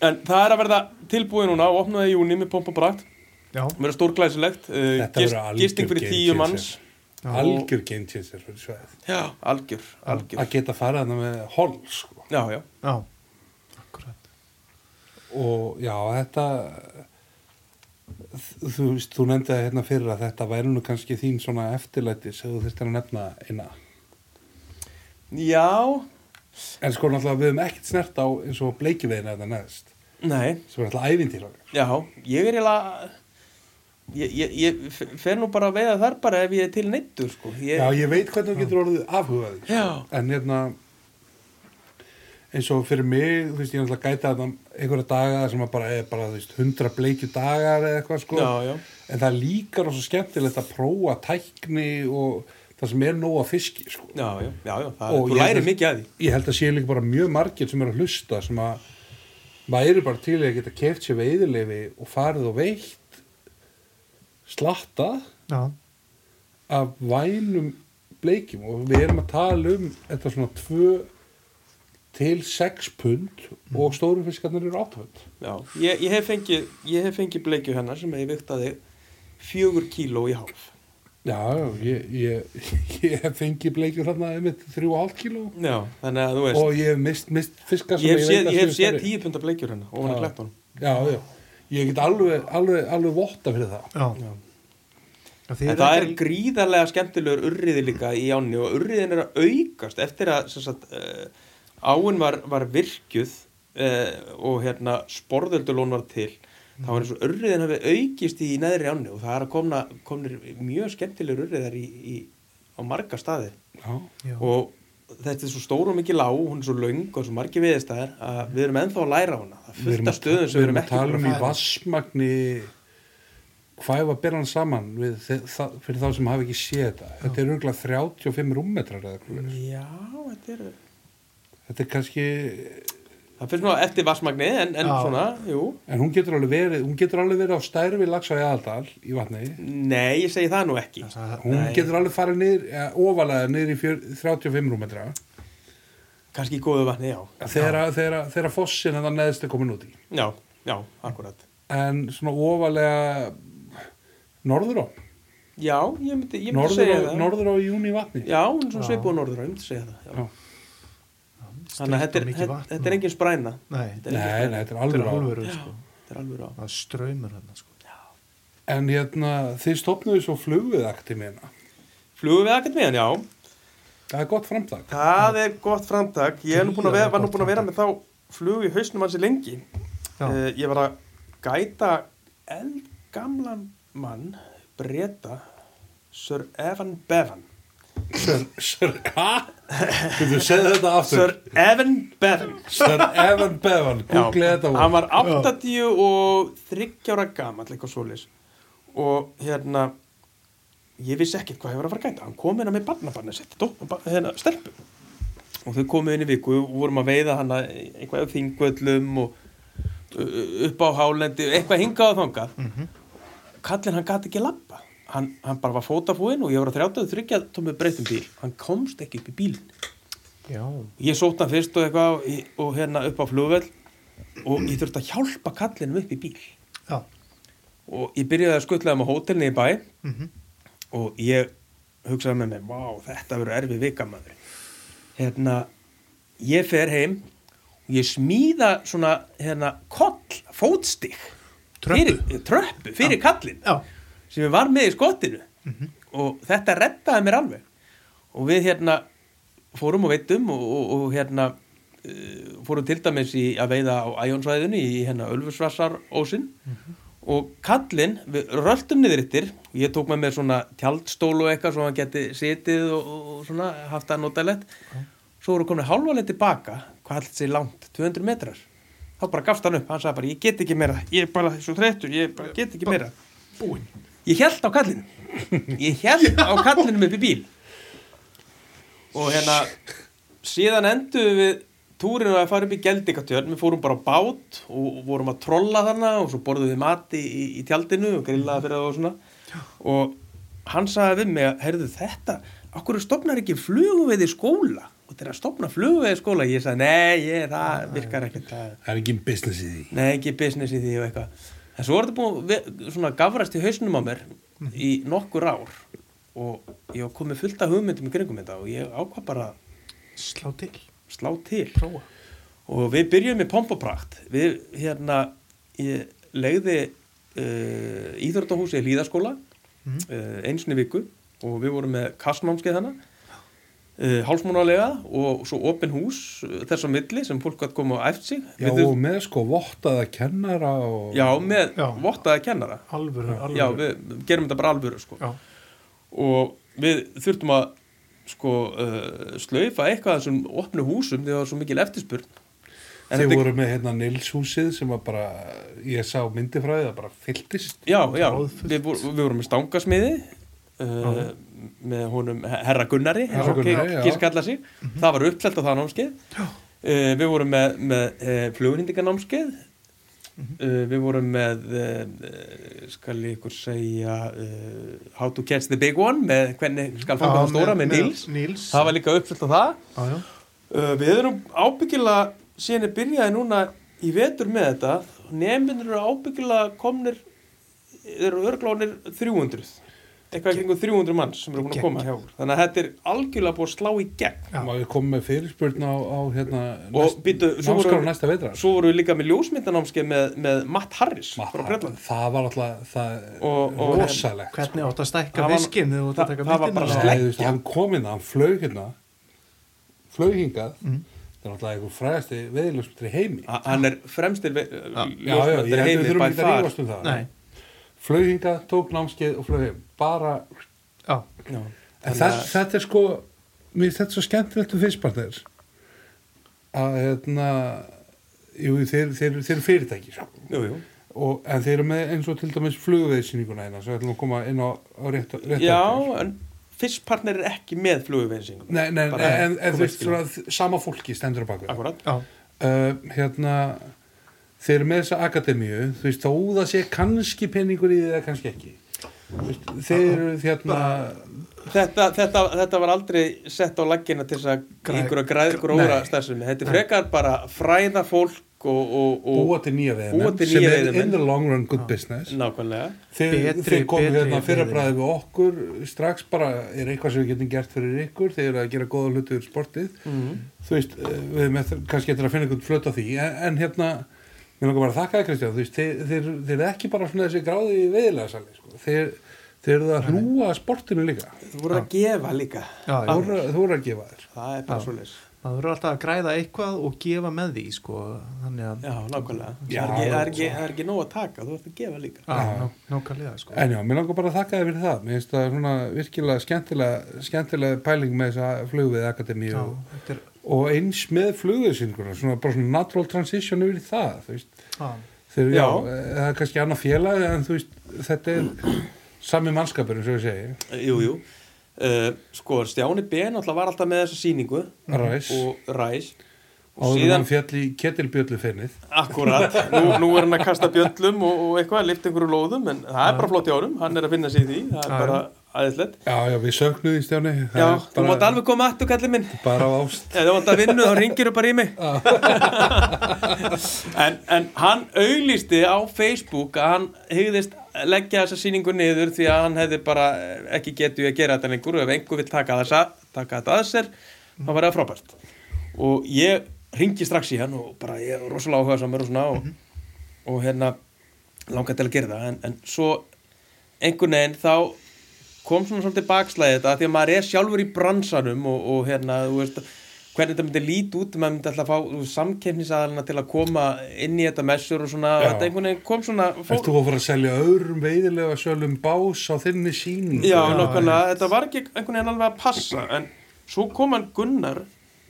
S3: en það er að verða tilbúið núna og opnaði í júni með pomp og brakt
S2: já,
S3: verður stórglæsilegt uh,
S1: Þetta
S3: gist,
S1: verður algjör
S3: gisting fyrir
S1: game
S3: tíu
S1: changer.
S3: manns
S1: algjör geintinsir fyrir svæðið
S3: já, algjör, algjör
S1: að geta farið þarna með hol sko
S3: já, já,
S2: já akkurat
S1: og já, þetta þú veist, þú nefndi það hérna fyrir að þetta væri nú kannski þín svona eftirlæti sem þú þurftir að nefna eina
S3: já
S1: en sko náttúrulega við höfum ekkert snert á eins og bleikivegin þetta neðst
S3: nei,
S1: sem er alltaf ævintýr okkar
S3: já, ég er eiginlega ég, ég, ég f- fer nú bara að veiða þar bara ef ég er til neittur sko ég,
S1: já, ég veit hvernig þú getur orðið afhugaður
S3: Já.
S1: en hérna eins og fyrir mig, þú veist, ég náttúrulega gæta þetta einhverja daga sem að bara er bara, þú veist, hundra bleikju dagar eða eitthvað sko
S3: Já, já.
S1: en það líkar og svo skemmtilegt að prófa tækni og það sem er nóga fiski sko
S3: já, já, já, já það,
S1: Og
S3: þú
S1: ég
S3: lærir
S1: held-
S3: mikið að því
S1: ég held að sé líka bara mjög margir sem eru að hlusta sem að væri bara til í að geta keft sér veiðilefi og farið og veitt slatta
S2: já,
S1: af vænum bleikjum og við erum að tala um þetta svona 2 til 6 pund og stóru fiskarnir eru 8 pund
S3: Já, ég, ég hef fengið, ég hef fengið bleikju hennar sem ég viktaði fjögur kíló í hálf.
S1: já, já, ég, ég, ég hef fengið bleikjur hérna einmitt 3,5 kíló
S3: Já, þannig að þú veist,
S1: og ég hef mist, mist fiskar sem
S3: ég hef séð,
S1: veit að
S3: ég hef
S1: séu
S3: séð
S1: stærri.
S3: tíu punda bleikjur hérna, hennar og hann
S1: Já.
S3: að kleppa hann.
S1: já, já, ég get alveg, alveg, alveg votta fyrir það
S2: já,
S3: Já.
S2: já. þið
S3: En
S2: eruð
S3: það er
S2: ekki-
S3: gríðarlega skemmtilegur urriði líka í ánni og urriðin er að aukast eftir að sem sagt, uh, áin var, var virkjuð uh, og hérna sporðöldulón var til þá
S1: Mhm.
S3: var eins og urriðin hafi aukist í neðri ánni og það er að komna, komnir mjög skemmtilegur urriðar í, í, á marga staði.
S1: já
S2: já,
S3: og þetta er svo stór og mikið lág hún er svo löng og svo margir viðistæðar að við erum ennþá að læra á hana það er
S1: Mhm. Við erum
S3: fullt
S1: að-
S3: af stöðum sem við erum
S1: að
S3: ekki
S1: tala um
S3: búin
S1: í
S3: að fara.
S1: vassmagni hvað ef að bera hann saman við, þe- það, fyrir þá sem hafa ekki séð þetta þetta er örgulega 35 rúmmetrar eða eitthvað svoleiðis.
S3: já, þetta er
S1: þetta er kannski
S3: það finnst nú eftir vassmagni en, en
S2: Já.
S3: svona, jú
S1: en hún getur alveg verið, hún getur alveg verið á stærfi lags á Jæðaldal í vatni
S3: nei, ég segi það nú ekki
S2: það sagði-
S1: hún
S3: Nei.
S1: getur alveg farið niður, ja, ofalega niður í fjör, 35 rúmmetra
S3: kannski í góðu vatni, já
S1: þegar að- þegar að- þegar að fossin en það neðist er komin út í
S3: já, já, akkurat
S1: en svona ofalega norður á
S3: já, ég myndi, ég myndi
S1: norður
S3: segja
S1: á,
S3: það
S1: norður á í júni vatni
S3: já, hún er svona
S2: Já.
S3: sveipuð norður, ég myndi segja það já.
S1: Já.
S3: þannig að
S2: Strítt
S3: þetta er,
S2: og mikið
S3: þetta,
S2: vatn
S3: þetta er
S2: og-
S3: engin spræna
S2: nei,
S3: þetta er
S1: nei,
S3: engin
S1: nei, þetta er
S2: þetta
S1: alveg
S2: er
S1: á
S2: alveg sko.
S3: þetta er alveg rá
S2: það er ströymur hann sko.
S1: En hérna, þið stopnuðu svo flugviðaktimina.
S3: flugum við akkur meðan, já
S1: Það er gott framtak.
S3: Það er gott framtak. Ég er nú búin að vera, var nú búin að vera með þá flug í hausnum hansi lengi.
S2: Já.
S3: Uh, ég var að gæta eldgamlan mann, breyta, Sir Evan Bevan.
S1: Sir, hæ? Getur þú segð þetta aftur?
S3: Sir Evan Bevan
S1: Sir Evan Bevan, googlið þetta
S3: hann var 83 ára gamall eitthvað svolis og hérna ég vissi ekkert hvað hefur að fara að gæta hann kom hérna með barnabarni sitt dó, ba- hérna, stelpu og þau komu inn í viku og vorum að veiða hana eitthvað á þingvöllum og uh, upp á hálendi eitthvað hingað og þangað kallinn hann gati ekki lappa hann, hann bara var fótafóinn og ég var að 33 tómið breytum bíl hann komst ekki upp í bílinn
S2: já,
S3: ég sótt hann fyrst og eitthvað og, og hérna upp á flugvell og ég þurfti að hjálpa kallinum upp í bíl
S2: já,
S3: og ég byrjaði að skuttla þeim á hótelni í bæ
S2: mhm,
S3: og ég hugsaði með mér, vá, þetta verður erfið vikamæður hérna ég fer heim og ég smíða svona hérna koll, fótstig
S2: Tröppu.
S3: fyrir, tröppu fyrir kallin
S2: já,
S3: sem ég var með í skottinu og þetta rettaði mér alveg og við hérna fórum og veitum og, og, og hérna uh, fórum til dæmis í að veiða á æjónsvæðinu í hérna Ölfusvassar ósinn og kallinn, við röltum niður yttir og ég tók með mér svona tjaldstól og eitthvað svo hann geti setið og, og svona haft það notalett svo voru komin hálfa leið tilbaka hvað held sér langt, 200 metrar þá bara gafst hann upp, hann sagði bara ég get ekki meira, ég er bara svo þreyttur ég bara get ekki meira
S2: búinn
S3: ég held á kallinu ég held á kallinu upp í bíl og hérna síðan enduðum við túrinu að fara upp í Geldingatjörn við fórum bara á bát og vorum að trolla þarna og svo borðum við mat í, í, í tjaldinu og grillaði fyrir það og svona og hann sagði við mig að heyrðu þetta, okkur stopnar ekki flugveið í skóla og þetta er að stopna flugveið í skóla ég sagði nei, ég, það virkar ekkert það
S1: Það er ekki business í því.
S3: Nei, ekki business í því og eitthvað. En svo var þetta búin að ve- svona gafrast í hausnum á mér
S1: Mhm.
S3: í nokkur ár og ég var komið fullt af hugmyndum í kringum þetta og ég ákvað bara að
S2: slá til,
S3: slá til.
S2: prófa
S3: Og við byrjum með pompoprakt. Við, hérna, ég legði uh, íþróttahúsi í hlýðaskóla
S1: Mhm.
S3: mm. uh, einsinni viku og við vorum með kastnámskeið hana, uh, hálsmánalega og svo opin hús uh, þess á milli sem fólk gott koma á eftir sig.
S1: Já,
S3: Við þurftum-
S1: og með sko vottaða kennara og...
S3: Já, með
S2: Já.
S3: vottaða kennara.
S2: alvöru, alvöru
S3: Já, við gerum þetta bara alvöru sko.
S2: já,
S3: og við þurftum að sko, uh, slaufa eitthvað af þessum opnu húsum þegar það var svo mikil eftirspurn en
S1: Þeir
S3: þetta-
S1: voru með hérna Nilshúsið sem var bara, ég sá myndi frá því, það bara fylltist.
S3: Já, já,
S2: Troðfullt.
S3: við, vor, við vorum með stangasmiði uh, með honum Herra Gunnari
S1: Herra Gunnari, já. Mhm.
S3: kýrst kalla sig það var uppselt á það námskeið uh, við vorum með, með uh, flugurhindinganámskeið
S1: Mhm.
S3: uh, við vorum með uh, skal ég ykkur segja uh, How to catch the big one með hvernig skal fanga það stóra með, Nils
S2: Nils.
S3: það var líka uppselt á það
S2: Já, já.
S3: Uh, við erum ábyggilega síðan ég byrjaði núna í vetur með þetta nefnir eru ábyggilega komnir eru örglónir 300 eitthvað í kringum 300 manns sem eru búin að koma hjá okkur. þannig að þetta er algjörlega búið að slá í gegn
S2: Já.
S1: Má ég kom með fyrirspurn á, á hérna...
S3: og
S1: næst-
S3: býtu, svo
S1: námskrána
S3: voru,
S1: næsta veitrar.
S3: svo voru við líka með ljósmyndanámskeið með, með Matt Harris frá Bretland
S1: það var alltaf, það...
S3: Og- og-
S1: rosalegt.
S2: hvernig átt að stækka
S3: Það var-
S2: viskin þegar þú átt að taka
S3: það var
S2: myndina
S3: bara slepp.
S1: Nei, þú veist, hann kom inn, hann flög hérna flög hingað það er náttúrulega einhver fræðasti veðilöfsmyndri heimi
S3: Ha- hann er fremstir ve- eh,
S1: já, já, ég
S3: ljósmyndari
S1: heldur við
S3: heimi
S1: þurfum
S3: by
S1: ekki að
S3: far
S1: rífast um það
S2: Nei.
S1: flög hingað, tók námskeið og flög heim bara,
S2: já,
S3: Já.
S1: en það, þetta er sko mér finnst þetta svo skemmtilegt um fyrstpartner að hérna jú, þeir, þeir, þeir eru fyrirtæki sko.
S3: Jú, jú.
S1: og, en þeir eru með eins og til dæmis flugveðsýninguna eina, svo ætlum við að koma inn á, á rétt, rétt
S3: já,
S1: eftir.
S3: en fyrstpartner er ekki með fluguveinsingum
S1: Nei, nei,
S3: Bara-
S1: en, en þú veist,
S3: Kom
S1: svona, sama fólki stendur á baku
S3: akkurat
S2: já,
S1: uh, hérna þeir eru með þessa akademíu þú veist, þó það sé kannski penningur í því eða kannski ekki Þú veist, þeir eru hérna
S3: þetta, þetta, þetta var aldrei sett á laggina til þess að
S2: Græ-
S3: einhverja græð gróra
S1: Nei.
S3: starfsemi þetta er frekar bara fræða fólk og, og, og
S1: búa til nýja
S3: Búa
S1: veðmenn
S3: til
S1: sem
S3: nýja
S1: er
S3: veiðimenn.
S1: in the long run good business
S3: nákvæmlega
S1: þeir,
S2: Betri-
S1: þeir komu
S2: betri
S1: hérna
S2: veiðimenn.
S1: fyrirbræði við okkur strax bara er eitthvað sem við getum gert fyrir ykkur þeir eru að gera góða hluti fyrir sportið
S2: Mhm.
S1: þú veist, eh, við erum eftir, kannski eftir að finna einhvern flöt á því, en, en hérna mér langar bara að þakka þér Kristján, þú veist þeir, þeir, þeir eru ekki bara svona þessi gráði veiðilega sali, sko. þeir, þeir eru að hrúa sportinu líka
S3: þú voru að gefa líka
S2: já, já.
S1: Þú voru að gefa þér
S3: það er bara svo leys
S2: maður verður alltaf að græða eitthvað og gefa með því sko þannig að
S3: Já, nákvæmlega.
S1: Já,
S3: það, er ekki, það, er ekki, það er ekki nóg að taka, þú ert að gefa líka.
S2: Já, nú- nákvæmlega sko
S1: En já, mér langar bara að þakka þér fyrir það. Mér finnst það svona virkilega skemmtilega, skemmtilega pæling með þessa flugvið akademíu
S2: Já,
S1: og,
S2: þetta er,
S1: og eins með flugviðsyninguna, svona bara svona natural transition yfir í það, þú veist.
S2: já,
S1: Þegar, já.
S3: Já.
S1: það er kannski annað félagi en þú veist, þetta er sami mannskapur eins og ég segi.
S3: Eh, Jú, jú. Uh, sko, Stjáni B. náttúrulega var alltaf með þessa sýningu
S1: Ræs,
S3: og ræs. Og
S1: áður en
S3: síðan,
S1: hann fjall í ketilbjöllu finnið.
S3: akkurat, nú, nú er hann að kasta bjöllum og, og eitthvað, lift einhverju lóðum, en það er bara flott í árum, hann er að finna sig í því, það
S2: Já.
S3: er bara aðeinslegt.
S1: Já, já, við sögnuðum Stjáni. það
S3: Já,
S1: er
S3: þú mátt
S1: bara,
S3: alveg koma aftur, kallið minn.
S1: bara á ást.
S3: Ef þú vant að vinnu þá ringir þú bara í mig en, en hann auglýsti á Facebook að hann hygðist leggja þessa sýningu niður því að hann hefði bara eh, ekki getið að gera þetta lengur og ef einhver vill taka, þessa, taka þetta að sér þá var það frábært og ég ringi strax í hann og bara ég er rosalega áhuga samar og svona og,
S1: Mhm.
S3: og hérna langar til að gera það en, en svo einhvern veginn þá kom svona svolítið bakslæði þetta af því að maður er sjálfur í bransanum og, og hérna, þú veist hvernig þetta myndi líti út, maður myndi alltaf að fá samkeppnisaðalina til að koma inn í þetta messur og svona,
S1: Já.
S3: þetta einhvern veginn kom svona
S1: Ert þú að fara að selja öðrum veiðilega sölum bás á þinni síningu?
S3: Já, nákvæmlega, þetta var ekki einhvern veginn alveg að passa en svo kom hann Gunnar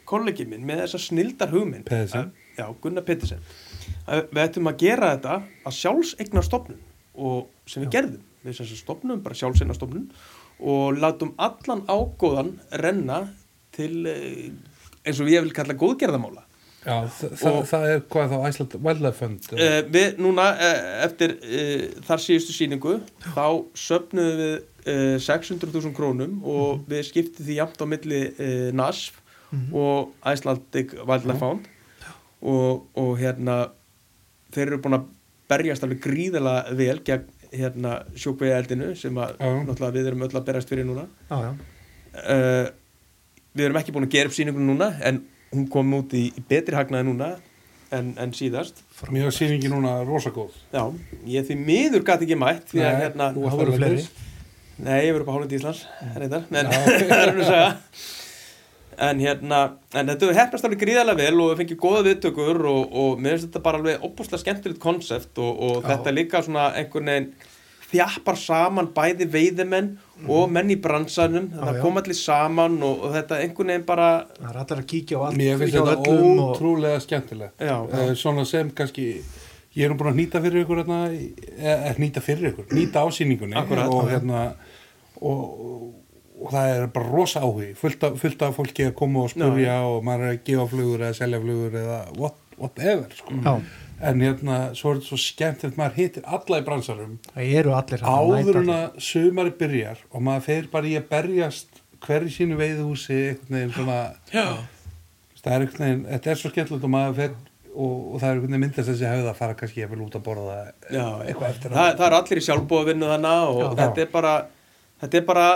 S3: kollegi minn með þessa snildar hugminn
S1: Pedersen.
S3: Að- Já, Gunnar Pettersen að við ættum að gera þetta að sjálfsegna stofnun og sem við gerðum við þess að stofnum, bara sjálfsegna stofnun og látum allan ágóðan renna til eh, eins og ég vil kalla góðgerðamála
S1: Já, þa þa
S3: Og-
S1: það er hvað þá Iceland Wildlife Fund eða?
S3: uh, við núna uh, eftir uh, þar síðustu síningu þá söfnuðum við uh, 600.000 krónum og við skiptið því jafnt á milli uh, NASF og Icelandic Wildlife Fund og, og hérna þeir eru búin að berjast alveg gríðala vel gegn hérna sjókveiðeldinu sem að
S1: Já.
S3: náttúrulega við erum öll að berjast fyrir núna
S2: já, já,
S3: uh, við erum ekki búin að gera upp síningun núna en hún kom út í, í betri hagnaði núna en, en síðast
S1: Mér var sýningi núna rosagóð.
S3: Já, ég því miður gæti ekki mætt því að
S1: Nei,
S3: hérna,
S1: þú varst
S2: það eru fleiri
S3: nei, ég verið bara hálfandi í Íslands reyndar, en það er nú að segja en hérna, en þetta hefnast alveg gríðarlega vel og við fengið góða viðtökur og, og mér finnst þetta bara alveg opbúslega skemmtilegt konsept og, og
S2: Já.
S3: þetta líka svona einhvern veginn þjappar saman bæði veiðimenn og menn í bransanum,
S2: Já,
S3: þetta
S2: já.
S3: kom allir saman og, og þetta einhvern veginn bara
S2: það er allir að kíkja á allt
S1: Mér finnst
S2: hjá
S1: þetta
S2: öllum og-
S1: ótrúlega skemmtilegt.
S3: já,
S1: Eh, Svona sem kannski, ég er nú búin að nýta fyrir ykkur, hérna, eða nýta fyrir ykkur, nýta á sýningunni.
S3: Akkúrat.
S1: Og hérna, og, og það er bara rosa áhugi, fullt af, fullt af fólki að koma og spurja og maður er að gefa flugur eða selja flugur eða what, whatever, sko.
S2: Já.
S1: En hérna, svo er þetta svo skemmtilegt, maður hittir alla í bransarum.
S2: það eru allir þarna,
S1: áður en
S2: mæta
S1: að sumari byrjar og maður fer bara í að berjast hverju sínu veiðhúsi einhvern veginn svona það er einhvern veginn, þetta er svo skemmtilegt og maður fer og, og það er einhvern veginn myndast þessi hefð að fara kannski eftir út að borða
S3: já,
S1: eitthvað eftir
S3: það, það eru allir í sjálfbóðvinnu þannig og
S1: Já.
S3: þetta er bara þetta er bara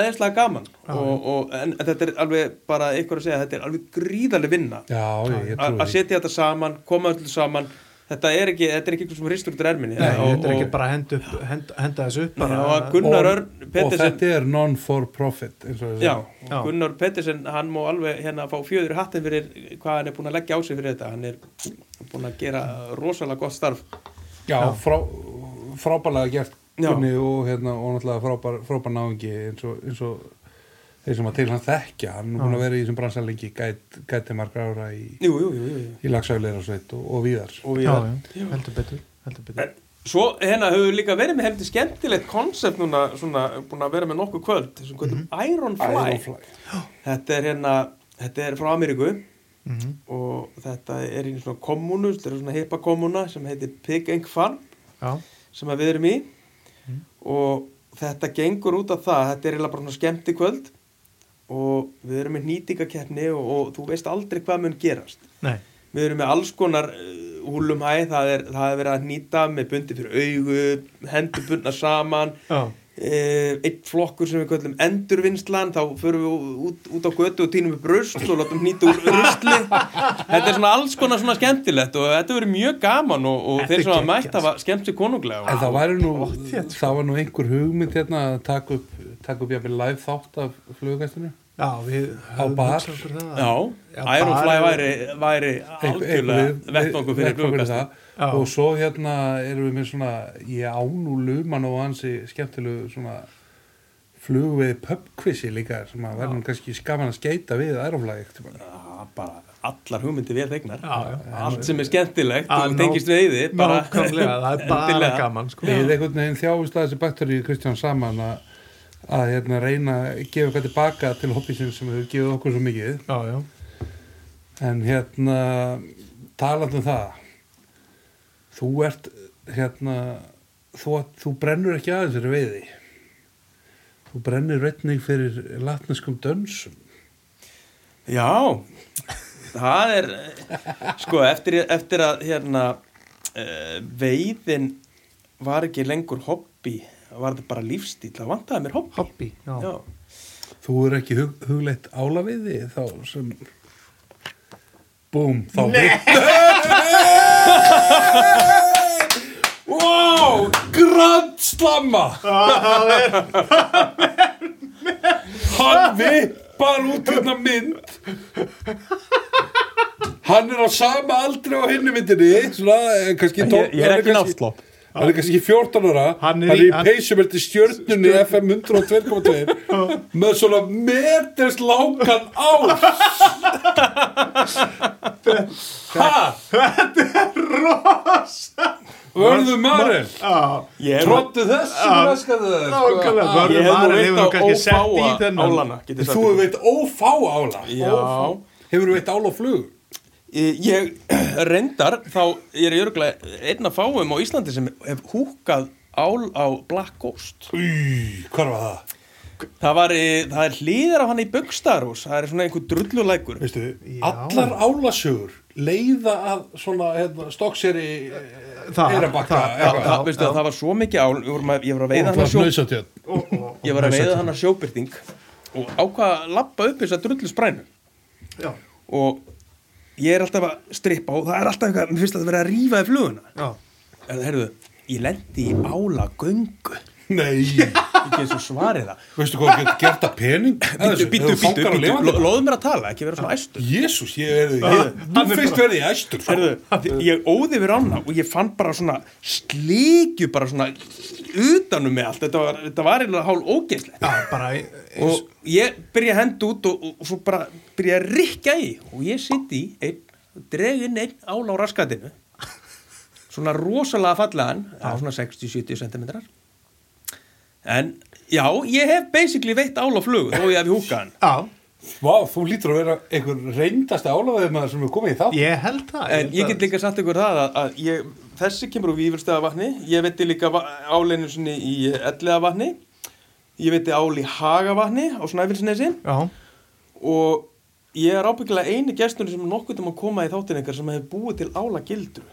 S3: aðeinslega gaman
S2: Já.
S3: og, og, en þetta er alveg bara ykkur að segja, þetta er alveg gríðarlega vinna
S1: já, ég, ég
S3: A-
S1: trúi
S3: að
S1: því.
S3: setja þetta saman, koma öllu saman þetta er ekki, þetta er ekki eitthvað sem hristur út úr erminni
S2: Nei,
S3: og,
S2: þetta er ekki
S3: og,
S2: bara að henda, upp, henda, henda þessu upp
S3: bara,
S2: bara,
S3: og að Gunnar Örn
S1: og
S3: Pettersen
S1: þetta er non-for-profit eins og
S3: já,
S1: þessi
S2: Já.
S3: Gunnar Pettersen, hann má alveg hérna fá fjöður í hattin fyrir hvað hann er búin að leggja á sig fyrir þetta hann er búin að gera rosalega gott starf
S1: já, frá, frábælega gert
S3: Já.
S1: Gunni og, hérna, og náttúrulega frábær, frábær náðingi eins og, eins og þeir sem að til hann þekkja hann er búin að vera í þessum bransalengi gæt, gæti margra ára í,
S3: jú, jú, jú, jú, jú.
S1: í lagsaguleira sveit og, og víðar
S3: og
S2: já,
S3: við
S2: já, heldur betur, heldur betur.
S3: Svo hérna höfum við líka verið með hefndi skemmtilegt konsept núna, svona, búin að vera með nokkuð kvöld, sem kvöldum Mhm. Iron Fly.
S1: Ironfly.
S3: Þetta er hérna, þetta er frá Ameríku
S2: Mm
S3: og þetta er í svona kommunu, þetta er svona hippa kommuna sem heitir Pig Inc. Farm
S2: já,
S3: sem að við erum í og þetta gengur út af það, þetta er eiginlega bara svona skemmti kvöld og við erum með nýtingakeppni og, og þú veist aldrei hvað mun gerast.
S2: nei,
S3: Við erum með alls konar uh, húlum hæ, það er, það er verið að nýta með bundi fyrir augu, hendur bundna saman,
S2: já,
S3: uh, eitt flokkur sem við köllum endurvinnslan, þá förum við út, út á götu og týnum við brust og látum nýta úr rusli. þetta er svona alls konar svona skemmtilegt og þetta verið mjög gaman og, og
S2: Þetta
S3: þeir
S2: er
S3: sem að
S2: geggjað,
S3: mætt hafa skemmt sér konunglega.
S1: En
S3: Og,
S1: það væri nú,
S2: Pottþétt,
S1: það var nú einhver hugmynd hérna að taka upp, taka upp jafnvel live þátt af flugugæstinu.
S2: já, við höfum
S1: bar.
S2: hugsað okkur það.
S3: Já,
S2: Já,
S3: Ironfly
S2: bara-
S3: væri, væri
S1: Einhver-
S3: algjörlega
S1: einhver-
S3: vettvangur fyrir
S1: vettvangur í
S3: flugkast
S1: það.
S2: Já.
S1: og svo hérna erum við með svona ég ánú luman og hansi skemmtilegu svona flugveið pubquizi líka sem að verður nú kannski skaman að skeita við aeroflæði ekkert
S3: bara allar hugmyndi vel tegnar
S2: Já, já.
S3: allt sem er skemmtilegt
S2: Já,
S3: og
S2: ná-
S3: tengist við þið bara
S2: Nákvæmlega, það er bara
S3: Endilega.
S2: gaman sko.
S1: við einhvern veginn þjáist að þessi bakteríu Kristján saman að, að hérna, reyna að gefa eitthvað tilbaka til hobbysin sem hefur gefið okkur svo mikið
S2: Já, já.
S1: en hérna talandi um það þú ert hérna þú, þú brennur ekki aðeins fyrir veiði þú brennir veitning fyrir latneskum dönsum
S3: Já, það er, eh, sko, eftir, eftir að hérna, uh, veiðin var ekki lengur hobby, var þetta bara lífstíl, það vantaði mér hobby.
S2: Hobby, já.
S3: Já,
S1: þú er ekki hug, hugleitt álaviði þá sem búm, þá hitt wow, grann slamma hann vippar út hérna mynd hann er á sama aldri á hinni myndinni svona, eh, kannski tólf- hann kannski-
S3: náttlopp.
S1: hann er kannski 14 ára hann
S2: Hann er
S1: er í,
S2: í- hann-
S1: peysum eftir stjörnunni FM 102.2 með svona meters langan ás ha þetta er rosa vörðu marinn
S2: Já,
S3: Ég hef
S1: tróttu þessu raskaðu þér, sko.
S2: nákvæmlega,
S1: Ah,
S2: vörður
S3: ég hef nú
S2: maður
S3: veit
S2: hefur
S3: á
S2: nú kannski sett í
S3: ófáa
S2: þennan.
S3: álana, getur
S1: þú hefur veitt ófá ála
S3: Já,
S1: hefur veitt ála á flug
S3: Ég- ég reyndar, þá ég er jörglega einn af fáum á Íslandi sem hef húkað ál á Black Ghost.
S1: Í, hvað var það?
S3: Það var, í- það er hlýðar af hann í Böggstaros, það er svona einhver drullulækur.
S1: Veistu,
S2: Já.
S1: allar álasögur leiða að svona hérna, stokkseri
S2: Það,
S1: eirabakka
S2: það,
S3: það, það,
S1: eitthvað.
S3: veistu, það var svo mikið ál ég var, með, ég var að veiða
S1: Og
S3: hana
S1: það
S3: sjó,
S1: hnausatjörn.
S2: Og, og,
S3: ég var að
S1: hnausatjörn.
S3: veiða hana sjóbyrting og ákvað að lappa upp þess að drullu sprænu
S2: já,
S3: og ég er alltaf að strippa og það er alltaf eitthvað, mér finnst að það verið að rífa í fluguna
S2: já.
S3: en herðu, ég lendi í álagöngu
S1: Nei,
S3: ekki eins og svarið það
S1: veistu hvað þú getur gert að pening?
S3: býttu, býttu, býttu, býttu,
S1: býttu,
S3: lo- loðu mér að tala ekki vera svona æstur
S1: Jésús, ég er þið,
S3: Ah.
S1: þú fyrst verði ég æstur.
S3: herðu, ég óði við rána og ég fann bara svona slíkju bara svona utanum mig allt þetta var, þetta var einlega hál ógeinslegt
S2: Já, bara e- eins
S3: og ég byrja að henda út og, og, og svo bara byrja að rikka í og ég sitt í einn, dreg inn einn ál á raskatinu svona rosalega fallegan á svona 60-70 cm en já, ég hef basically veitt ál á flug þó ég hef húkað hann
S2: Já,
S1: Vá, þú lítur að vera einhver reyndasta álaðið maður sem er komið í þátt.
S2: ég held það
S3: en ég get líka sagt ykkur það að, að ég, þessi kemur úr Vífurstæða vatni ég veiti líka áleinu sinni í Ellega vatni ég veiti ál í Haga vatni á Snæfilsnesi
S2: Já,
S3: og ég er ábyggilega eini gesturinn sem er nokkuð til að koma í þáttin ykkar sem hefur búið til ála gildru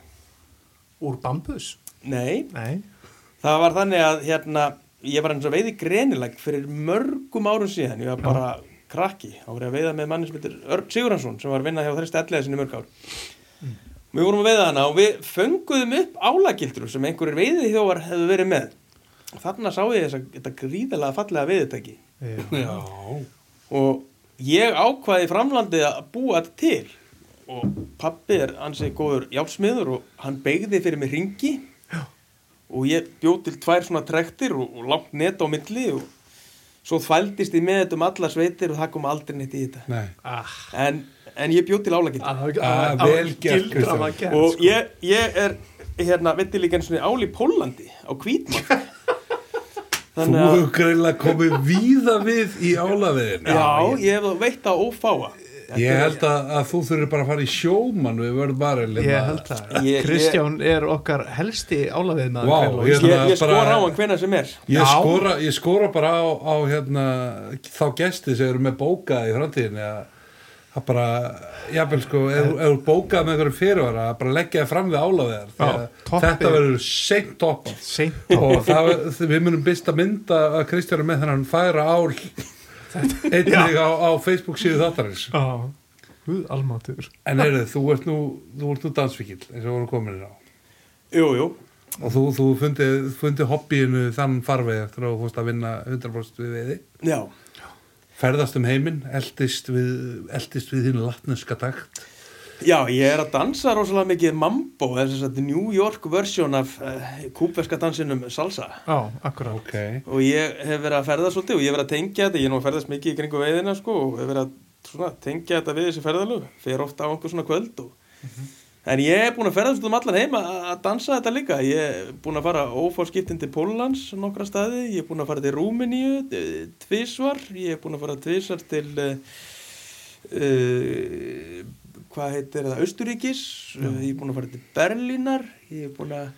S2: úr bambus
S3: nei,
S2: Nei,
S3: það var þannig að hérna, ég var eins og veiði grenilag fyrir mörgum árum síðan ég var bara krakki, þá var ég að veiða með manni sem heitir Örn Sigurðansson sem var að vinna hjá þrista ellega sinni í mörg ár við vorum að veiða hana og við fönguðum upp álagildru sem einhverjir veiði þjóðar hefðu verið með og þarna sá ég þess að þetta gríðalega fallega veiðutæki
S2: já,
S1: Já.
S3: og ég ákvaði í framlandið að búa þetta til og pappi er ansið góður jálsmiður og hann beigði fyrir mig ringi og ég bjóð til tvær svona trektir og, og langt net á milli og svo þvældist ég með þetta um alla sveitir og það kom aldrei neitt í þetta
S1: Nei.
S2: Ah,
S3: en, en ég bjóð til álækild
S2: að, að,
S1: Ah,
S2: að,
S1: vel gert,
S2: gildra
S1: Kristján.
S2: var gert
S3: og
S2: sko.
S3: ég, ég er hérna, veitir líka eins og ál í Pólandi á Hvítmark
S1: Þú hefur greinlega komið víða við í álaðiðinu.
S3: já, ég hef þá veitt að ófáa
S1: Ég held að, að þú þurfir bara að fara í sjóman við vörðu barelin.
S2: Ég held það
S3: Ég- ég-
S2: Kristján er okkar helsti álaðið maður
S1: Vá,
S2: hverfa.
S1: ég-
S3: ég,
S1: Bara-
S3: ég skor á hann hvena sem er
S1: Ég
S2: Já.
S1: skora, ég skora bara á, á hérna, þá gesti sem eru með bókað í framtíðinni að að bara, jafnvel sko ef ef þú bókað með einhverjum fyrirvara að bara leggja það fram við álaðið
S2: Já,
S1: þér
S2: toppið.
S1: þetta verður seint toppað
S2: Seint á
S1: og það, við munum byrsta mynda að Kristján er með þennan færa ál einnig á, á Facebook síðu þáttarins
S2: Já, Guð almatur
S1: en heyrðu, þú ert nú, þú ert nú dansvíkil eins og voru komin á
S3: jú, jú,
S1: og þú, þú fundið, fundið hobbyinu þann farveg eftir að þú fórst að vinna 100% við veiði
S3: Já
S1: ferðast um heiminn, eldist við, eldist við þínu latneska takt.
S3: Já, ég er að dansa rosalega mikið mambo, þess að New York versjón af uh, kúbverska dansinum salsa
S2: Já, akkurát
S1: Ok,
S3: og ég hef verið að ferðast svolítið og ég hef verið að tengja þetta, ég er nú að ferðast mikið í kringu veiðina sko og hef verið að svona, tengja þetta við þessi ferðalög, fer ofta á einhver svona kvöld og En ég er búin að ferðast út um allan heima að dansa þetta líka. Ég er búin að fara ófórskiptin til Pólans nokkra staði, ég er búin að fara til Rúmeníu eh, tvisvar, ég er búin að fara tvisvar til, uh, uh, hvað heitir það, Austuríkis, ég er búin að fara til Berlínar, ég er búin að,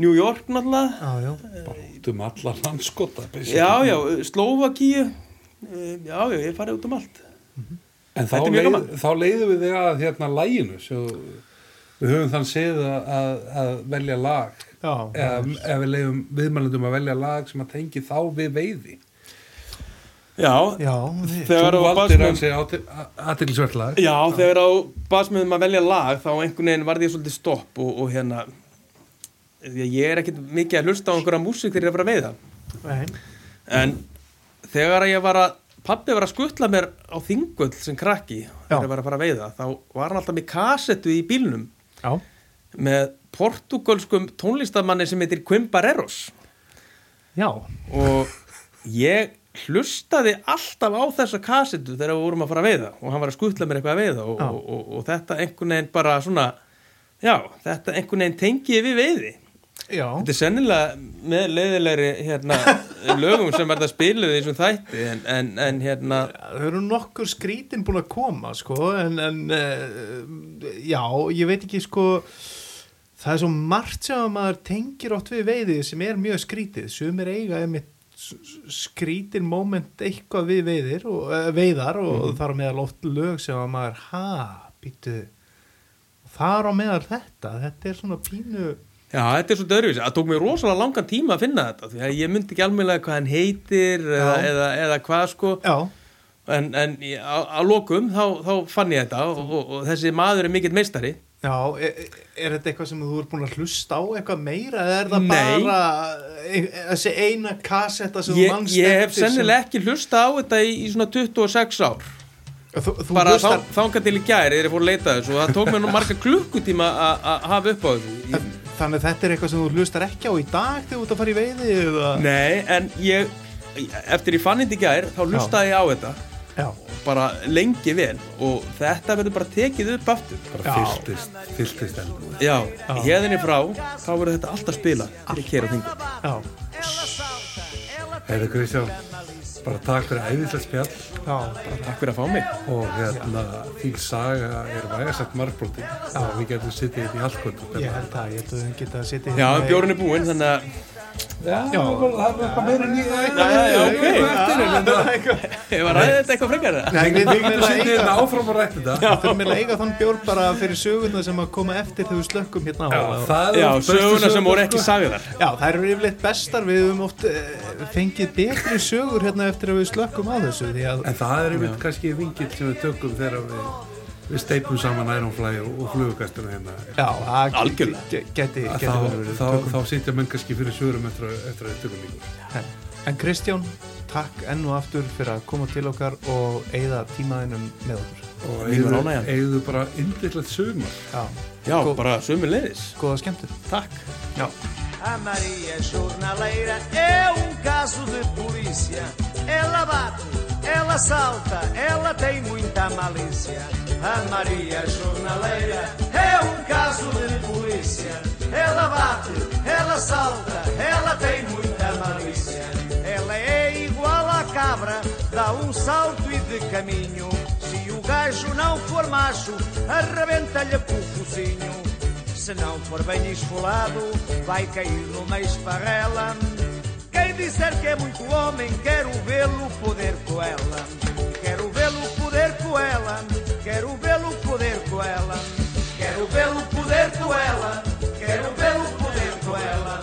S3: New York náttúrulega,
S2: Já, já,
S1: út um alla landskota. basically.
S3: já, já, Slóvakíu, uh, já, já, ég er farið út um allt.
S1: En þá,
S3: Þetta er mjög
S1: leið,
S3: gaman.
S1: þá leiðum við þig að hérna læginu, svo við höfum þann séð að, að velja lag,
S2: já,
S1: eða eða við leiðum viðmælendum að velja lag sem að tengi þá við veiði.
S3: Já,
S2: já þið-
S3: þegar
S1: Þú
S3: á
S1: valdir
S3: basnum-
S1: að segja aðtillisvert lag.
S3: Já, þegar á basmiðum að velja lag þá einhvern veginn varði ég svolítið stopp og, og hérna því að ég er ekkert mikið að hlusta á einhverja músík þegar ég er að fara að veiða
S2: Nei,
S3: en þegar ég var að pappi var að skuttla mér á þingull sem krakki þegar ég var að fara að veiða þá var hann alltaf með kasettu í bílnum
S2: Já,
S3: með portugalskum tónlistamanni sem heitir Quimbareros
S2: já,
S3: og ég hlustaði alltaf á þessa kasetu þegar við vorum að fara að veiða og hann var að skuttla mér eitthvað að veiða og,
S2: Já.
S3: og, og, og þetta einhvern veginn bara svona já, þetta einhvern veginn tengi ég við veiði
S2: já
S3: þetta er sennilega með leiðilegri hérna, lögum sem er það spiluð í þessum þætti en, en, en hérna
S2: Það eru nokkur skrítin búin að koma sko, en, en uh, já, ég veit ekki sko það er svo margt sem að maður tengir ótt við veiðið sem er mjög skrítið sumir eiga einmitt s- s- skrítin moment eitthvað við veiðir og, uh, veiðar og mm. þar á meðal oft lög sem að maður, ha, býtu þar á meðal þetta þetta er svona pínu
S3: Já, þetta er svolítið öðruvísi. Það tók mér rosalega langan tíma að finna þetta því að ég myndi ekki almennlega hvað hann heitir eða,
S2: Já.
S3: eða, eða hvað sko
S2: já,
S3: en, en ég- á, á lokum þá, þá fann ég þetta og, og, og þessi maður er mikill meistari
S2: Já, er, er þetta eitthvað sem þú ert búin að hlusta á eitthvað meira eða er það
S3: Nei.
S2: bara e- þessi eina kassetta sem þú
S3: ég,
S2: mannst
S3: ég hef sennilega ekki hlusta á þetta í, í svona 26
S2: sem,
S3: ár
S2: þú, þú
S3: bara
S2: hlustar,
S3: þá, þangað til í gæri er ég fór að leita þessu og það tók mér nú marga klukkutíma að- að hafa upp á þessu ég,
S2: Þannig að þetta er eitthvað sem þú hlustar ekki á í dag þegar þú ert að fara í veiði eða...
S3: Nei, en ég eftir ég fann þetta í gæri þá hlustaði ég á þetta
S2: Já,
S3: bara lengi vel og þetta verður bara tekið upp aftur
S1: Bara fylltist, fylltist elbúið.
S3: Já, hérðinni frá þá verður þetta alltaf spila allir kera þingur
S2: já,
S1: Heiðu Kristján, bara takk fyrir æðislega spjall
S2: já,
S3: Takk fyrir að fá mig
S1: og hérna þín saga er vægasagt margbróti og við getum sittið hérna í allkvöldum.
S2: ég held að ég held að þú geta að setja hérna
S3: Já, bjórinn er búinn þannig að
S1: já, það er eitthvað meira nýja eitthvað.
S3: Já, já, ok.
S1: Eftir, en þetta-
S3: Ég var ræðið þetta eitthvað frekar eða?
S2: Nei, við
S1: Við
S2: þurfum
S1: getum
S2: eiginlega
S1: sittið
S2: að
S1: hérna
S2: eiga-
S1: áfram og rætt þetta.
S2: við þurfum eiginlega að eiga þann bjór bara fyrir söguna sem að koma eftir þegar við slökkum hérna á
S1: Já, það
S3: Já,
S1: eru bestu
S3: söguna sem voru
S1: sko.
S3: ekki sagðar
S2: Já, það eru yfirleitt bestar, við höfum oft uh, fengið betri sögur hérna eftir að við slökkum á þessu því að
S1: En það er einmitt kannski vingill sem við tökum þegar við, við steipum saman Ironfly og, og flugukastunum hérna.
S2: Já, það
S3: Algjörlega.
S2: ge- geti,
S1: Að
S2: geti
S1: Þá,
S2: verið
S1: þá,
S2: tökum.
S1: þá sitja menn kannski fyrir svörum eftir að eftir að við tökum líkur.
S2: En Kristján, takk enn og aftur fyrir að koma til okkar og eigða tímaðinum með okkur
S1: Og
S3: Mín var
S1: eigðu-
S3: ánægjan.
S1: eigðu bara yndillegt sögumar.
S2: Já,
S3: Já, bara sömu leiðis
S2: góða skemmtur
S3: Takk
S2: Já
S4: A Maria é jornaleira, é um caso de polícia. Ela bate, ela salta, ela tem muita malícia. A Maria é jornaleira, é um caso de polícia. Ela bate, ela salta, ela tem muita malícia. Ela é igual à cabra, dá um salto e de caminho. Se o gajo não for macho, arrebenta-lhe com o focinho. Se não for bem esfolado, vai cair numa esparrela. Quem disser que é muito homem, quero vê-lo poder com ela. Quero vê-lo poder com ela. Quero vê-lo poder com ela. Quero vê-lo poder com ela. Quero vê-lo poder com ela.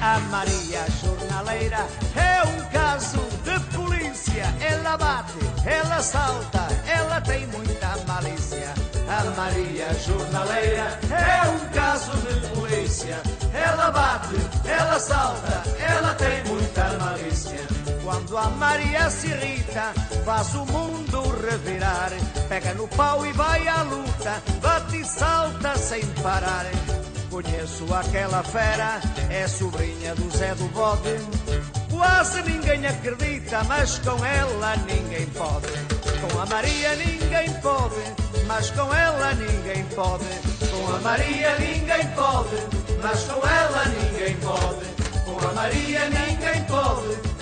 S4: A Maria Jornaleira é um polícia, ela bate, ela salta, ela tem muita malícia. A Maria Jornaleira é um caso de polícia. Ela bate, ela salta, ela tem muita malícia. Quando a Maria se irrita, faz o mundo revirar. Pega no pau e vai à luta, bate e salta sem parar. Conheço aquela fera, é sobrinha do Zé do Bode. Quase ninguém acredita, mas com ela ninguém pode. Com a Maria ninguém pode, mas com ela ninguém pode. Com a Maria ninguém pode, mas com ela ninguém pode. Com a Maria ninguém pode,